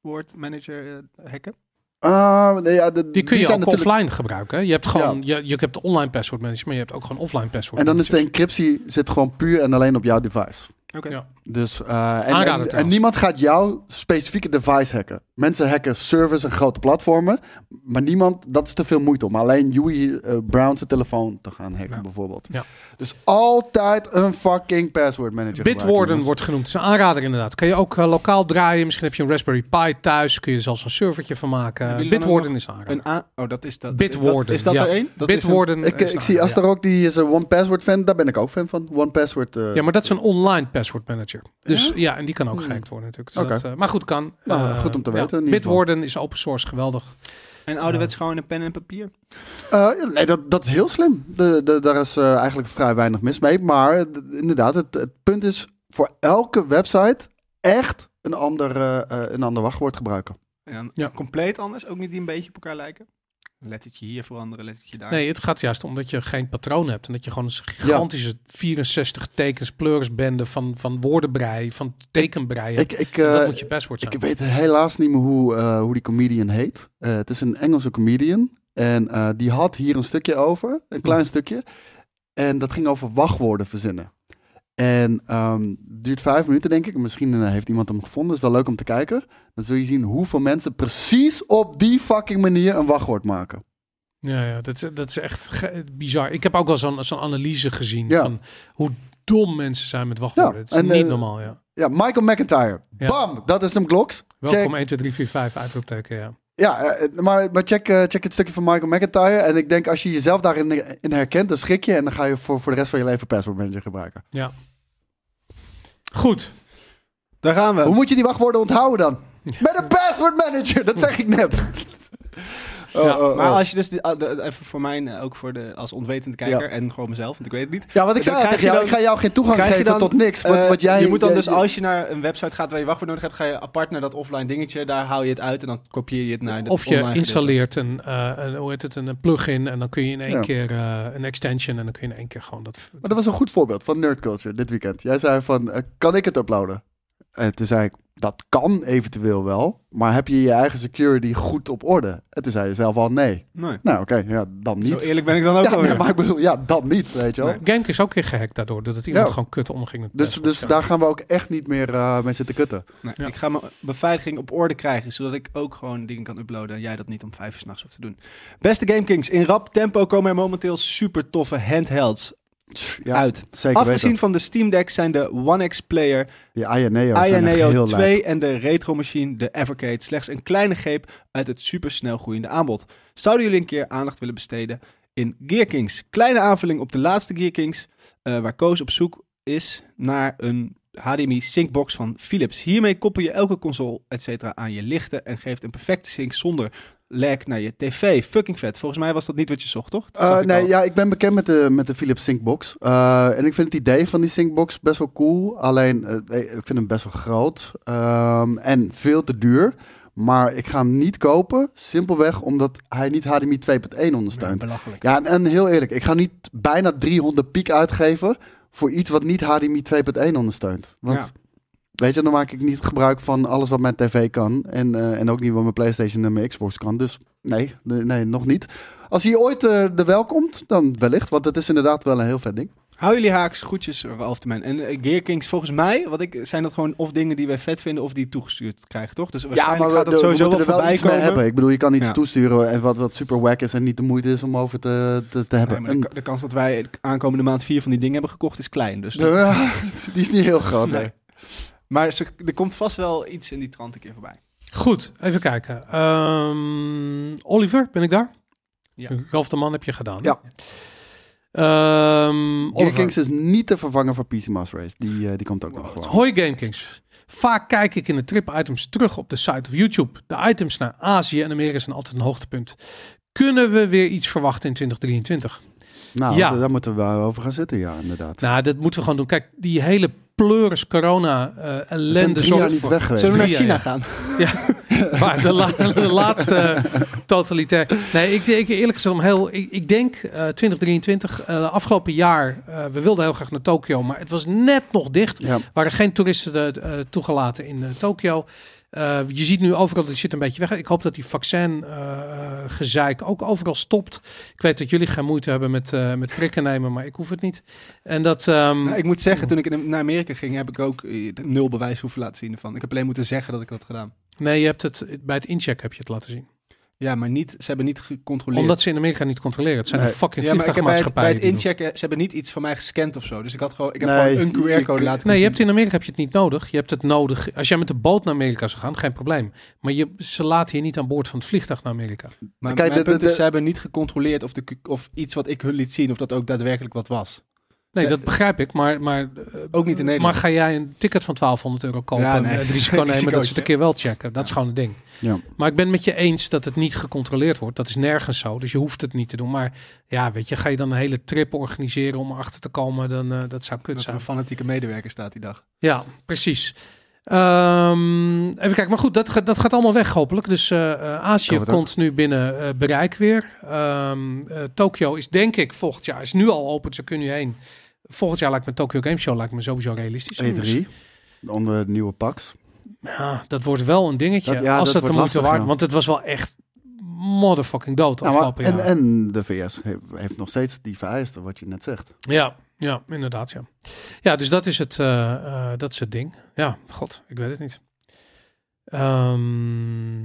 Speaker 1: paswoordmanager eh, hacken?
Speaker 2: Ah, nee, ja, de-
Speaker 3: Die kun je ook
Speaker 2: zijn natuurlijk...
Speaker 3: offline gebruiken. hè? Je hebt gewoon... Je, je hebt online password manager, maar je hebt ook gewoon offline password
Speaker 2: En dan is de
Speaker 3: managers.
Speaker 2: encryptie zit gewoon puur en alleen op jouw device.
Speaker 1: Oké.
Speaker 3: Ja.
Speaker 2: Dus, eh, en-
Speaker 3: Aanrader
Speaker 2: en, en,
Speaker 3: trouwens.
Speaker 2: niemand gaat jouw specifieke device hacken. Mensen hacken servers en grote platformen. Maar niemand, dat is te veel moeite om alleen Huey eh, Brown zijn telefoon te gaan hacken,
Speaker 1: Ja.
Speaker 2: bijvoorbeeld.
Speaker 3: Ja.
Speaker 2: Dus altijd een fucking password manager. gebruiken,
Speaker 3: Bitwarden
Speaker 2: jongens.
Speaker 3: wordt genoemd. Het is een aanrader inderdaad. Kan je ook eh, lokaal draaien. Misschien heb je een Raspberry Pi thuis. Kun je er zelfs een servertje van maken.
Speaker 1: Hebben jullie dan ook
Speaker 3: Bitwarden is een aanrader.
Speaker 1: Een a- oh, dat is dat.
Speaker 3: Bitwarden,
Speaker 1: dat- Is dat
Speaker 3: ja.
Speaker 1: er één? Dat is een-
Speaker 3: Bitwarden
Speaker 2: Ik,
Speaker 3: is een
Speaker 2: ik zie
Speaker 3: aanrader,
Speaker 2: Aster ook, die is een One Password fan. Daar ben ik ook fan van. One Password. eh,
Speaker 3: ja. Ja, maar dat is een online password manager. Dus
Speaker 2: Ja?
Speaker 3: ja, en die kan ook
Speaker 2: Hmm.
Speaker 3: gehackt worden natuurlijk. Dus
Speaker 2: Oké.
Speaker 3: dat, eh, maar goed, kan.
Speaker 2: Nou,
Speaker 3: Eh,
Speaker 2: goed om te
Speaker 3: ja.
Speaker 2: weten in ieder geval.
Speaker 3: Bitwarden is open source, geweldig.
Speaker 1: En ouderwets gewoon een pen en papier.
Speaker 2: Eh, nee, dat, dat is heel slim. De, de, daar is eh, eigenlijk vrij weinig mis mee. Maar eh, d- inderdaad, het, het punt is voor elke website echt een ander, eh, eh, een ander wachtwoord gebruiken.
Speaker 1: En dan
Speaker 3: Ja.
Speaker 1: compleet anders, ook niet die een beetje op elkaar lijken. Lettertje hier veranderen, lettertje daar.
Speaker 3: Nee, het gaat juist om dat je geen patroon hebt. En dat je gewoon een gigantische 64 tekens pleurisbende van, van woordenbrei, van tekenbrei hebt.
Speaker 2: Ik, ik,
Speaker 3: En
Speaker 2: eh,
Speaker 3: dat moet je password zijn.
Speaker 2: ik weet helaas niet meer hoe, eh, hoe die comedian heet. Eh, het is een Engelse comedian. En eh, die had hier een stukje over, een klein stukje. En dat ging over wachtwoorden verzinnen. En ehm, duurt vijf minuten, denk ik. Misschien eh, heeft iemand hem gevonden. Is wel leuk om te kijken. Dan zul je zien hoeveel mensen precies op die fucking manier een wachtwoord maken.
Speaker 3: Ja, ja dat, is- dat is echt ge- bizar. Ik heb ook wel zo'n zo'n analyse gezien
Speaker 2: Ja.
Speaker 3: van hoe dom mensen zijn met wachtwoorden.
Speaker 2: Ja,
Speaker 3: het is
Speaker 2: en,
Speaker 3: niet
Speaker 2: eh,
Speaker 3: normaal, ja.
Speaker 2: Ja, Michael McIntyre.
Speaker 3: Ja.
Speaker 2: Bam, dat is hem Glocks. Check.
Speaker 3: Welkom 1, 2, 3, 4, 5, uitroepteken, ja.
Speaker 2: Ja, eh, maar, maar check, eh, check het stukje van Michael McIntyre. En ik denk als je jezelf daarin eh, in herkent, dan schrik je. En dan ga je voor, voor de rest van je leven Password Manager gebruiken.
Speaker 3: Goed.
Speaker 1: Daar gaan
Speaker 2: Hoe
Speaker 1: we.
Speaker 2: moet je die wachtwoorden onthouden dan? Met een password manager, dat zeg ik net. Oh,
Speaker 1: Ja,
Speaker 2: oh, oh.
Speaker 1: maar als je dus, die- ah, de- even voor mijn, eh, ook voor de, als ontwetende kijker
Speaker 2: Ja.
Speaker 1: en gewoon mezelf, want ik weet het niet.
Speaker 2: Ja, want ik zei
Speaker 1: Dan
Speaker 2: al
Speaker 1: krijg
Speaker 2: tegen
Speaker 1: je
Speaker 2: jou,
Speaker 1: dan-
Speaker 2: ik ga jou geen toegang
Speaker 1: krijg je
Speaker 2: geven
Speaker 1: dan,
Speaker 2: tot niks. Wat,
Speaker 1: Eh,
Speaker 2: wat jij,
Speaker 1: je moet dan
Speaker 2: jij-
Speaker 1: dus, als je naar een website gaat waar je wachtwoord nodig hebt, ga je apart naar dat offline dingetje. Daar haal je het uit en dan kopieer je het naar de
Speaker 3: Of je
Speaker 1: online gedeelte.
Speaker 3: installeert een, eh, een, hoe heet het, een, een plugin en dan kun je in één
Speaker 2: Ja.
Speaker 3: keer eh, een extension en dan kun je in één keer gewoon dat...
Speaker 2: Maar dat was een goed voorbeeld van nerd culture dit weekend. Jij zei van, eh, kan ik het uploaden? En toen zei ik, dat kan eventueel wel, maar heb je je eigen security goed op orde? En toen zei je zelf al, nee.
Speaker 1: Nee.
Speaker 2: Nou oké, ja, dan
Speaker 1: Zo
Speaker 2: niet.
Speaker 1: eerlijk ben ik dan ook
Speaker 2: Ja,
Speaker 1: alweer.
Speaker 2: nee, maar ik bedoel, ja, dan niet, weet je wel.
Speaker 1: Nee.
Speaker 3: Gamecube is ook weer gehackt daardoor, doordat iemand
Speaker 2: Ja.
Speaker 3: gewoon kut omging. met
Speaker 2: Dus,
Speaker 3: passwords.
Speaker 2: dus
Speaker 3: Ja.
Speaker 2: daar gaan we ook echt niet meer eh, mee zitten kutten.
Speaker 1: Nee,
Speaker 3: Ja.
Speaker 1: Ik ga mijn beveiliging op orde krijgen, zodat ik ook gewoon dingen kan uploaden en jij dat niet om vijf uur s'nachts hoeft te doen. Beste GameKings, in rap tempo komen er momenteel super toffe handhelds
Speaker 2: Ja,
Speaker 1: uit.
Speaker 2: Zeker
Speaker 1: Afgezien van de Steam Deck zijn de One X Player,
Speaker 2: weten. Die INEO zijn echt
Speaker 1: INEO
Speaker 2: heel lijp.
Speaker 1: 2 en de Retro Machine, de Evercade, slechts een kleine greep uit het supersnel groeiende aanbod. Zouden jullie een keer aandacht willen besteden in Gearkings? Kleine aanvulling op de laatste Gearkings, eh waar Koos op zoek is naar een HDMI syncbox van Philips. Hiermee koppel je elke console et cetera, aan je lichten en geeft een perfecte sync zonder lag naar je tv. Fucking vet. Volgens mij was dat niet wat je zocht, toch? Dat
Speaker 2: Eh,
Speaker 1: zag ik
Speaker 2: nee,
Speaker 1: al.
Speaker 2: ja, ik ben bekend met de, met de Philips Syncbox. Eh, en ik vind het idee van die Syncbox best wel cool. Alleen, eh, ik vind hem best wel groot. Ehm, en veel te duur. Maar ik ga hem niet kopen. Simpelweg omdat hij niet HDMI 2.1 ondersteunt. Ja,
Speaker 1: belachelijk.
Speaker 2: en, en heel eerlijk. Ik ga niet bijna 300 piek uitgeven voor iets wat niet HDMI 2.1 ondersteunt. Want...
Speaker 1: Ja.
Speaker 2: Weet je, dan maak ik niet gebruik van alles wat mijn tv kan. En, eh, en ook niet wat mijn PlayStation en mijn Xbox kan. Dus nee, de- nee nog niet. Als hij ooit eh, er wel komt, dan wellicht. Want het is inderdaad wel een heel vet ding.
Speaker 1: Hou jullie haaks, groetjes Ralf de Man. En eh, Gear Kings, volgens mij, wat ik, zijn dat gewoon of dingen die wij vet vinden of die toegestuurd krijgen, toch? Dus waarschijnlijk gaat dat
Speaker 2: de-
Speaker 1: sowieso wel
Speaker 2: moeten er wel
Speaker 1: voorbij
Speaker 2: iets mee
Speaker 1: komen.
Speaker 2: hebben. Ik bedoel, je kan iets
Speaker 1: Ja.
Speaker 2: toesturen en wat, wat super wack is en niet de moeite is om over te, te, te
Speaker 1: Nee,
Speaker 2: hebben.
Speaker 1: maar de,
Speaker 2: En-
Speaker 1: ka- de kans dat wij de aankomende maand vier van die dingen hebben gekocht is klein. Dus
Speaker 2: de- die is niet heel groot.
Speaker 1: Nee.
Speaker 2: nee.
Speaker 1: Maar ze- er komt vast wel iets in die trant een keer voorbij.
Speaker 3: Goed, even kijken. Ehm, Oliver, ben ik daar?
Speaker 1: Ja.
Speaker 3: Ralf de Man heb je gedaan.
Speaker 2: Ja.
Speaker 3: Ehm,
Speaker 2: Gear
Speaker 3: Oliver.
Speaker 2: Kings is niet te vervangen voor PC Master Race. Die, eh, die komt ook nog gewoon.
Speaker 3: Hoi GameKings. Vaak kijk ik in de trip-items terug op de site of YouTube. De items naar Azië en Amerika zijn altijd een hoogtepunt. Kunnen we weer iets verwachten in 2023?
Speaker 2: Nou,
Speaker 3: Ja.
Speaker 2: daar, daar moeten we wel over gaan zitten, ja, inderdaad.
Speaker 3: Nou, dat moeten we gewoon doen. Kijk, die hele pleuris corona eh
Speaker 2: We zijn
Speaker 3: ellende
Speaker 2: drie jaar
Speaker 3: zorgt
Speaker 2: niet
Speaker 3: voor...
Speaker 2: weg geweest.
Speaker 1: Zullen we naar
Speaker 3: Drie,
Speaker 1: China
Speaker 3: ja.
Speaker 1: gaan?
Speaker 3: Maar de, la- de laatste totalitair. Nee, ik, ik eerlijk gezegd, om heel, ik, ik denk eh, 2023, eh, afgelopen jaar, eh, we wilden heel graag naar Tokio, maar het was net nog dicht.
Speaker 2: Ja.
Speaker 3: waren geen toeristen eh, eh, toegelaten in eh, Tokio. Eh, je ziet nu overal, dat shit een beetje weg. Ik hoop dat die vaccingezeik ook overal stopt. Ik weet dat jullie geen moeite hebben met, eh met prikken nemen, maar ik hoef het niet. En dat... ehm,
Speaker 1: Nou, ik moet zeggen, toen ik in- naar Amerika ging, heb ik ook eh, nul bewijs hoeven laten zien ervan. Ik heb alleen moeten zeggen dat ik dat had gedaan.
Speaker 3: Nee, je hebt het, bij het incheck heb je het laten zien.
Speaker 1: Ja, maar niet, ze hebben niet gecontroleerd.
Speaker 3: Omdat ze in Amerika niet controleren. Het zijn
Speaker 2: Nee.
Speaker 3: de fucking
Speaker 1: ja, maar ik heb bij het, bij
Speaker 3: vliegtuigmaatschappijen.
Speaker 1: het
Speaker 3: die doen.
Speaker 1: inchecken, ze hebben niet iets van mij gescand of zo. Dus ik, had gewoon, ik heb
Speaker 2: Nee,
Speaker 1: gewoon
Speaker 2: je-
Speaker 1: een
Speaker 2: je-
Speaker 1: QR-code laten
Speaker 3: Nee, je
Speaker 1: zien.
Speaker 3: hebt in Amerika heb je het niet nodig. Je hebt het nodig. Als jij met de boot naar Amerika zou gaan, geen probleem. Maar je, ze laten je niet aan boord van het vliegtuig naar Amerika.
Speaker 1: Maar
Speaker 2: Kijk,
Speaker 1: mijn
Speaker 2: de-
Speaker 1: punt
Speaker 2: de-
Speaker 1: is,
Speaker 2: de-
Speaker 1: ze hebben niet gecontroleerd of, de, cu- of iets wat ik hun liet zien, of dat ook daadwerkelijk wat was.
Speaker 3: Nee,
Speaker 1: Ze-
Speaker 3: dat begrijp ik, maar... maar eh,
Speaker 1: Ook niet in Nederland.
Speaker 3: Maar ga jij een ticket van 1200 euro kopen
Speaker 1: Ja,
Speaker 3: en
Speaker 1: nee.
Speaker 3: eh, het risico nemen dat ze het
Speaker 1: Risicootje.
Speaker 3: een keer wel checken? Dat is gewoon het ding.
Speaker 2: Ja.
Speaker 3: Maar ik ben met je eens dat het niet gecontroleerd wordt. Dat is nergens zo, dus je hoeft het niet te doen. Maar ja, weet je, ga je dan een hele trip organiseren om erachter te komen, dan eh, dat zou kut
Speaker 1: Dat er
Speaker 3: zijn.
Speaker 1: een fanatieke medewerker staat die dag.
Speaker 3: Ja, precies. Ehm, even kijken, maar goed, dat, ga- dat gaat allemaal weg hopelijk. Dus eh, eh,
Speaker 2: Kan
Speaker 3: Azië
Speaker 2: het ook.
Speaker 3: komt nu binnen eh, bereik weer. Ehm, eh, Tokio is denk ik volgend jaar, is nu al open, dus ze kunnen nu heen. Volgend jaar lijkt me Tokyo Game Show lijkt me sowieso realistisch. Dus,
Speaker 2: E3, E onder de nieuwe PAX.
Speaker 3: Ja, dat wordt wel een dingetje.
Speaker 2: Dat- ja,
Speaker 3: als
Speaker 2: dat
Speaker 3: dat,
Speaker 2: wordt
Speaker 3: de moeite
Speaker 2: lastig,
Speaker 3: waard,
Speaker 2: ja.
Speaker 3: want het was wel echt motherfucking dood
Speaker 2: Nou, maar-
Speaker 3: afgelopen
Speaker 2: en,
Speaker 3: jaar.
Speaker 2: en de VS heeft, heeft nog steeds die vereisten, wat je net zegt.
Speaker 3: Ja, ja, inderdaad, ja. Ja, dus dat is het, eh, eh, dat is het ding. Ja, god, ik weet het niet. Ehm,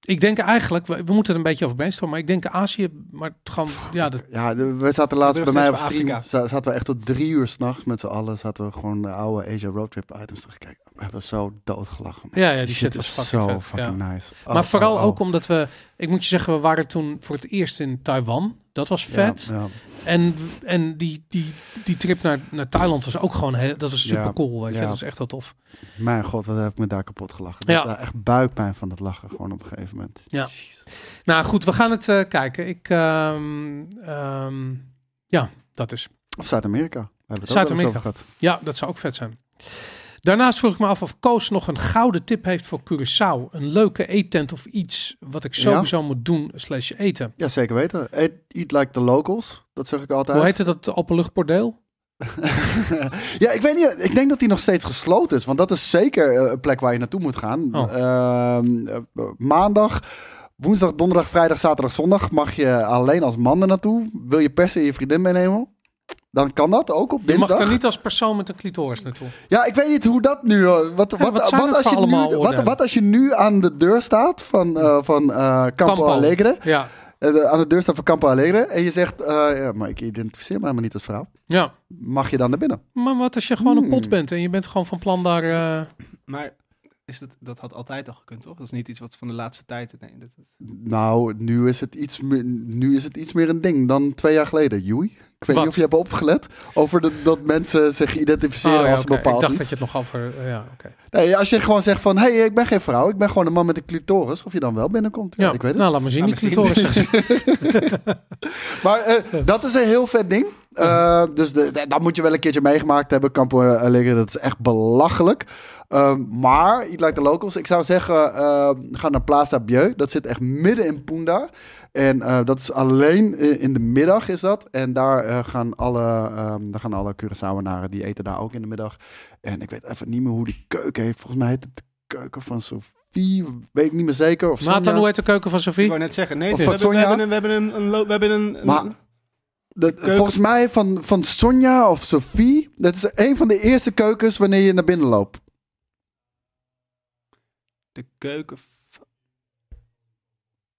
Speaker 3: ik denk eigenlijk, we, we moeten er een beetje over brainstormen, maar ik denk Azië, maar het gewoon, ja, dat,
Speaker 2: Ja, de- we zaten laatst
Speaker 1: nog
Speaker 2: bij mij op
Speaker 1: steeds voor
Speaker 2: stream.
Speaker 1: Afrika.
Speaker 2: za- Zaten we echt tot drie uur s'nachts met z'n allen. Zaten we gewoon de oude Asia Roadtrip items teruggekeken. We hebben zo doodgelachen. man.
Speaker 3: ja, ja, die
Speaker 2: Die
Speaker 3: shit was
Speaker 2: is
Speaker 3: fucking
Speaker 2: zo
Speaker 3: vet, ja.
Speaker 2: fucking nice. Oh,
Speaker 3: maar vooral
Speaker 2: oh, oh.
Speaker 3: ook omdat we, ik moet je zeggen, we waren toen voor het eerst in Taiwan. Dat was vet.
Speaker 2: Ja, ja.
Speaker 3: En, en die, die, die trip naar, naar Thailand was ook gewoon heel, dat was
Speaker 2: Ja.
Speaker 3: super cool. Weet je?
Speaker 2: Ja.
Speaker 3: Dat is echt heel tof.
Speaker 2: Mijn god, wat heb ik me daar kapot gelachen.
Speaker 3: Ja.
Speaker 2: Ik had daar echt buikpijn van dat lachen gewoon op een gegeven moment.
Speaker 3: Ja.
Speaker 2: Jezus.
Speaker 3: Nou goed, we gaan het eh, kijken. Ik, ehm, ehm, ja, dat is.
Speaker 2: Of Zuid-Amerika. We hebben het
Speaker 3: Zuid-Amerika.
Speaker 2: ook wel eens over
Speaker 3: Ja, dat zou ook vet zijn. Daarnaast vroeg ik me af of Koos nog een gouden tip heeft voor Curaçao. Een leuke eettent of iets wat ik sowieso moet doen slash eten.
Speaker 2: gehad. Ja, zeker weten. Eat, eat like the locals. Dat zeg ik altijd.
Speaker 3: Hoe heette dat openluchtbordeel?
Speaker 2: ja, ik weet niet. Ik denk dat die nog steeds gesloten is. Want dat is zeker eh, een plek waar je naartoe moet gaan.
Speaker 3: Oh.
Speaker 2: Ehm, eh, maandag, woensdag, donderdag, vrijdag, zaterdag, zondag mag je alleen als man er naartoe. Wil je per se je vriendin meenemen? Dan kan dat ook op
Speaker 3: Je mag
Speaker 2: dinsdag.
Speaker 3: daar niet als persoon met een clitoris naartoe.
Speaker 2: Ja, ik weet niet hoe dat nu. eh, Wat, wat,
Speaker 3: wat
Speaker 2: wat,
Speaker 3: zijn dat
Speaker 2: als,
Speaker 3: voor
Speaker 2: je
Speaker 3: allemaal
Speaker 2: nu, wat,
Speaker 3: oordelen?
Speaker 2: wat als je nu aan de deur staat van, eh, van eh, Campo,
Speaker 3: Campo.
Speaker 2: Alegre?
Speaker 3: Ja,
Speaker 2: eh, de- aan de deur staat van Campo Alegre. En je zegt, eh, ja, maar ik identificeer me helemaal niet als vrouw.
Speaker 3: ja.
Speaker 2: Mag je dan naar binnen?
Speaker 3: Maar wat als je gewoon een pot
Speaker 2: Hmm.
Speaker 3: bent en je bent gewoon van plan daar... eh,
Speaker 1: Maar is dat, dat had altijd al gekund, toch? Dat is niet iets wat van de laatste tijd... Nee, dat-
Speaker 2: Nou, nu is het iets, meer- nu is het iets meer een ding dan twee jaar geleden, Joey. Ik weet
Speaker 3: Wat?
Speaker 2: niet of je hebt opgelet over de- dat mensen zich identificeren
Speaker 3: oh, ja,
Speaker 2: als
Speaker 3: oké.
Speaker 2: een bepaald
Speaker 3: Ik dacht
Speaker 2: iets.
Speaker 3: dat je het nog over... eh, ja, oké.
Speaker 2: Nee, als je gewoon zegt van, hé, hey, ik ben geen vrouw, ik ben gewoon een man met een clitoris. Of je dan wel binnenkomt, ja,
Speaker 3: Ja,
Speaker 2: ik weet het
Speaker 3: nou, laat me zien.
Speaker 1: Laat
Speaker 3: Die
Speaker 1: me zien.
Speaker 3: clitoris.
Speaker 2: Maar eh, dat is een heel vet ding. Eh, dus de, de- dat moet je wel een keertje meegemaakt hebben. Campo eh, Alegre, dat is echt belachelijk. Ehm, maar, Eat Like the Locals, ik zou zeggen, eh, ga naar Plaza Bieu. Dat zit echt midden in Punda. En eh, dat is alleen eh, in de middag is dat. En daar, eh, gaan, alle, ehm, daar gaan alle Curaçaoanaren, die eten daar ook in de middag. En ik weet even niet meer hoe die keuken heet. Volgens mij heet het de keuken van Sophie, weet ik niet meer zeker. Of
Speaker 3: Nathan,
Speaker 2: Sonja.
Speaker 3: hoe heet de keuken van
Speaker 1: Ik
Speaker 3: Sophie?
Speaker 1: wou net zeggen, nee,
Speaker 2: Of
Speaker 1: we
Speaker 2: van
Speaker 1: hebben, we
Speaker 2: Sonja?
Speaker 1: hebben een... We hebben een, een, lo- we hebben een, een-
Speaker 2: Maar- De-
Speaker 1: Keuken.
Speaker 2: volgens mij van, van Sonja of Sophie. Dat is een van de eerste keukens wanneer je naar binnen loopt.
Speaker 1: de keuken... van-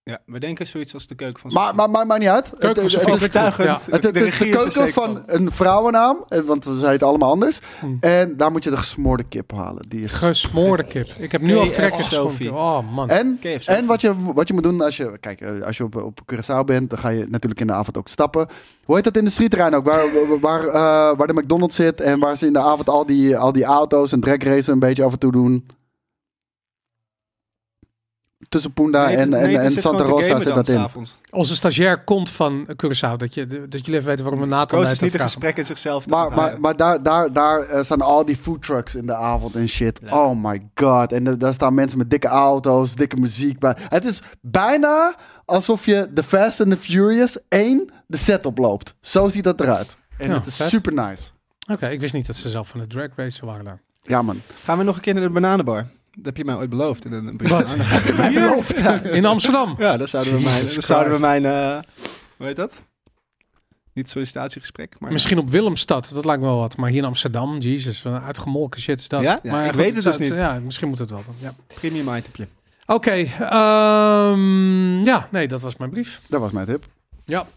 Speaker 1: Ja, we denken zoiets als de keuken van...
Speaker 2: Maar, maar, maar, maar niet uit.
Speaker 3: Keuken
Speaker 2: Het-
Speaker 3: van
Speaker 2: het,
Speaker 3: Sophie.
Speaker 2: is,
Speaker 1: overtuigend.
Speaker 2: het, het is de
Speaker 1: regie er
Speaker 2: keuken
Speaker 1: zeker
Speaker 2: van een vrouwennaam. eh, Want we zeiden het allemaal anders.
Speaker 3: Hmm.
Speaker 2: En daar moet je de gesmoorde kip halen. Die is...
Speaker 3: Gesmoorde kip. Ik heb nu al
Speaker 1: KFC.
Speaker 3: trekken Sophie.
Speaker 1: eh, Sophie. Eh?
Speaker 3: Oh man.
Speaker 2: En,
Speaker 1: KFC.
Speaker 2: en wat, je, wat je moet doen als je... Kijk, eh, als je op, op Curaçao bent, dan ga je natuurlijk in de avond ook stappen. Hoe heet dat industrieterrein ook? Waar, waar, waar, eh, waar de McDonald's zit en waar ze in de avond al die, al die auto's en dragracen een beetje af en toe doen. Tussen Punda
Speaker 1: Nee, het-
Speaker 2: en,
Speaker 1: nee,
Speaker 2: en,
Speaker 1: het
Speaker 2: en
Speaker 1: is
Speaker 2: Santa
Speaker 1: gewoon te
Speaker 2: Rosa
Speaker 1: gamen
Speaker 2: zit
Speaker 1: dan
Speaker 2: dat in.
Speaker 1: s'avonds.
Speaker 3: Onze stagiair komt van Curaçao. Dat, je, dat jullie even weten waarom we Nathan
Speaker 1: Mm, Koos is
Speaker 3: bij
Speaker 1: niet
Speaker 3: het
Speaker 1: een
Speaker 3: vragen.
Speaker 1: gesprek in zichzelf. te
Speaker 2: Maar,
Speaker 1: onthouden.
Speaker 2: maar, maar daar, daar, daar eh, staan al die food trucks in de avond en shit.
Speaker 1: Ja.
Speaker 2: Oh my god. En da- daar staan mensen met dikke auto's, dikke muziek. bij. Het is bijna alsof je The Fast and the Furious 1 de set oploopt. Zo ziet dat eruit. En
Speaker 3: Ja,
Speaker 2: het is
Speaker 3: vet.
Speaker 2: super nice.
Speaker 3: Oké, ik wist niet dat ze zelf van de drag race waren daar.
Speaker 2: Ja man.
Speaker 1: Gaan we nog een keer naar de bananenbar? Dat heb je mij ooit beloofd in een brief. Nou,
Speaker 3: Wat? In Amsterdam.
Speaker 1: Ja, dat zouden we mijn...
Speaker 3: Jesus
Speaker 1: Dat zouden we
Speaker 3: Christ.
Speaker 1: mijn eh, hoe heet dat? Niet sollicitatiegesprek, maar...
Speaker 3: Misschien op Willemstad, dat lijkt me wel wat. Maar hier in Amsterdam, jezus, wat een uitgemolken shit is dat.
Speaker 1: Ja? Ja,
Speaker 3: maar
Speaker 1: ik weet het dus niet.
Speaker 3: Ja, misschien moet het wel dan. Ja.
Speaker 1: Premium itemje.
Speaker 3: Oké, ehm, ja, nee, dat was mijn brief.
Speaker 2: Dat was mijn tip.
Speaker 3: Ja.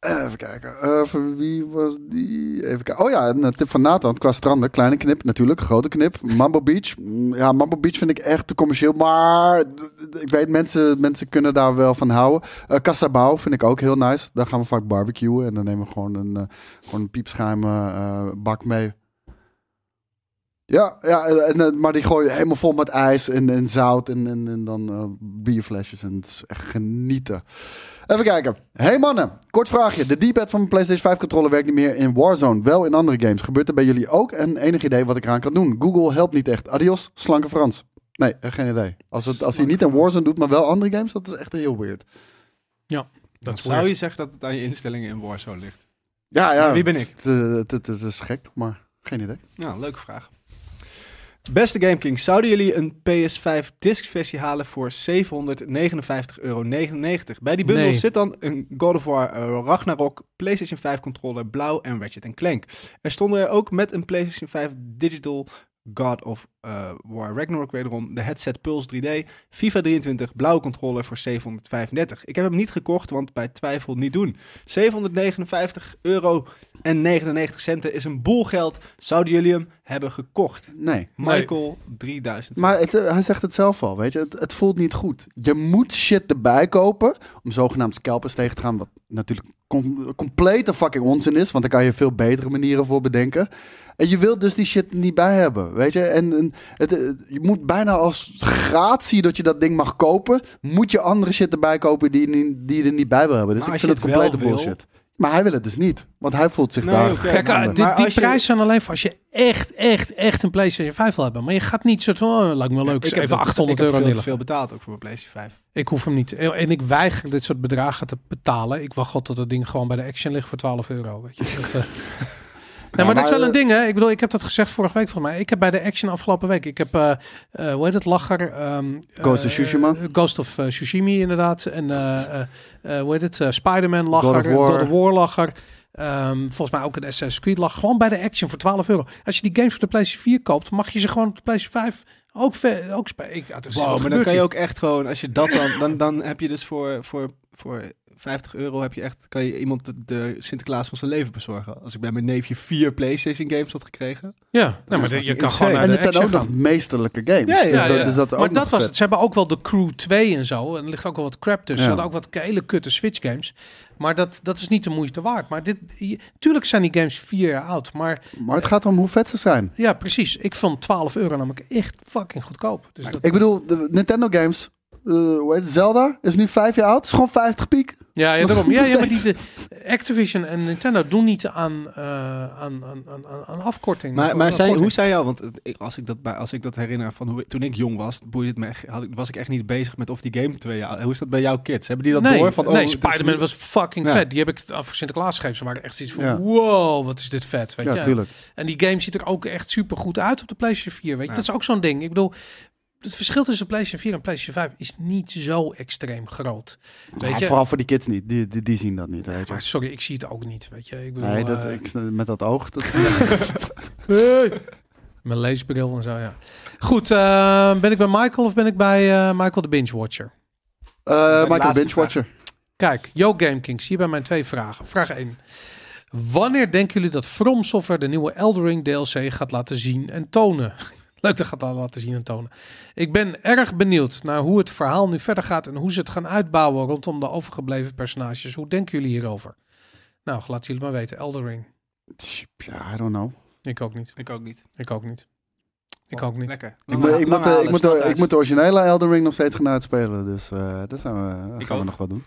Speaker 2: Even kijken. Eh, voor wie was die? Even kijken. Oh ja, een eh, tip van Nathan qua stranden. Kleine knip natuurlijk, grote knip. Mambo Beach. Mm, Ja, Mambo Beach vind ik echt te commercieel. Maar d- d- ik weet, mensen, mensen kunnen daar wel van houden. Eh Casabau vind ik ook heel nice. Daar gaan we vaak barbecuen. En dan nemen we gewoon een, eh, gewoon een piepschuim eh, bak mee. Ja, ja en, eh, maar die gooi je helemaal vol met ijs en, en zout en, en, en dan eh, bierflesjes. En het is echt genieten. Even kijken. Hey mannen, kort vraagje. De D-pad van mijn PlayStation 5 controller werkt niet meer in Warzone, wel in andere games. Gebeurt er bij jullie ook? En enig idee wat ik eraan kan doen? Google helpt niet echt. Adios, slanke Frans. Nee, eh, geen idee. Als, het, als hij niet in Warzone doet, maar wel andere games, dat is echt heel weird.
Speaker 3: Dat is
Speaker 1: Zou je zeggen dat het aan je instellingen in Warzone ligt?
Speaker 2: Ja, ja.
Speaker 1: Wie ben ik?
Speaker 2: Het, eh, het- het- het is gek, maar geen idee.
Speaker 1: Nou, leuke vraag. Beste GameKing, zouden jullie een PS5 disc versie halen voor 759,99 euro? Bij die bundel
Speaker 3: Nee.
Speaker 1: zit dan een God of War eh, Ragnarok, PlayStation 5 controller blauw en Ratchet Clank. Er stonden er ook met een PlayStation 5 digital God of eh, War Ragnarok wederom, de headset Pulse 3D, FIFA 23, blauwe controller voor 735. Ik heb hem niet gekocht, want bij twijfel niet doen. 759 euro en 99 centen is een boel geld. Zouden jullie hem hebben gekocht?
Speaker 2: Nee.
Speaker 3: Nee.
Speaker 1: Michael 3000.
Speaker 2: Maar het, eh, hij zegt het zelf al, weet je. Het, het voelt niet goed. Je moet shit erbij kopen om zogenaamd scalpers tegen te gaan. Wat natuurlijk com- complete fucking onzin is. Want daar kan je veel betere manieren voor bedenken. En je wilt dus die shit niet bij hebben, weet je. En, en het, eh, je moet bijna als gratie dat je dat ding mag kopen... moet je andere shit erbij kopen die, je niet- die je er niet bij wil hebben. Dus
Speaker 1: Maar
Speaker 2: ik
Speaker 1: als
Speaker 2: vind het
Speaker 1: je het wel
Speaker 2: complete
Speaker 1: wil-
Speaker 2: bullshit. Maar hij wil het dus niet. Want hij voelt zich
Speaker 1: Nee,
Speaker 2: daar...
Speaker 1: oké,
Speaker 3: Kijk,
Speaker 1: maar-
Speaker 3: eh,
Speaker 1: maar
Speaker 3: die, die
Speaker 1: als je-
Speaker 3: prijzen zijn alleen voor als je echt, echt, echt een PlayStation 5 wil hebben. Maar je gaat niet soort van, oh, lijkt me wel leuk,
Speaker 1: Ik heb
Speaker 3: even
Speaker 1: dat-
Speaker 3: 800 euro
Speaker 1: Ik heb veel
Speaker 3: neerleggen.
Speaker 1: te veel betaald ook voor mijn PlayStation 5.
Speaker 3: Ik hoef hem niet. En ik weiger dit soort bedragen te betalen. Ik wacht god tot dat ding gewoon bij de Action ligt voor 12 euro. Weet je. Dat, eh. Nee, maar,
Speaker 2: maar,
Speaker 3: dat is wel een
Speaker 2: eh,
Speaker 3: ding, hè? Ik bedoel, ik heb dat gezegd vorige week volgens mij. Ik heb bij de Action afgelopen week, ik heb, eh, eh, hoe heet het, Lacher? ehm,
Speaker 2: Ghost of
Speaker 3: eh,
Speaker 2: Tsushima.
Speaker 3: Ghost of eh, Tsushima, inderdaad. En, eh, eh, eh, hoe heet het, eh, Spider-Man Lacher,
Speaker 2: God of War.
Speaker 3: God of War Lacher. Ehm, volgens mij ook een Assassin's Creed lag gewoon bij de Action voor 12 euro. Als je die games voor de PlayStation 4 koopt, mag je ze gewoon op de PlayStation 5 ook, ve- ook spelen. Ik- ja, het is- wat
Speaker 1: Wow, maar dan
Speaker 3: gebeurt
Speaker 1: kan je
Speaker 3: hier?
Speaker 1: ook echt gewoon, als je dat dan, dan, dan heb je dus voor, voor, voor 50 euro heb je echt, kan je iemand de, de Sinterklaas van zijn leven bezorgen. Als ik bij mijn neefje vier PlayStation games had gekregen.
Speaker 3: Ja,
Speaker 1: is
Speaker 3: nou, maar
Speaker 1: toch
Speaker 3: de- je kan
Speaker 1: insane.
Speaker 3: gewoon naar
Speaker 2: En
Speaker 3: de
Speaker 2: het zijn
Speaker 3: Action
Speaker 2: ook nog
Speaker 3: gaan.
Speaker 2: meesterlijke games.
Speaker 1: Ja, ja,
Speaker 2: dus, dat-
Speaker 3: ja.
Speaker 2: dus dat is ook
Speaker 3: maar
Speaker 2: nog
Speaker 3: dat was
Speaker 2: vet.
Speaker 3: het. Ze hebben ook wel de Crew 2 en zo. En er ligt ook wel wat crap tussen.
Speaker 2: Ja.
Speaker 3: Ze hadden ook wat hele kutte Switch games. Maar dat, dat is niet de moeite waard. Maar dit, je- tuurlijk zijn die games vier jaar oud. Maar
Speaker 2: Maar het gaat om hoe vet ze zijn.
Speaker 3: ja, precies. Ik vond 12 euro namelijk echt fucking goedkoop. Dus dat,
Speaker 2: Ik bedoel, de Nintendo games. eh, hoe heet het? Zelda is nu vijf jaar oud. Is gewoon 50 piek.
Speaker 3: ja, ja,
Speaker 2: nog-
Speaker 3: daarom. Ja,
Speaker 2: nog
Speaker 3: ja, maar die,
Speaker 2: steeds.
Speaker 3: de- Activision en Nintendo doen niet aan, eh, aan, aan, aan, aan- aan afkorting.
Speaker 1: Maar,
Speaker 3: Gewoon
Speaker 1: maar
Speaker 3: aan
Speaker 1: zij, hoe
Speaker 3: korting.
Speaker 1: zei jou, want het- ik, als, ik dat, bij- als ik dat herinner van hoe, ik- toen ik jong was, boeide het me echt, had ik, was ik echt niet bezig met of die game twee jaar. Hoe is dat bij jouw kids? Hebben die dat
Speaker 3: nee,
Speaker 1: door? Van, oh,
Speaker 3: nee
Speaker 1: het is
Speaker 3: Spider-Man
Speaker 1: nu-
Speaker 3: was fucking
Speaker 1: Ja.
Speaker 3: vet. Die heb ik t- voor Sinterklaas gegeven. Ze waren echt iets van,
Speaker 2: Ja.
Speaker 3: wow, wat is dit vet. Weet
Speaker 2: Ja,
Speaker 3: je?
Speaker 2: tuurlijk.
Speaker 3: En die game ziet er ook echt super goed uit op de PlayStation 4. Weet je?
Speaker 1: Ja.
Speaker 3: Dat is ook zo'n ding. Ik bedoel, het verschil tussen PlayStation 4 en PlayStation 5 is niet zo extreem groot. Weet
Speaker 2: Ja,
Speaker 3: je?
Speaker 2: Vooral voor die kids niet. Die, die, die zien dat niet. Weet je.
Speaker 3: Maar sorry, ik zie het ook niet. Weet je? Ik bedoel,
Speaker 2: Nee, dat,
Speaker 3: eh,
Speaker 2: ik, met dat oog. Dat, Eh,
Speaker 3: Mijn leesbril en zo, ja. Goed, eh, ben ik bij Michael of ben ik bij eh, Michael de Binge Watcher?
Speaker 2: Eh Michael
Speaker 1: laatste
Speaker 2: Binge-watcher.
Speaker 3: Kijk, Yo Game Kings, hier bij mijn twee vragen. Vraag 1. Wanneer denken jullie dat From Software de nieuwe Eldering DLC gaat laten zien en tonen? Leuk, gaat dat laten zien en tonen. Ik ben erg benieuwd naar hoe het verhaal nu verder gaat en hoe ze het gaan uitbouwen rondom de overgebleven personages. Hoe denken jullie hierover? Nou, laat jullie maar weten. Eldering.
Speaker 2: Ja, I don't know.
Speaker 3: Ik ook niet.
Speaker 1: Ik ook niet.
Speaker 3: Ik ook niet. Ik
Speaker 1: Oh,
Speaker 3: ook niet.
Speaker 1: Lekker.
Speaker 2: Ik,
Speaker 1: Lang
Speaker 2: moet-
Speaker 1: ha-
Speaker 2: ik,
Speaker 1: lang
Speaker 2: moet, de,
Speaker 1: halen,
Speaker 2: ik, moet
Speaker 1: snel
Speaker 2: de, ik
Speaker 1: thuis.
Speaker 2: moet de originele Elden Ring nog steeds gaan uitspelen. Dus eh dat zijn we,
Speaker 1: Ik
Speaker 2: gaan we
Speaker 1: ook.
Speaker 2: nog wel doen.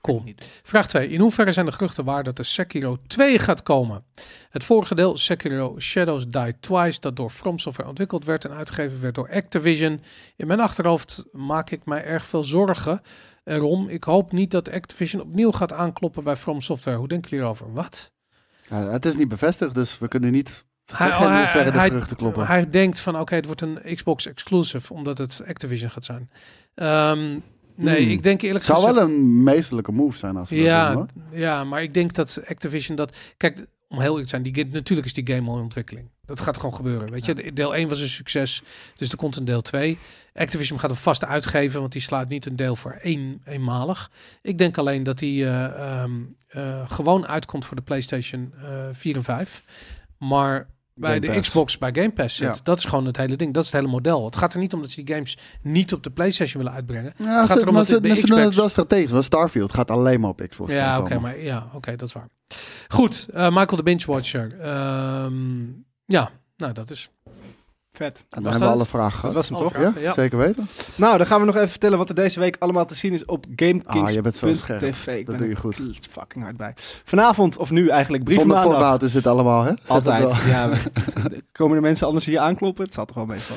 Speaker 3: Cool. Vraag 2. In hoeverre zijn de geruchten waar dat de Sekiro 2 gaat komen? Het vorige deel, Sekiro Shadows Die Twice, dat door From Software ontwikkeld werd en uitgegeven werd door Activision. In mijn achterhoofd maak ik mij erg veel zorgen erom. Ik hoop niet dat Activision opnieuw gaat aankloppen bij From Software. Hoe denken jullie hierover? Wat?
Speaker 2: Ja, het is niet bevestigd, dus we kunnen niet zeggen
Speaker 3: oh,
Speaker 2: in hoeverre de
Speaker 3: hij-
Speaker 2: geruchten kloppen.
Speaker 3: Hij denkt van, oké, het wordt een Xbox exclusive, omdat het Activision gaat zijn. Ehm, nee,
Speaker 2: Hmm.
Speaker 3: ik denk
Speaker 2: het
Speaker 3: eerlijk
Speaker 2: zou
Speaker 3: gezegd...
Speaker 2: wel een meesterlijke move zijn als we dat doen,
Speaker 3: Ja,
Speaker 2: hoor.
Speaker 3: ja, maar ik denk dat Activision dat... Kijk, om heel eerlijk te zijn, die, game- natuurlijk is die game al in ontwikkeling. Dat gaat gewoon gebeuren, weet je. Deel 1 was een succes, dus er komt een deel 2. Activision gaat hem vast uitgeven, want die slaat niet een deel voor één, eenmalig. Ik denk alleen dat die eh, ehm, eh, gewoon uitkomt voor de PlayStation eh 4 en 5. Maar bij
Speaker 2: Game
Speaker 3: de
Speaker 2: Pass.
Speaker 3: Xbox, bij Game Pass zit.
Speaker 2: Ja.
Speaker 3: Dat is gewoon het hele ding. Dat is het hele model. Het gaat er niet om dat ze die games niet op de PlayStation willen uitbrengen.
Speaker 2: Ja,
Speaker 3: gaat
Speaker 2: ze,
Speaker 3: erom
Speaker 2: maar
Speaker 3: dat
Speaker 2: ze,
Speaker 3: dit bij
Speaker 2: maar ze doen het
Speaker 3: Xbox-
Speaker 2: wel strategisch. Want Starfield gaat alleen maar op Xbox
Speaker 3: Ja, oké,
Speaker 2: komen.
Speaker 3: maar ja, oké, dat is waar. Goed, eh, Michael de Binge Watcher. Ehm, ja, nou dat is.
Speaker 1: Vet.
Speaker 2: En dan
Speaker 3: Was
Speaker 2: hebben we
Speaker 3: dat
Speaker 2: alle
Speaker 1: Dat
Speaker 2: vragen gehad.
Speaker 1: was hem
Speaker 3: Alle
Speaker 1: toch?
Speaker 3: vragen,
Speaker 2: Ja,
Speaker 3: ja.
Speaker 2: zeker weten.
Speaker 1: Nou, dan gaan we nog even vertellen wat er deze week allemaal te zien is op
Speaker 2: Ah, je bent zo scherp.
Speaker 1: GameKings.tv. Ik
Speaker 2: Dat
Speaker 1: ben
Speaker 2: doe je
Speaker 1: er
Speaker 2: goed.
Speaker 1: fucking hard bij. Vanavond, of nu eigenlijk,
Speaker 2: Zonder
Speaker 1: brievenmaandag.
Speaker 2: voorbaat is dit allemaal, hè? Zeg het wel.
Speaker 1: Altijd. Ja, maar komen de mensen anders hier aankloppen? Het zal toch wel meestal.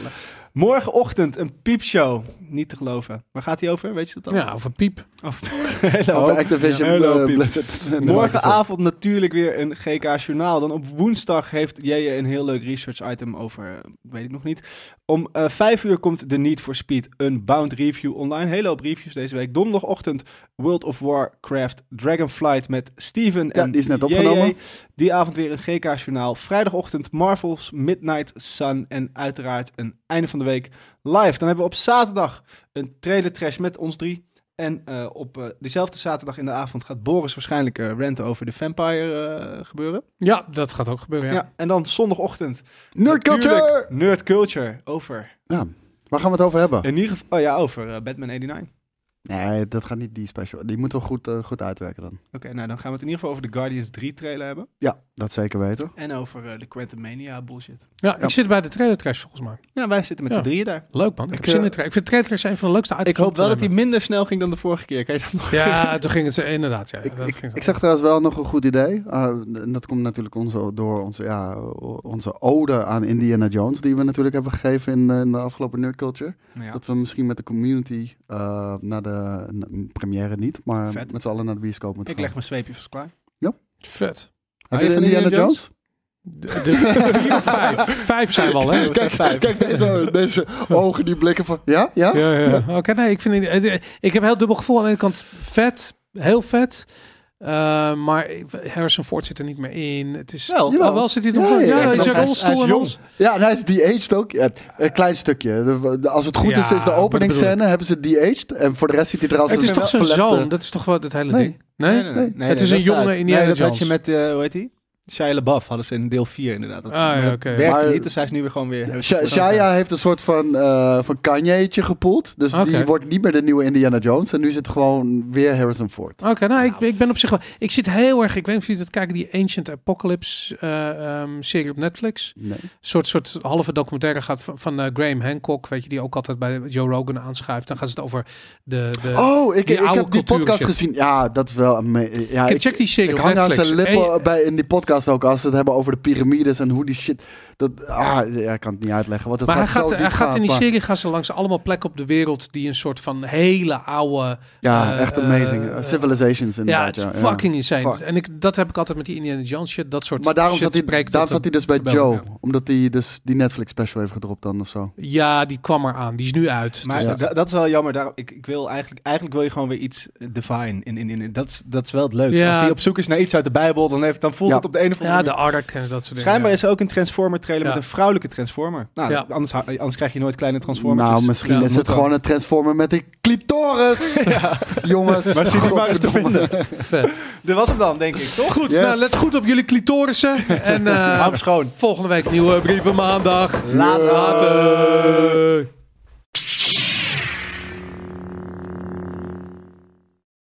Speaker 1: Morgenochtend een piepshow. Niet te geloven. Waar gaat die over? Weet je dat al?
Speaker 3: Ja, over piep.
Speaker 1: Over, hele
Speaker 2: Over
Speaker 1: hoop.
Speaker 2: Activision
Speaker 1: Hele hoop
Speaker 2: eh,
Speaker 1: piep.
Speaker 2: Blizzard. En Microsoft.
Speaker 1: Morgenavond natuurlijk weer een GK Journaal. Dan op woensdag heeft jij een heel leuk research item over, eh, weet ik nog niet. Om eh vijf uur komt de Need for Speed Unbound review online. Hele hoop reviews deze week. Donderdagochtend World of Warcraft Dragonflight met Steven
Speaker 2: Ja,
Speaker 1: en
Speaker 2: die is net
Speaker 1: JJ.
Speaker 2: opgenomen.
Speaker 1: Die avond weer een GK Journaal. Vrijdagochtend Marvel's Midnight Sun en uiteraard een einde van de week live. Dan hebben we op zaterdag een trailer trash met ons drie. En eh, op eh, diezelfde zaterdag in de avond gaat Boris waarschijnlijk eh ranten over de Vampire eh, gebeuren.
Speaker 3: Ja, dat gaat ook gebeuren.
Speaker 1: Ja.
Speaker 3: Ja.
Speaker 1: en dan zondagochtend.
Speaker 2: Nerd Culture!
Speaker 1: natuurlijk Nerd Culture. Over.
Speaker 2: Ja, waar gaan we het over hebben?
Speaker 1: In ieder geval. Oh ja, over eh, Batman 99.
Speaker 2: Nee, dat gaat niet die special. Die moeten we goed, eh, goed uitwerken dan.
Speaker 1: Oké, nou dan gaan we het in ieder geval over de Guardians 3 trailer hebben.
Speaker 2: Ja, dat zeker weten.
Speaker 1: En over eh, de Quantum Mania bullshit.
Speaker 3: Ja, ik
Speaker 2: Ja.
Speaker 3: zit bij de trailer trash volgens mij.
Speaker 1: Ja, wij zitten met
Speaker 3: Ja.
Speaker 1: z'n drieën daar.
Speaker 3: Leuk man. Ik,
Speaker 2: Ik,
Speaker 3: heb zin in
Speaker 2: eh,
Speaker 3: de trailer. Ik vind de trailer trash een van de leukste
Speaker 1: Ik
Speaker 3: items. om
Speaker 1: hoop
Speaker 3: te
Speaker 1: wel dat hij
Speaker 3: hebben.
Speaker 1: minder snel ging dan de vorige keer. Kan je dat nog?
Speaker 3: Ja, toen ging het eh, inderdaad. Ja,
Speaker 2: Ik,
Speaker 3: dat
Speaker 2: ik,
Speaker 3: ging zo.
Speaker 2: ik zag trouwens wel nog een goed idee. Ah, en dat komt natuurlijk onze, door onze, ja, onze ode aan Indiana Jones, die we natuurlijk hebben gegeven in, eh, in de afgelopen Nerd Culture.
Speaker 1: Nou ja.
Speaker 2: Dat we misschien met de community eh, naar de na- première niet, maar
Speaker 1: Vet.
Speaker 2: met z'n allen naar de bioscoop moeten
Speaker 1: Ik leg mijn zweepjes klaar.
Speaker 3: Vet.
Speaker 2: Heb
Speaker 1: Hou
Speaker 2: je
Speaker 1: je van
Speaker 2: Indiana,
Speaker 1: Indiana
Speaker 2: Jones?
Speaker 3: De, de Dus vier of vijf. Vijf zijn we al, hè?
Speaker 1: Kijk, vijf.
Speaker 2: Kijk, deze, deze ogen, die blikken van... Ja? Ja?
Speaker 3: Ja, ja. Oké, nee, ik vind het- eh, Ik heb een heel dubbel gevoel. Aan de ene kant vet, heel vet. eh, maar Harrison Ford zit er niet meer in. Het is
Speaker 1: Wel.
Speaker 3: Oh, wel zit hij toch?
Speaker 2: Ja,
Speaker 3: Ja,
Speaker 2: ja, ja.
Speaker 3: hij is een
Speaker 1: Hij is-
Speaker 3: rolstoel
Speaker 1: hij is
Speaker 3: en
Speaker 1: jong.
Speaker 3: alles.
Speaker 2: Ja, en hij is de-aged ook. Ja, een klein stukje. De- de- als het goed
Speaker 3: Ja,
Speaker 2: is, is de
Speaker 3: maar dat
Speaker 2: openingsscène hebben ze de-aged. En voor de rest ziet hij er als
Speaker 3: Het is
Speaker 2: een
Speaker 3: toch zijn
Speaker 2: verlepte-
Speaker 3: zoon? Dat is toch wel het hele
Speaker 2: Nee.
Speaker 3: ding? Nee?
Speaker 2: Nee,
Speaker 3: het is
Speaker 1: dat staat.
Speaker 3: een jonge Indiana
Speaker 1: nee, dat had
Speaker 3: Jones.
Speaker 1: je met, eh, hoe heet hij? Shia LaBeouf hadden ze in deel 4 inderdaad. Dat,
Speaker 3: Ah, ja,
Speaker 1: maar dat
Speaker 3: oké.
Speaker 1: werkte
Speaker 2: Maar-
Speaker 1: niet, dus hij is nu weer gewoon weer...
Speaker 2: Sha- Shia heeft een soort van, eh van Kanye'tje gepoeld. Dus die
Speaker 3: Oké.
Speaker 2: wordt niet meer de nieuwe Indiana Jones. En nu zit gewoon weer Harrison Ford.
Speaker 3: Oké, nou, ik, ik ben op zich wel... Ik zit heel erg... Ik weet niet of jullie dat kijken, die Ancient Apocalypse eh, ehm, serie op Netflix.
Speaker 2: Nee.
Speaker 3: Een soort, soort halve documentaire gaat van, van eh, Graham Hancock, weet je, die ook altijd bij Joe Rogan aanschuift. Dan gaat het over de... de
Speaker 2: Oh, ik,
Speaker 3: Eh, Die
Speaker 2: ik
Speaker 3: oude
Speaker 2: heb die
Speaker 3: cultuur
Speaker 2: podcast
Speaker 3: shit.
Speaker 2: gezien. Ja, dat is wel... ame- Ja,
Speaker 3: Kijk,
Speaker 2: ik,
Speaker 3: check die serie
Speaker 2: ik
Speaker 3: op
Speaker 2: hang aan
Speaker 3: Netflix.
Speaker 2: zijn lippen
Speaker 3: Hey,
Speaker 2: bij, in die podcast ook. Als ze het hebben over de piramides en hoe die shit... Dat, ah, ja, ik kan het niet uitleggen. Want het
Speaker 3: maar hij
Speaker 2: gaat,
Speaker 3: gaat,
Speaker 2: zo
Speaker 3: hij
Speaker 2: diep
Speaker 3: gaat
Speaker 2: gaan,
Speaker 3: in die
Speaker 2: maar-
Speaker 3: serie gaan ze langs allemaal plekken op de wereld die een soort van hele oude...
Speaker 2: Ja,
Speaker 3: eh,
Speaker 2: echt amazing.
Speaker 3: eh,
Speaker 2: Civilizations
Speaker 3: ja,
Speaker 2: inderdaad.
Speaker 3: het is fucking insane.
Speaker 2: Fuck.
Speaker 3: En ik, dat heb ik altijd met die Indiana Jones shit. Dat soort
Speaker 2: Maar daarom
Speaker 3: shit
Speaker 2: zat, hij,
Speaker 3: spreekt
Speaker 2: daarom
Speaker 3: tot
Speaker 2: zat hij dus bij
Speaker 3: verbeelding,
Speaker 2: Joe. Omdat hij dus die Netflix special heeft gedropt dan of zo.
Speaker 3: Ja, die kwam er aan. Die is nu uit.
Speaker 1: Maar
Speaker 3: Dus
Speaker 2: Ja.
Speaker 1: dat- dat, dat is wel jammer. Daar, ik, ik wil eigenlijk, eigenlijk wil je gewoon weer iets eh, divine. In, in, in, dat, is, dat is wel het leukste.
Speaker 3: Ja.
Speaker 1: Als hij op zoek is naar iets uit de Bijbel, dan, heeft, dan voelt
Speaker 2: Ja.
Speaker 1: het op de een of
Speaker 3: dat-
Speaker 1: andere
Speaker 3: ja,
Speaker 1: manier.
Speaker 3: de Ark en dat soort dingen.
Speaker 1: Schijnbaar
Speaker 3: ja.
Speaker 1: is er ook een Transformer trailer
Speaker 3: Ja.
Speaker 1: met een vrouwelijke Transformer. Nou,
Speaker 3: Ja.
Speaker 1: anders, hou- anders krijg je nooit kleine Transformers.
Speaker 2: Nou, misschien
Speaker 3: Ja,
Speaker 2: is
Speaker 1: moet
Speaker 2: het
Speaker 1: ook.
Speaker 2: gewoon een transformer met een clitoris. Jongens.
Speaker 1: Maar zie die maar eens te
Speaker 2: godverdomme.
Speaker 1: vinden.
Speaker 3: Vet.
Speaker 1: Dit was hem dan, denk ik, toch?
Speaker 3: Goed,
Speaker 2: Yes.
Speaker 3: nou, let goed op jullie clitorissen. En eh,
Speaker 1: Hou hem schoon.
Speaker 3: volgende week nieuwe brieven maandag.
Speaker 2: Later.
Speaker 3: Later.